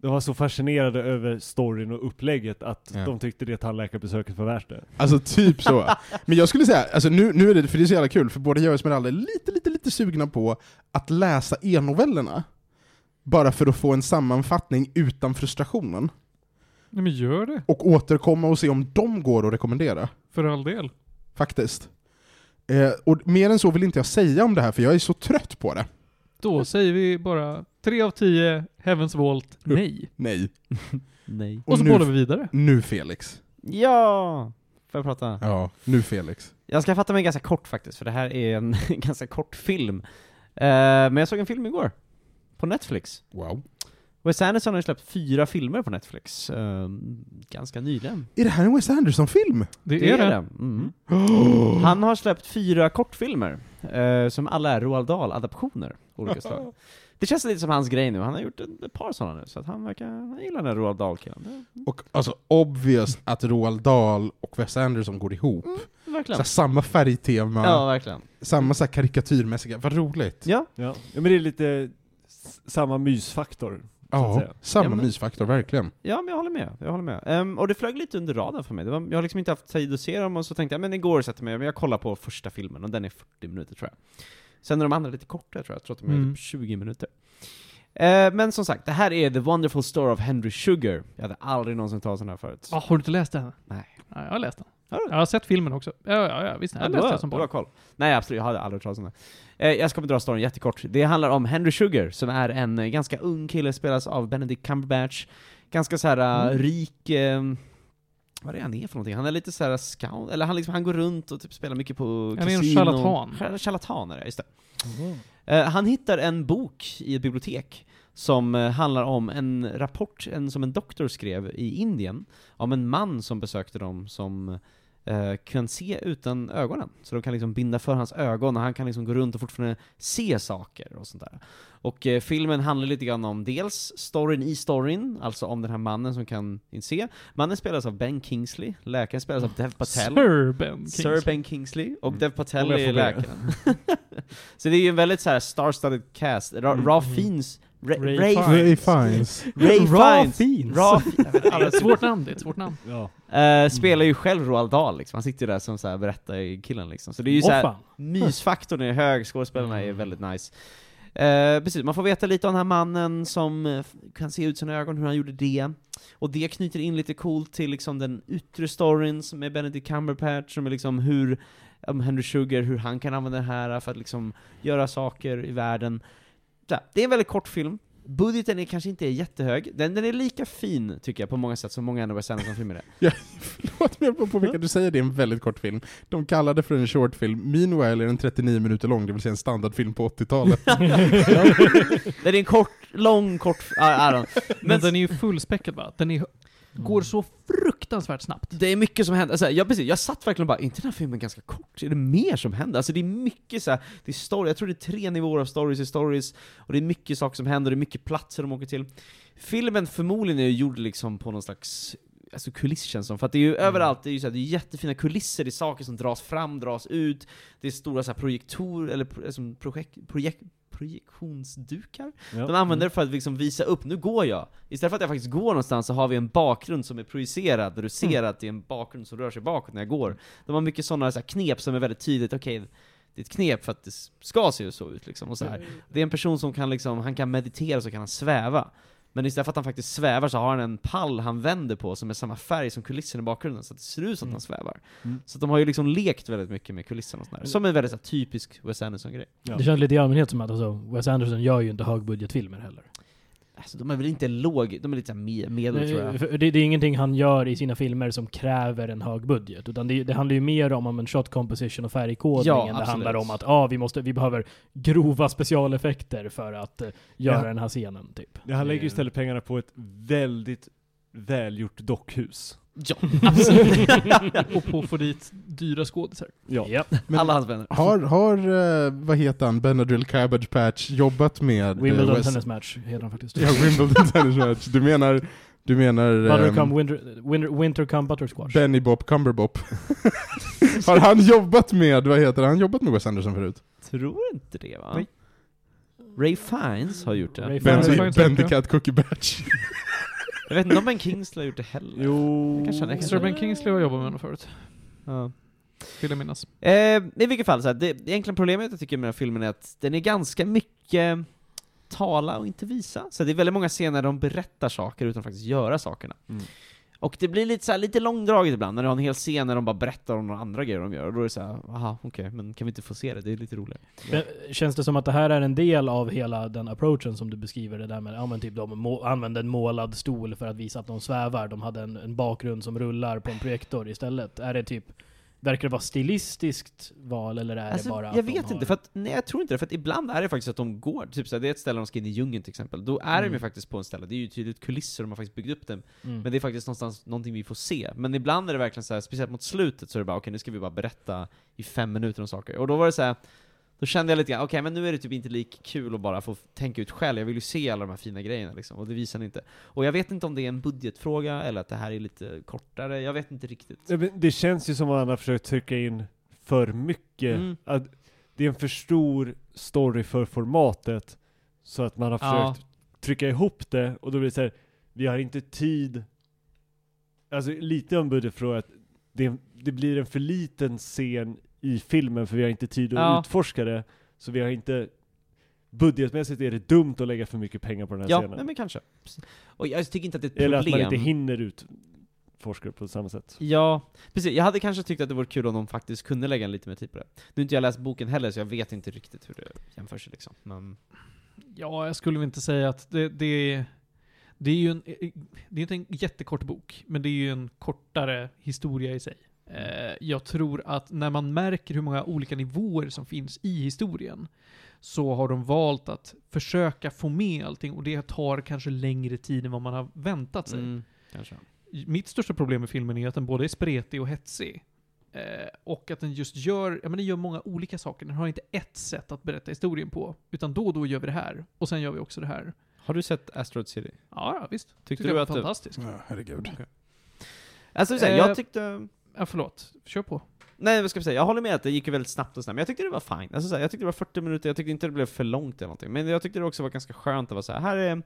De var så fascinerade över storyn och upplägget att
Ja.
de tyckte det tandläkarbesöket var värt det.
Alltså typ så. Men jag skulle säga, alltså nu, nu är det, för det är så jävla kul, för både jag och Esmeralda är lite, lite, lite sugna på att läsa e-novellerna. Bara för att få en sammanfattning utan frustrationen.
Nej men gör det,
Och återkomma och se om de går att rekommendera.
för all del.
Faktiskt. Eh, och mer än så vill inte jag säga om det här, för jag är så trött på det.
Då säger vi bara 3 av 10, Heavens Volt, nej.
Nej.
Alltså, Nej.
Och, så
nu,
bollar vi vidare.
nu Felix.
Ja! Får jag prata?
Ja, nu Felix.
Jag ska fatta mig ganska kort faktiskt, för det här är en ganska kort film. Eh, men jag såg en film igår. På Netflix.
Wow.
Wes Anderson har ju släppt fyra filmer på Netflix. eh, ganska nyligen.
Är det här en Wes Anderson-film?
Det, är det.
Mm. Han har släppt fyra kortfilmer, eh, som alla är Roald Dahl-adaptioner. av Olika slag. Det känns lite som hans grej nu, han har gjort ett, ett par sådana nu, så att han verkar, han gillar den här Roald Dahl-killen.
Och alltså obvious att Roald Dahl och Wes Anderson går ihop.
Det- Verkligen.
Såhär, samma färgtema,
Ja, verkligen.
samma så här karikatyrmässiga, vad roligt.
Ja,
Ja. ja men det är lite s- samma mysfaktor. att
Ja,
säga.
samma
Ja, men-
mysfaktor, verkligen.
Ja, men jag håller med. Jag håller med. Ehm, och det flög lite under radarn för mig. Det var, jag har liksom inte haft tid att se dem, och så tänkte jag men igår sätter jag mig, men jag kollar på första filmen, och den är 40 minuter tror jag. Sen är de andra lite kortare tror jag, jag tror att de är
Mm.
typ 20 minuter. Eh, men som sagt, det här är The Wonderful Story of Henry Sugar. Jag hade aldrig någonsin hört talas om den här förut.
Ah, har du inte läst den?
Nej.
Nej, jag har läst den.
Har du?
Jag har sett filmen också. Ja, ja, ja visst. Jag
Ja,
har
du
läst
har-
den som
du har
barn.
koll. Nej absolut, jag hade aldrig hört talas om det. Eh, jag ska bara dra storyn jättekort. Det handlar om Henry Sugar, som är en eh, ganska ung kille, spelas av Benedict Cumberbatch. Ganska så här eh,
Mm.
rik, eh, vad är han är för någonting? Han är lite så här eh, scout, eller han, liksom, han går runt och typ spelar mycket på
Han är en
kasino.
charlatan.
Char- Charlatan är det, just det. Eh, han hittar en bok i ett bibliotek som eh, handlar om en rapport en, som en doktor skrev i Indien om en man som besökte dem som eh, kan se utan ögonen. Så de kan liksom binda för hans ögon och han kan liksom gå runt och fortfarande se saker och sånt där. Och eh, filmen handlar lite grann om dels storyn i storyn, alltså om den här mannen som kan inte se. Mannen spelas av Ben Kingsley, läkaren spelas av Dev Patel.
Oh, Sir Ben
Sir
Kingsley. Mm.
Ben Kingsley och Dev Patel
Om jag
är
får be.
läkaren. så det är ju en väldigt så här star-studded cast. Ra Ra Fiends... Ra
Mm. Ray
Ray,
Fiennes. Ray
Fines.
Ray
Ra
Fiennes!
Fiennes.
Ra Fiennes.
Det är ett svårt namn, det är ett svårt namn.
Ja.
Eh, spelar ju själv Roald Dahl liksom. Han sitter ju där som så här berättar killen liksom. Så det är ju så här,
Åh, fan.
mysfaktorn är hög, skådespelarna är väldigt nice. Eh, precis, man får veta lite om den här mannen som eh, f- kan se ut sina ögon, hur han gjorde det. Och det knyter in lite coolt till liksom den yttre storyn som är Benedict Cumberbatch, som är liksom hur om Henry Sugar, hur han kan använda det här för att liksom göra saker i världen. Så här, det är en väldigt kort film. Budgeten är kanske inte jättehög, den, den är lika fin tycker jag på många sätt som många andra Wes Anderson-filmer är.
Förlåt, men jag kommer på vilka du säger, det är en väldigt kort film. De kallar det för en short film, meanwhile är den 39 minuter lång, det vill säga en standardfilm på 80-talet.
Den är en kort, lång, kort... I, I don't know.
Men, den är ju fullspäckad va? Den är, går så fruktansvärt snabbt.
Det är mycket som händer. Alltså, jag, precis, jag satt verkligen och bara, är inte den här filmen ganska kort? Är det mer som händer? Alltså det är mycket så här, det är story, jag tror det är tre nivåer av stories i stories, och det är mycket saker som händer, det är mycket platser de åker till. Filmen förmodligen är gjord liksom på någon slags Alltså kuliss känns som, för att det är ju överallt, det är ju så här, det är jättefina kulisser, det är saker som dras fram, dras ut, det är stora så här projektorer, eller pro, som projekt, projekt, projektionsdukar.
Ja.
De använder det för att liksom visa upp, nu går jag. Istället för att jag faktiskt går någonstans så har vi en bakgrund som är projicerad, där du ser att det är en bakgrund som rör sig bakåt när jag går. De har mycket sådana så här knep som är väldigt tydligt, okej, det är ett knep för att det ska se så ut liksom. Och så här. Det är en person som kan liksom, han kan meditera så kan han sväva. Men istället för att han faktiskt svävar så har han en pall han vänder på som är samma färg som kulissen i bakgrunden, så att det ser ut som att han svävar.
Mm.
Så att de har ju liksom lekt väldigt mycket med kulisserna och sådär. Som en väldigt så här, typisk Wes Anderson-grej.
Det känns lite i allmänhet som att alltså, Wes Anderson gör ju inte högbudgetfilmer heller.
Alltså de är väl inte låg, de är lite såhär me- medel tror jag.
För Det, det är ingenting han gör i sina filmer som kräver en hög budget. Utan det, det handlar ju mer om, om en shot composition och färgkodning
Ja,
än det
absolut.
handlar om att ah, vi, måste, vi behöver grova specialeffekter för att eh, göra
Ja.
den här scenen. Typ.
Ja, Han lägger ju istället pengarna på ett väldigt välgjort dockhus.
Ja,
och på att få dit dyra skådisar.
Ja.
Ja.
Men-
alla hans vänner.
Har, har eh, vad heter han, Benadryl Cabbage Patch jobbat med eh,
Wimbledon
Wes-
Tennis Match heter han faktiskt.
Ja, Wimbledon Tennis Match. Du menar, du menar
Butter
ehm,
come winter, winter, winter come butter squash.
Benny Bop Cumberbop? har han jobbat med, vad heter han, jobbat med Wes Anderson förut?
Tror inte det va?
Nej.
Ray Fiennes har gjort det.
Ray Fiennes.
Fan,
Benny
jag tror inte
Bendicat Cookie Batch.
Jag vet inte om Ben Kingsley har gjort det heller.
Jo...
Kanske han
Extra Ben Kingsley har jobbat med honom förut,
Ja.
vill jag minnas.
Eh, I vilket fall, så här, det, det egentligen problemet jag tycker med den här filmen är att den är ganska mycket tala och inte visa. Så det är väldigt många scener där de berättar saker utan att faktiskt göra sakerna.
Mm.
Och det blir lite, så här, lite långdraget ibland, när du har en hel scen där de bara berättar om några andra grejer de gör, och då är det så här, aha, okej, men kan vi inte få se det? Det är lite roligare.
Men, känns det som att det här är en del av hela den approachen som du beskriver? Det där med, ja men typ de må- använde en målad stol för att visa att de svävar. De hade en, en bakgrund som rullar på en projektor istället. Är det typ, verkar det vara stilistiskt val eller är det
Alltså,
bara att
jag
de
vet
har...
inte, för att, nej jag tror inte det, för att ibland är det faktiskt att de går, typ så här, det är ett ställe de ska in i djungen till exempel, då är de ju faktiskt på en ställe, det är ju tydligt kulisser de har faktiskt byggt upp den
Mm.
Men det är faktiskt någonstans någonting vi får se. Men ibland är det verkligen så här, speciellt mot slutet så är det bara okej nu ska vi bara berätta i fem minuter om saker. Och då var det så här. Då kände jag lite grann, okej men nu är det typ inte lika kul att bara få tänka ut själv, jag vill ju se alla de här fina grejerna liksom, och det visar ni inte. Och jag vet inte om det är en budgetfråga, eller att det här är lite kortare, jag vet inte riktigt.
Ja, men Det känns ju som att han har försökt trycka in för mycket.
Mm.
Att det är en för stor story för formatet. Så att man har
Ja.
försökt trycka ihop det och då blir det så här, vi har inte tid. Alltså lite om budgetfråga, att det, det blir en för liten scen i filmen för vi har inte tid att
Ja.
utforska det. Så vi har inte, budgetmässigt är det dumt att lägga för mycket pengar på den här
Ja,
scenen.
nej, men kanske. Och jag tycker inte att det är ett problem.
Eller att man inte hinner utforska det på samma sätt.
Ja, precis. Jag hade kanske tyckt att det vore kul om de faktiskt kunde lägga en lite mer tid på det. Nu har inte jag läst boken heller, så jag vet inte riktigt hur det jämför sig liksom. Men...
Ja, jag skulle väl inte säga att det, det är... Det är ju en, det är inte en jättekort bok, men det är ju en kortare historia i sig. Eh, Jag tror att när man märker hur många olika nivåer som finns i historien så har de valt att försöka få med allting och det tar kanske längre tid än vad man har väntat sig.
Mm, kanske.
Mitt största problem med filmen är att den både är spretig och hetsig. Eh, och att den just gör, ja men den gör många olika saker. Den har inte ett sätt att berätta historien på. Utan då och då gör vi det här. Och sen gör vi också det här.
Har du sett Asteroid City?
Ja, ja visst.
Tyckte,
Tyckte jag
du
var
att det...
fantastisk.
Ja, herregud.
Alltså, så här,
Eh,
jag tyckte...
Ja, förlåt. Kör på.
Nej, vad ska jag säga? Jag håller med att det gick ju väldigt snabbt och snabbt, men jag tyckte det var fint. Alltså, så här, jag tyckte det var 40 minuter, jag tyckte inte det blev för långt eller någonting. Men jag tyckte det också var ganska skönt att vara så här, här, är,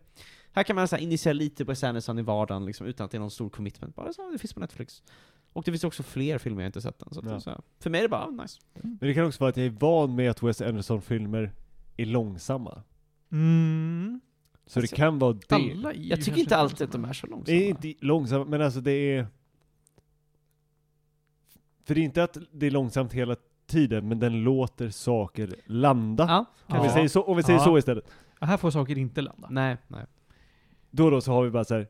här kan man så här, initiera lite på Wes Anderson i vardagen liksom, utan att det är någon stor commitment. Bara så, här, det finns på Netflix. Och det finns också fler filmer jag inte sett än. Så, att,
Ja.
så här, för mig är det bara, ah, nice.
Men det kan också vara att jag är van med att Wes Anderson-filmer är långsamma.
Mm.
Så
Alltså,
det kan vara det.
Alla är ju
Jag tycker
kanske
inte alltid att de är så
Det är
långsamma.
inte långsamma, men alltså det är... För det är inte att det är långsamt hela tiden, men den låter saker landa.
Ja,
Om, vi
Ah, Ja.
säger så, om vi säger
Ja.
så istället.
Ja, här får saker inte landa.
Nej, nej.
Då och då så har vi bara så här.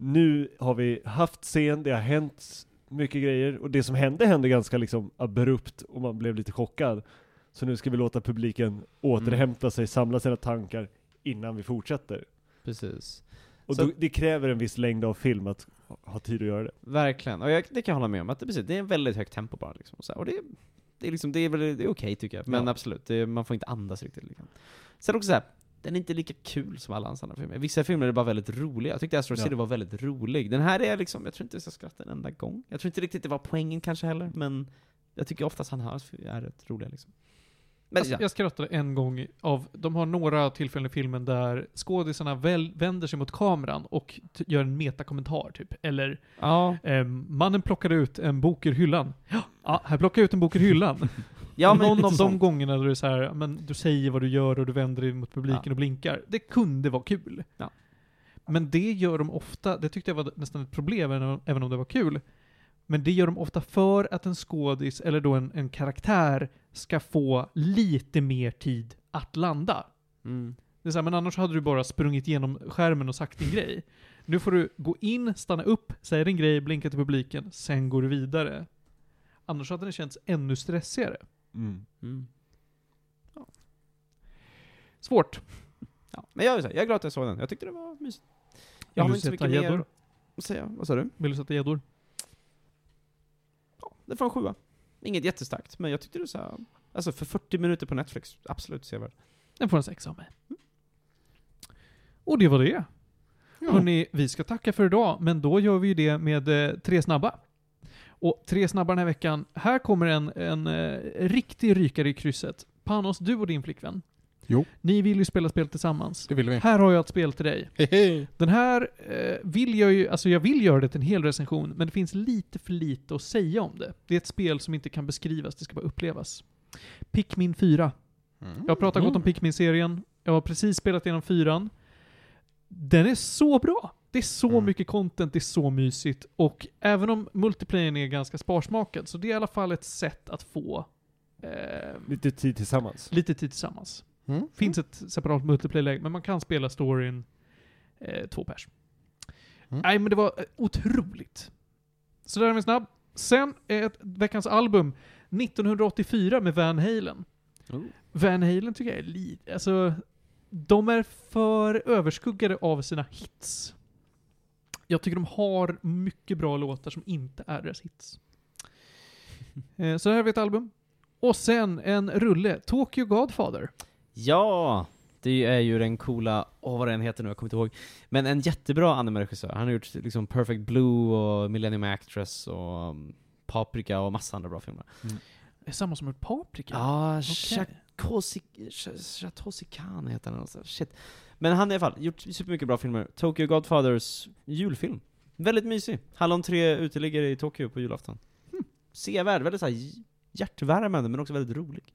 nu har vi haft scen, det har hänt mycket grejer, och det som hände hände ganska liksom abrupt, och man blev lite chockad. Så nu ska vi låta
Mm.
publiken återhämta sig, samla sina tankar, innan vi fortsätter.
Precis.
Och
Så-
då, det kräver en viss längd av film att ha- ha tid att göra det.
Verkligen. Och jag, det kan jag hålla med om, att det, precis, det är väldigt högt tempo bara. Liksom, och så här, och det, det är, liksom, det är, väl- det är okej tycker jag, men
Ja.
absolut, det, man får inte andas riktigt. Liksom. Sen också så här, den är inte lika kul som alla hans andra filmer. Vissa filmer är bara väldigt roliga. Jag tyckte Asteroid
Ja.
City var väldigt rolig. Den här är liksom, jag tror inte jag ska skratta en enda gång. Jag tror inte riktigt det var poängen kanske heller, men jag tycker oftast han här är rätt roliga liksom. Men
Alltså,
ja,
jag skrattade en gång av, de har några tillfällen i filmen där skådisarna väl, vänder sig mot kameran och t- gör en metakommentar typ. Eller
ja.
Ehm, mannen plockade ut en bok ur hyllan. Ja, Ja, här plockade jag ut en bok ur hyllan.
ja men
Någon
lite
av de
sånt.
gångerna där du, är så här, men du säger vad du gör och du vänder dig mot publiken
Ja.
och blinkar. Det kunde vara kul.
Ja.
Men det gör de ofta, det tyckte jag var nästan ett problem, även om- även om det var kul. Men det gör de ofta för att en skådis, eller då en, en karaktär, ska få lite mer tid att landa.
Mm.
Det är så här, men annars hade du bara sprungit genom skärmen och sagt din grej. Nu får du gå in, stanna upp, säga din grej, blinka till publiken, sen går du vidare. Annars hade den känts ännu stressigare.
Mm.
Mm.
Svårt.
Ja. Men jag, är så här, jag är glad att jag såg den, jag tyckte det var mysigt. Jag har
Vill
väl
du
inte så
sätta
mycket mer
gäddor?
att säga. Vad sa du?
Vill du sätta gäddor?
Ja, det får en sjua. Inget jättestarkt, men jag tyckte det var så här, Alltså för 40 minuter på Netflix, absolut sevärd.
Den får en sexa av mig. Och det var det. Hörrni, vi ska tacka för idag, men då gör vi ju det med eh, tre snabba. Och tre snabba den här veckan. Här kommer en, en eh, riktig rykare i krysset. Panos, du och din flickvän.
Jo.
Ni vill ju spela spel tillsammans.
Det vill vi.
Här har jag ett spel till dig.
Hej, hej.
Den här eh, vill jag ju, alltså jag vill göra det till en hel recension, men det finns lite för lite att säga om det. Det är ett spel som inte kan beskrivas, det ska bara upplevas. Pikmin 4.
Mm.
Jag har pratat gott om Pikmin-serien. Jag har precis spelat igenom fyran. Den är så bra! Det är så
Mm.
mycket content, det är så mysigt. Och även om multiplayern är ganska sparsmakad, så det är i alla fall ett sätt att få eh,
Lite tid tillsammans.
lite tid tillsammans.
Mm.
Finns ett separat multiplayer-läge, men man kan spela storyn eh, två pers.
Mm.
Nej, men det var eh, otroligt. Så där är vi snabb. Sen eh, ett, veckans album, 1984 med Van Halen.
Oh.
Van Halen tycker jag är lite... Alltså, de är för överskuggade av sina hits. Jag tycker de har mycket bra låtar som inte är deras hits. Eh, Så här har vi ett album. Och sen en rulle, Tokyo Godfather.
Ja! Det är ju den coola, åh vad den heter nu, jag kommer inte ihåg. Men en jättebra anime-regissör. Han har gjort liksom Perfect Blue och Millennium Actress och um, Paprika och massa andra bra filmer.
Det är samma som ett Paprika.
Ja,
Okej.
Chatosikan heter han alltså. Shit. Men han har i alla fall gjort supermycket bra filmer. Tokyo Godfathers julfilm. Väldigt mysig. Hallon 3 uteliggare i Tokyo på julafton. Hm. Sevärd, väldigt såhär hjärtvärmande men också väldigt rolig.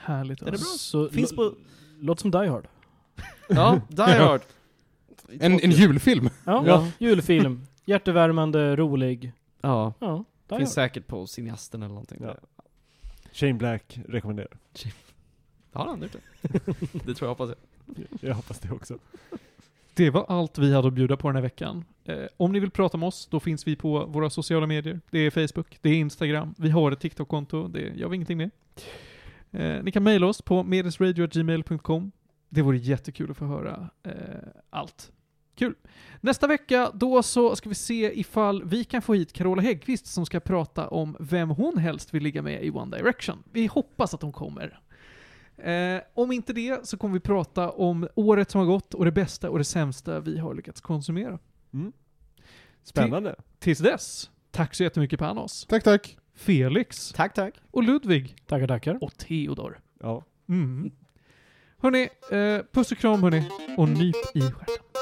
Härligt.
Den är bra.
Så,
Finns
lå-
på...
Låt som Die Hard.
Ja, Die Hard.
En, en julfilm.
Ja,
Ja.
julfilm. Hjärtevärmande, rolig.
Ja,
Ja, Die
finns
Hard.
säkert på cineasten eller någonting.
Ja. Shane Black rekommenderar.
Har han gjort det? det tror jag, hoppas jag.
Jag hoppas det också.
Det var allt vi hade att bjuda på den här veckan. Eh, om ni vill prata med oss, då finns vi på våra sociala medier. Det är Facebook, det är Instagram, vi har ett TikTok-konto, det gör vi ingenting med. Eh, ni kan mejla oss på medelsradio.gmail.com. Det vore jättekul att få höra eh, allt. Kul! Nästa vecka, då så ska vi se ifall vi kan få hit Carola Häggkvist som ska prata om vem hon helst vill ligga med i One Direction. Vi hoppas att hon kommer. Eh, om inte det så kommer vi prata om året som har gått och det bästa och det sämsta vi har lyckats konsumera.
Spännande.
Tills dess, tack så jättemycket Panos,
Tack, tack.
Felix
Tack, tack.
och Ludvig
Tackar, tackar.
och Theodor.
Ja.
Mm. Hörni, eh, puss och kram hörni och nyp i stjärten.